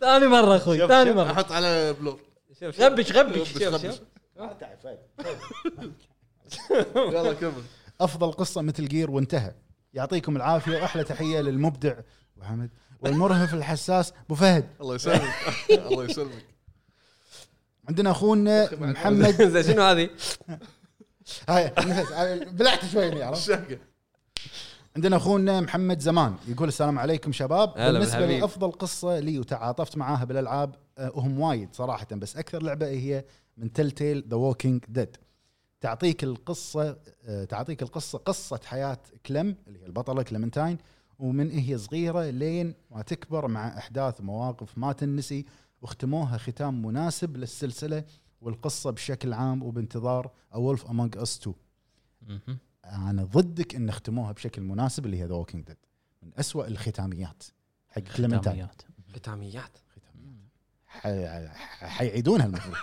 ثاني مره اخوي ثاني مره احط على بلور غبش غبش غبش، شوف، غبش. شوف. يلا كمل افضل قصه مثل جير وانتهى يعطيكم العافيه واحلى تحيه للمبدع أبو حمد والمرهف الحساس ابو فهد الله يسلمك الله يسلمك عندنا اخونا محمد زين شنو هذه؟ هاي نفس- هاي بلعت شوي هني، عرفت؟ الشهقه عندنا اخونا محمد زمان يقول السلام عليكم شباب هلا بالنسبه بالحبيب. لافضل قصه لي وتعاطفت معاها بالالعاب آه، وهم وايد صراحه بس اكثر لعبه هي من تل تيل ذا ووكينج ديد تعطيك القصه آه، تعطيك القصه قصه حياه كلم اللي هي البطله كلمنتاين ومن هي صغيره لين ما تكبر مع احداث ومواقف ما تنسي واختموها ختام مناسب للسلسله والقصه بشكل عام وبانتظار اولف امونج اس 2 مهم. انا ضدك ان ختموها بشكل مناسب اللي هي ذا ووكينج ديد من أسوأ الختاميات حق كليمنتاين داميات. ختاميات ح- ح- حيعيدونها المفروض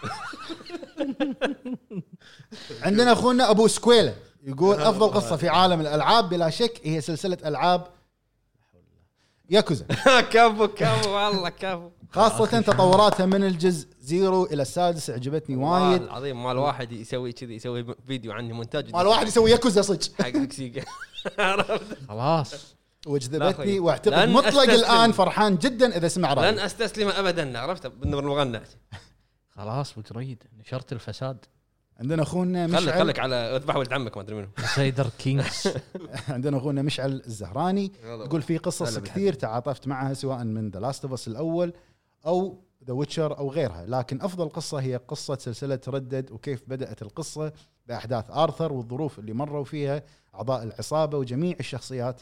عندنا اخونا ابو سكويلا يقول افضل قصه في عالم الالعاب بلا شك هي سلسله العاب ياكوزا كفو كفو والله كفو خاصه تطوراتها من الجزء زيرو الى السادس عجبتني والله وايد العظيم مال واحد يسوي كذي يسوي فيديو عني مونتاج مال واحد يسوي ياكوزا صدق حق حق سيجا عرفت؟ خلاص لا وجذبتني أخوي. واعتقد لن مطلق أستسلم. الان فرحان جدا اذا سمع لن رايي استسلم ابدا عرفت بالمغنى خلاص وجريد نشرت الفساد عندنا اخونا خلك مشعل خلك على اذبح ولد عمك ما ادري منو سيدر كينجز عندنا اخونا مشعل الزهراني يلا. يقول في هلا قصص بالحبيب. كثير تعاطفت معها سواء من ذا لاست اوف اس الاول او ذا ويتشر او غيرها لكن افضل قصه هي قصه سلسله ردد وكيف بدات القصه باحداث ارثر والظروف اللي مروا فيها اعضاء العصابه وجميع الشخصيات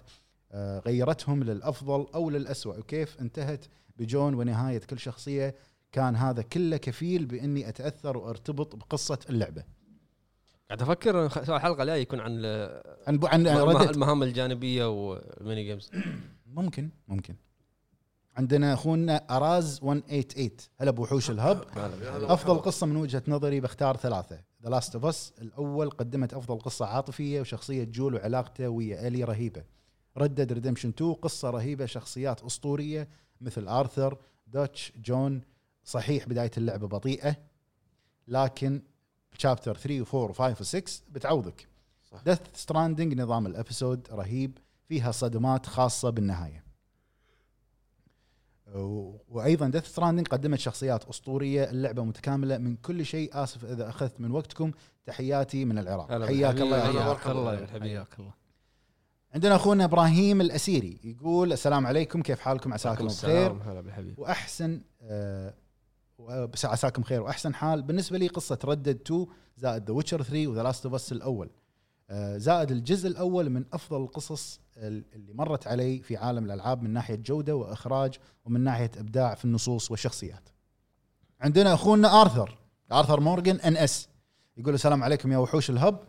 آه، غيرتهم للافضل او للاسوء وكيف انتهت بجون ونهايه كل شخصيه كان هذا كله كفيل باني اتاثر وارتبط بقصه اللعبه قاعد افكر خ- سؤال الحلقه الجايه يكون عن ال- عن عن المه- ردد المهام الجانبيه والميني جيمز ممكن ممكن عندنا اخونا اراز 188 هلا بوحوش الهب افضل قصه من وجهه نظري بختار ثلاثه ذا لاست اوف اس الاول قدمت افضل قصه عاطفيه وشخصيه جول وعلاقته ويا الي رهيبه ردد ريدمشن 2 قصه رهيبه شخصيات اسطوريه مثل ارثر دوتش جون صحيح بدايه اللعبه بطيئه لكن شابتر 3 و4 و5 و6 بتعوضك صح. ديث ستراندنج نظام الابيسود رهيب فيها صدمات خاصه بالنهايه و- وايضا ديث ستراندنج قدمت شخصيات اسطوريه اللعبه متكامله من كل شيء اسف اذا اخذت من وقتكم تحياتي من العراق حياك الله يا هلا عراق. حياك مرحبا. الله حياك الله عندنا اخونا ابراهيم الاسيري يقول السلام عليكم كيف حالكم عساكم بخير هلا بالحبيب واحسن آه، و- بس عساكم خير واحسن حال بالنسبه لي قصه ردد 2 زائد ذا ويتشر 3 وذا لاست اوف اس الاول آه، زائد الجزء الاول من افضل القصص ال- اللي مرت علي في عالم الالعاب من ناحيه جوده واخراج ومن ناحيه ابداع في النصوص والشخصيات. عندنا اخونا ارثر ارثر مورجن ان اس يقول السلام عليكم يا وحوش الهب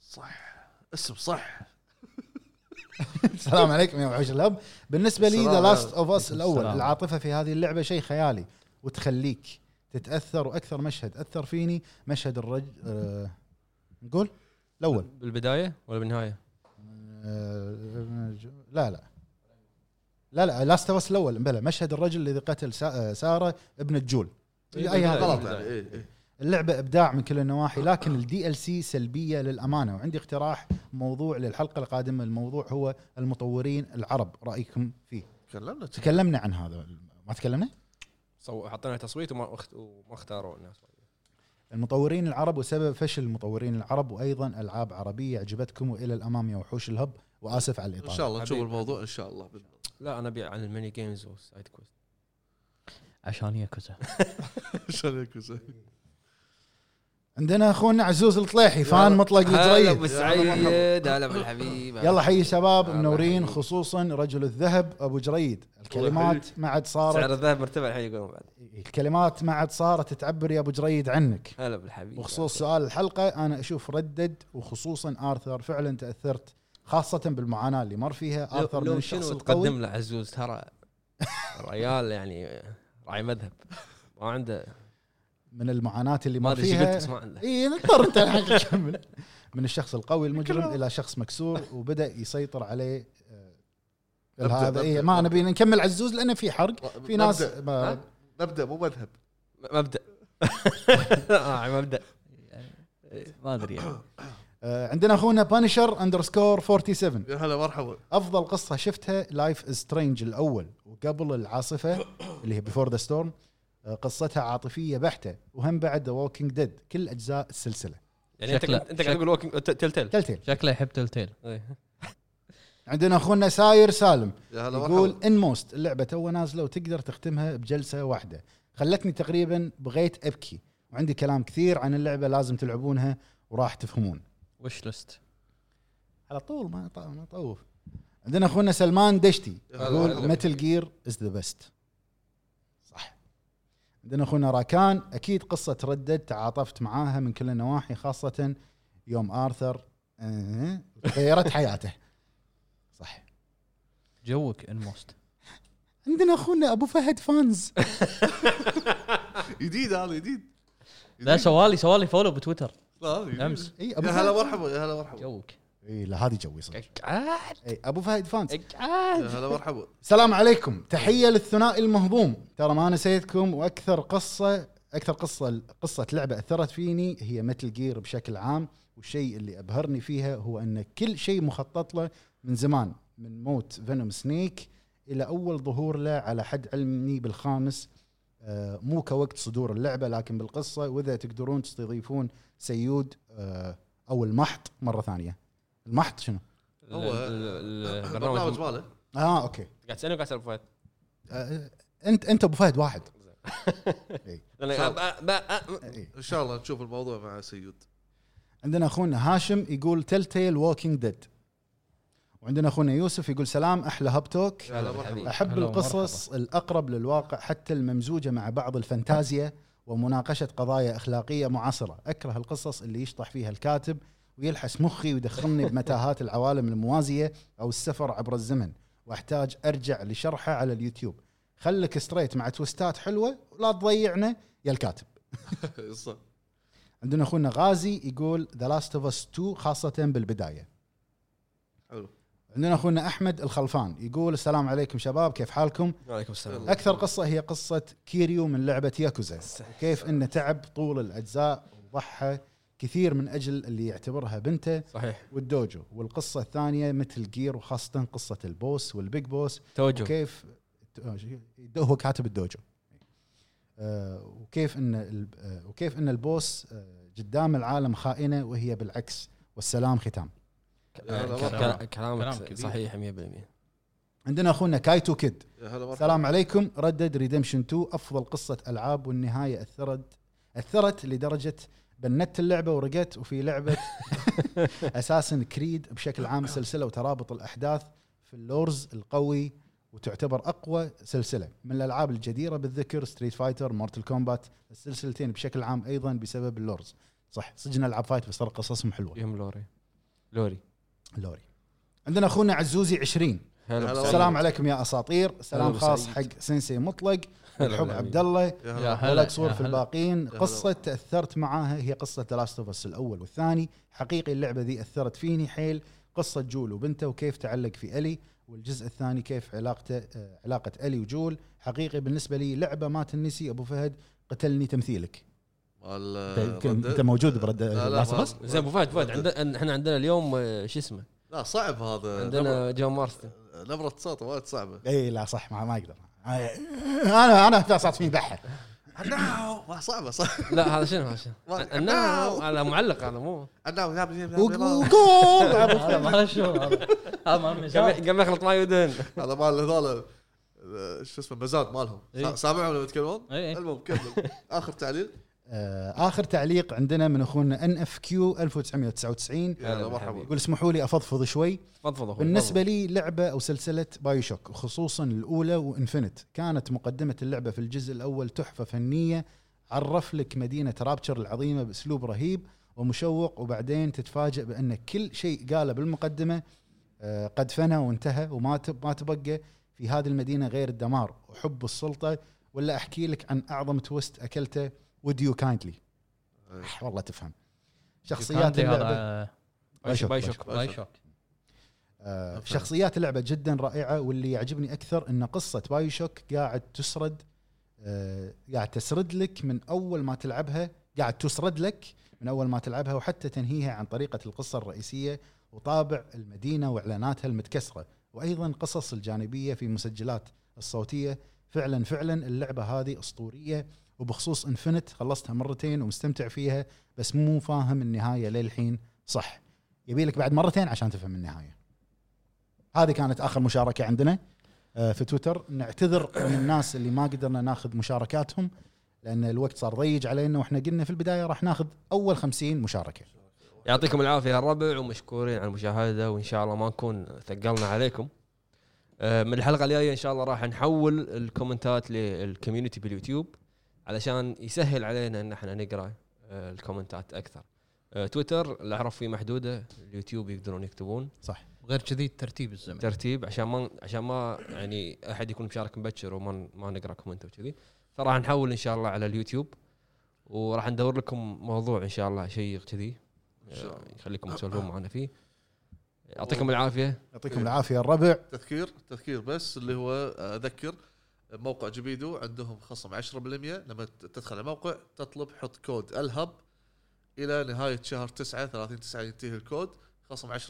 صح اسم صح السلام عليكم يا وحوش الهب بالنسبه لي ذا السلام لاست عليكم. اوف اس الاول السلام. العاطفه في هذه اللعبه شيء خيالي وتخليك تتاثر واكثر مشهد اثر فيني مشهد الرجل آه، نقول الاول بالبدايه ولا بالنهايه؟ آه، لا لا لا لا لاست اوف اس الاول بلى مشهد الرجل الذي قتل سا- آه، ساره ابن الجول أي هذا. غلط يعني إيه، إيه. اللعبة ابداع من كل النواحي لكن الدي ال سي سلبية للامانة وعندي اقتراح موضوع للحلقة القادمة الموضوع هو المطورين العرب رايكم فيه تكلمنا تكلمنا عن هذا ما تكلمنا صو حطينا تصويت وما اخت- وما اختاروا الناس المطورين العرب وسبب فشل المطورين العرب وايضا العاب عربية عجبتكم والى الامام يا وحوش الهب واسف على ان الاطالة شاء الله نشوف حبيبي. الموضوع ان شاء الله بالله. لا انا ابيع عن الميني جيمز والسايد كويست عشان ياكوزا عشان يكون عندنا اخونا عزوز الطليحي فان مطلق هلا لجريد بسعيد هلا بالحبيب طيب، يلا حي شباب هلا منورين حبيبي. خصوصا رجل الذهب ابو جريد الكلمات ما عاد صارت سعر الذهب مرتفع الحين يقولون بعد الكلمات ما عاد صارت تعبر يا ابو جريد عنك هلا بالحبيب وخصوص سؤال الحلقه انا اشوف ردد وخصوصا ارثر فعلا تاثرت خاصه بالمعاناه اللي مر فيها لو, ارثر من لو الشخص شنو القوي تقدم له عزوز ترى ريال يعني راعي مذهب ما عنده من المعاناه اللي ما مر ادري ايش قلت فيها بس ما عنده اي نقدر انت الحين تكمل من الشخص القوي المجرم الى شخص مكسور وبدا يسيطر عليه آه، نبدأ- هذا نبدأ- إيه ما نبي نكمل عزوز لانه في حرق في ناس مبدأ. ما- ها؟ مبدا مو مذهب م- آه، مبدا راعي مبدا ما ادري يعني. آه، عندنا اخونا بانشر اندرسكور 47 يا هلا مرحبا افضل قصه شفتها لايف سترينج الاول وقبل العاصفه اللي هي بيفور ذا ستورم آه، قصتها عاطفيه بحته وهم بعد ذا ووكينج ديد كل اجزاء السلسله يعني انت شكله- انت قاعد تقول ووكينج تل تل تلتيل شكله يحب تلتيل إيه، إيه. عندنا اخونا ساير سالم يا هلا يقول مرحبا ان موست اللعبه تو نازله وتقدر تختمها بجلسه واحده خلتني تقريبا بغيت ابكي وعندي كلام كثير عن اللعبه لازم تلعبونها وراح تفهمون وش ليست على طول ما ط- ما طوف عندنا اخونا سلمان دشتي هلا يقول هلا. متل جير از ذا بيست صح عندنا اخونا راكان اكيد قصه ردد تعاطفت معاها من كل النواحي خاصه يوم ارثر آه، غيرت حياته صح جوك ان موست عندنا اخونا ابو فهد فانز جديد هذا جديد لا سوالي سوالي فولو بتويتر لا هذا جديد. امس اي ابو يا هلا فهد مرحبا يا هلا مرحبا جوك اي إيه، لا هذه جوي صدق قاعد اي ابو فهد فانز يا هلا مرحبا السلام عليكم تحيه للثنائي المهضوم ترى ما نسيتكم واكثر قصه اكثر قصه قصه لعبه اثرت فيني هي متل جير بشكل عام والشيء اللي ابهرني فيها هو ان كل شيء مخطط له من زمان من موت فينوم سنيك الى اول ظهور له على حد علمي بالخامس آه، مو كوقت صدور اللعبه لكن بالقصه واذا تقدرون تستضيفون سيود آه، او المحط مره ثانيه المحط شنو؟ هو- آه، البرنامج البرنامج ماله اه اوكي قاعد تسالني وقاعد اسال فهد آه، انت انت ابو فهد واحد لأن- شاء ب- ب- ب- إيه. ان شاء الله نشوف الموضوع مع سيود عندنا اخونا هاشم يقول تل تيل ووكينج ديد وعندنا اخونا يوسف يقول سلام احلى هاب توك يا هلا مرحبا احب هلا القصص الاقرب للواقع حتى الممزوجه مع بعض الفانتازيا ومناقشه قضايا اخلاقيه معاصره اكره القصص اللي يشطح فيها الكاتب ويلحس مخي ويدخلني بمتاهات العوالم الموازيه او السفر عبر الزمن واحتاج ارجع لشرحه على اليوتيوب خلك ستريت مع توستات حلوه ولا تضيعنا يا الكاتب صح. عندنا اخونا غازي يقول ذا لاست اوف اس 2 خاصه بالبدايه حلو عندنا اخونا احمد الخلفان يقول السلام عليكم شباب كيف حالكم؟ وعليكم السلام يلا. اكثر قصه هي قصه كيريو من لعبه ياكوزا كيف انه تعب طول الاجزاء وضحى كثير من اجل اللي يعتبرها بنته صحيح والدوجو والقصه الثانيه مثل جير وخاصه قصه البوس والبيج بوس توجه وكيف هو كاتب الدوجو آه، وكيف ان ال- آه، وكيف ان البوس آه، قدام العالم خائنه وهي بالعكس والسلام ختام يا هلا كلام- مرحبا كلام كلامك كبير. صحيح 100% عندنا اخونا كايتو كيد يا هلا مرحبا السلام عليكم ردد ريدمشن 2 افضل قصه العاب والنهايه اثرت اثرت لدرجه بنت اللعبه ورقت وفي لعبه اساسن كريد بشكل عام سلسله وترابط الاحداث في اللورز القوي وتعتبر اقوى سلسله من الالعاب الجديره بالذكر ستريت فايتر مورتل كومبات السلسلتين بشكل عام ايضا بسبب اللورز صح سجن العاب فايت بس ترى قصصهم حلوه يهم لوري لوري لوري عندنا اخونا عزوزي 20 هلا السلام عليكم يا اساطير سلام هلا خاص وسعيد. حق سنسي مطلق الحب بالعميد. عبد الله يا يا هلا. هلا. ولك صور في هلا. الباقين هلا. قصة تأثرت معاها هي قصة لاست اوف اس الأول والثاني حقيقي اللعبة ذي أثرت فيني حيل قصة جول وبنته وكيف تعلق في ألي والجزء الثاني كيف علاقته آه، علاقة ألي وجول حقيقي بالنسبة لي لعبة ما تنسي أبو فهد قتلني تمثيلك وال- أنت- يمكن رد- أنت موجود برد آه، لا، لا، لاست ما- اوف زين ابو فهد فهد عندنا احنا عندنا اليوم آه، شو اسمه لا صعب هذا عندنا عندنا جون مارستن نبرة صوت وايد صعبة اي لا صح ما, آه، ما اقدر انا انا صارت فيني بحه ناو صعبة صح لا هذا شنو هذا شنو ما- الناو هذا معلق هذا مو ناو يا ابني، يا ابني، يا ابني. وجول هذا ما شو هذا هذا ما مزاج. قام قام يخلط ماي ودهن هذا مال هذول آه، شو اسمه مزاد مالهم إيه. سامعهم لما يتكلمون إيه. المهم كمل اخر تعليل آه، اخر تعليق عندنا من اخونا ان اف كيو 1999 يلا هلا مرحبا بالحبيب. يقول اسمحوا لي افضفض شوي تفضل اخوي بالنسبه لي لعبه او سلسله بايو شوك خصوصا الاولى وانفنت كانت مقدمه اللعبه في الجزء الاول تحفه فنيه عرف لك مدينه رابتشر العظيمه باسلوب رهيب ومشوق وبعدين تتفاجئ بان كل شيء قاله بالمقدمه آه، قد فنى وانتهى وما تب- ما تبقى في هذه المدينه غير الدمار وحب السلطه ولا احكي لك عن اعظم تويست اكلته وديو كايندلي والله تفهم شخصيات كانتي اللعبه هذا باي شوك باي باي شوك باي شوك آه، أوكي. شخصيات اللعبة جدا رائعة واللي يعجبني أكثر أن قصة بايو شوك قاعد تسرد آه، قاعد تسرد لك من أول ما تلعبها قاعد تسرد لك من أول ما تلعبها وحتى تنهيها عن طريقة القصة الرئيسية وطابع المدينة وإعلاناتها المتكسرة وأيضا قصص الجانبية في مسجلات الصوتية فعلا فعلا اللعبة هذه أسطورية وبخصوص انفنت خلصتها مرتين ومستمتع فيها بس مو فاهم النهاية للحين صح يبيلك بعد مرتين عشان تفهم النهايه هذه كانت اخر مشاركه عندنا آه، في تويتر نعتذر من الناس اللي ما قدرنا ناخذ مشاركاتهم لان الوقت صار ضيج علينا واحنا قلنا في البدايه راح ناخذ اول خمسين مشاركه يعطيكم العافيه يا الربع ومشكورين على المشاهده وان شاء الله ما نكون ثقلنا عليكم آه، من الحلقه الجايه ان شاء الله راح نحول الكومنتات للكوميونتي باليوتيوب علشان يسهل علينا ان احنا نقرا آه، الكومنتات اكثر آه، تويتر الاعراف فيه محدوده اليوتيوب يقدرون يكتبون صح غير كذي ترتيب الزمن ترتيب عشان ما عشان ما يعني احد يكون مشارك مبكر وما ما نقرا كومنت وكذي فراح نحول ان شاء الله على اليوتيوب وراح ندور لكم موضوع ان شاء الله شيق كذي إن شاء الله. آه. يخليكم تسولفون معنا فيه يعطيكم العافيه يعطيكم العافيه يا الربع تذكير تذكير بس اللي هو اذكر موقع جبيدو عندهم خصم 10% لما تدخل على الموقع تطلب حط كود الهب الى نهايه شهر 9 30 9 ينتهي الكود خصم 10%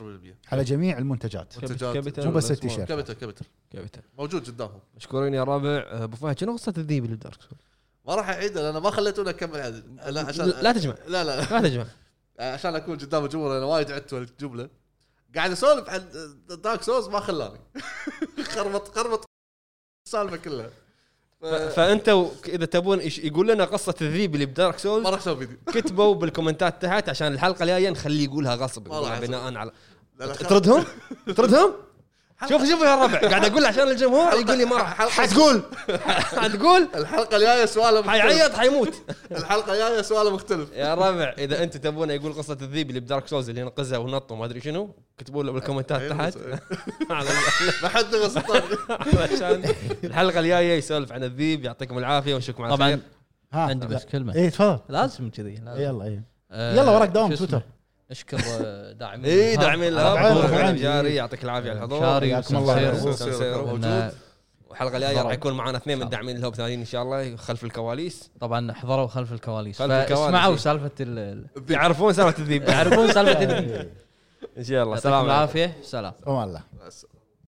على جميع المنتجات منتجات. كابيتال مو بس ولا سمول؟ التيشيرت كابيتال كابيتال كابيتال موجود قدامهم مشكورين يا رابع أه، ابو فهد شنو قصه الذيب اللي بدارك سولز؟ ما راح اعيدها لان ما خليتونا نكمل عدد لا عشان لا تجمع لا لا لا تجمع عشان اكون قدام الجمهور انا وايد عدت الجمله قاعد اسولف عن دارك سولز ما خلاني خربط خربط السالفه كلها ف- ف- فانت اذا تبون إيش- يقول لنا قصه الذيب اللي بدارك سولز ما راح اسوي فيديو كتبوا بالكومنتات تحت عشان الحلقه الجايه نخليه يقولها غصب والله يقولها غصب. بناء على لا لا خربط. تردهم تردهم شوف شوف يا الربع قاعد اقول عشان الجمهور يقول لي ما راح حلقة- حتقول حتقول الحلقه الجايه سؤاله مختلف حيعيط حيموت الحلقه الجايه سؤاله مختلف يا ربع اذا انتم تبونه يقول قصه الذيب اللي بدارك سولز اللي ينقذها ونط وما ادري شنو كتبوا له بالكومنتات تحت على- ما حد نقص الطاقة. علشان الحلقه الجايه يسولف عن الذيب يعطيكم العافيه ونشوفكم على طبعا خير ها عندي بس كلمه اي تفضل لازم كذي لازم. يلا إيه. اي آه، يلا وراك دوام شو اسمه؟ تويتر نشكر آه، داعمين اي إيه، داعمين الهب. طبعاً، الهب طبعاً. وخليل جاري يعطيك العافيه على الحضور شاري حياكم الله. وسمسيرو. سنسيرو. سنسيرو إن- موجود والحلقه الجايه راح يكون معنا اثنين من إن شاء داعمين الهب ثانيين ان شاء الله خلف الكواليس طبعا حضروا خلف الكواليس خلف الكواليس. فاسمعوا سالفه ال- ال- يعرفون سالفه الذيب يعرفون سالفه الدنيا ان شاء الله يعطيكم سلام عليكم العافيه سلام امان الله بس.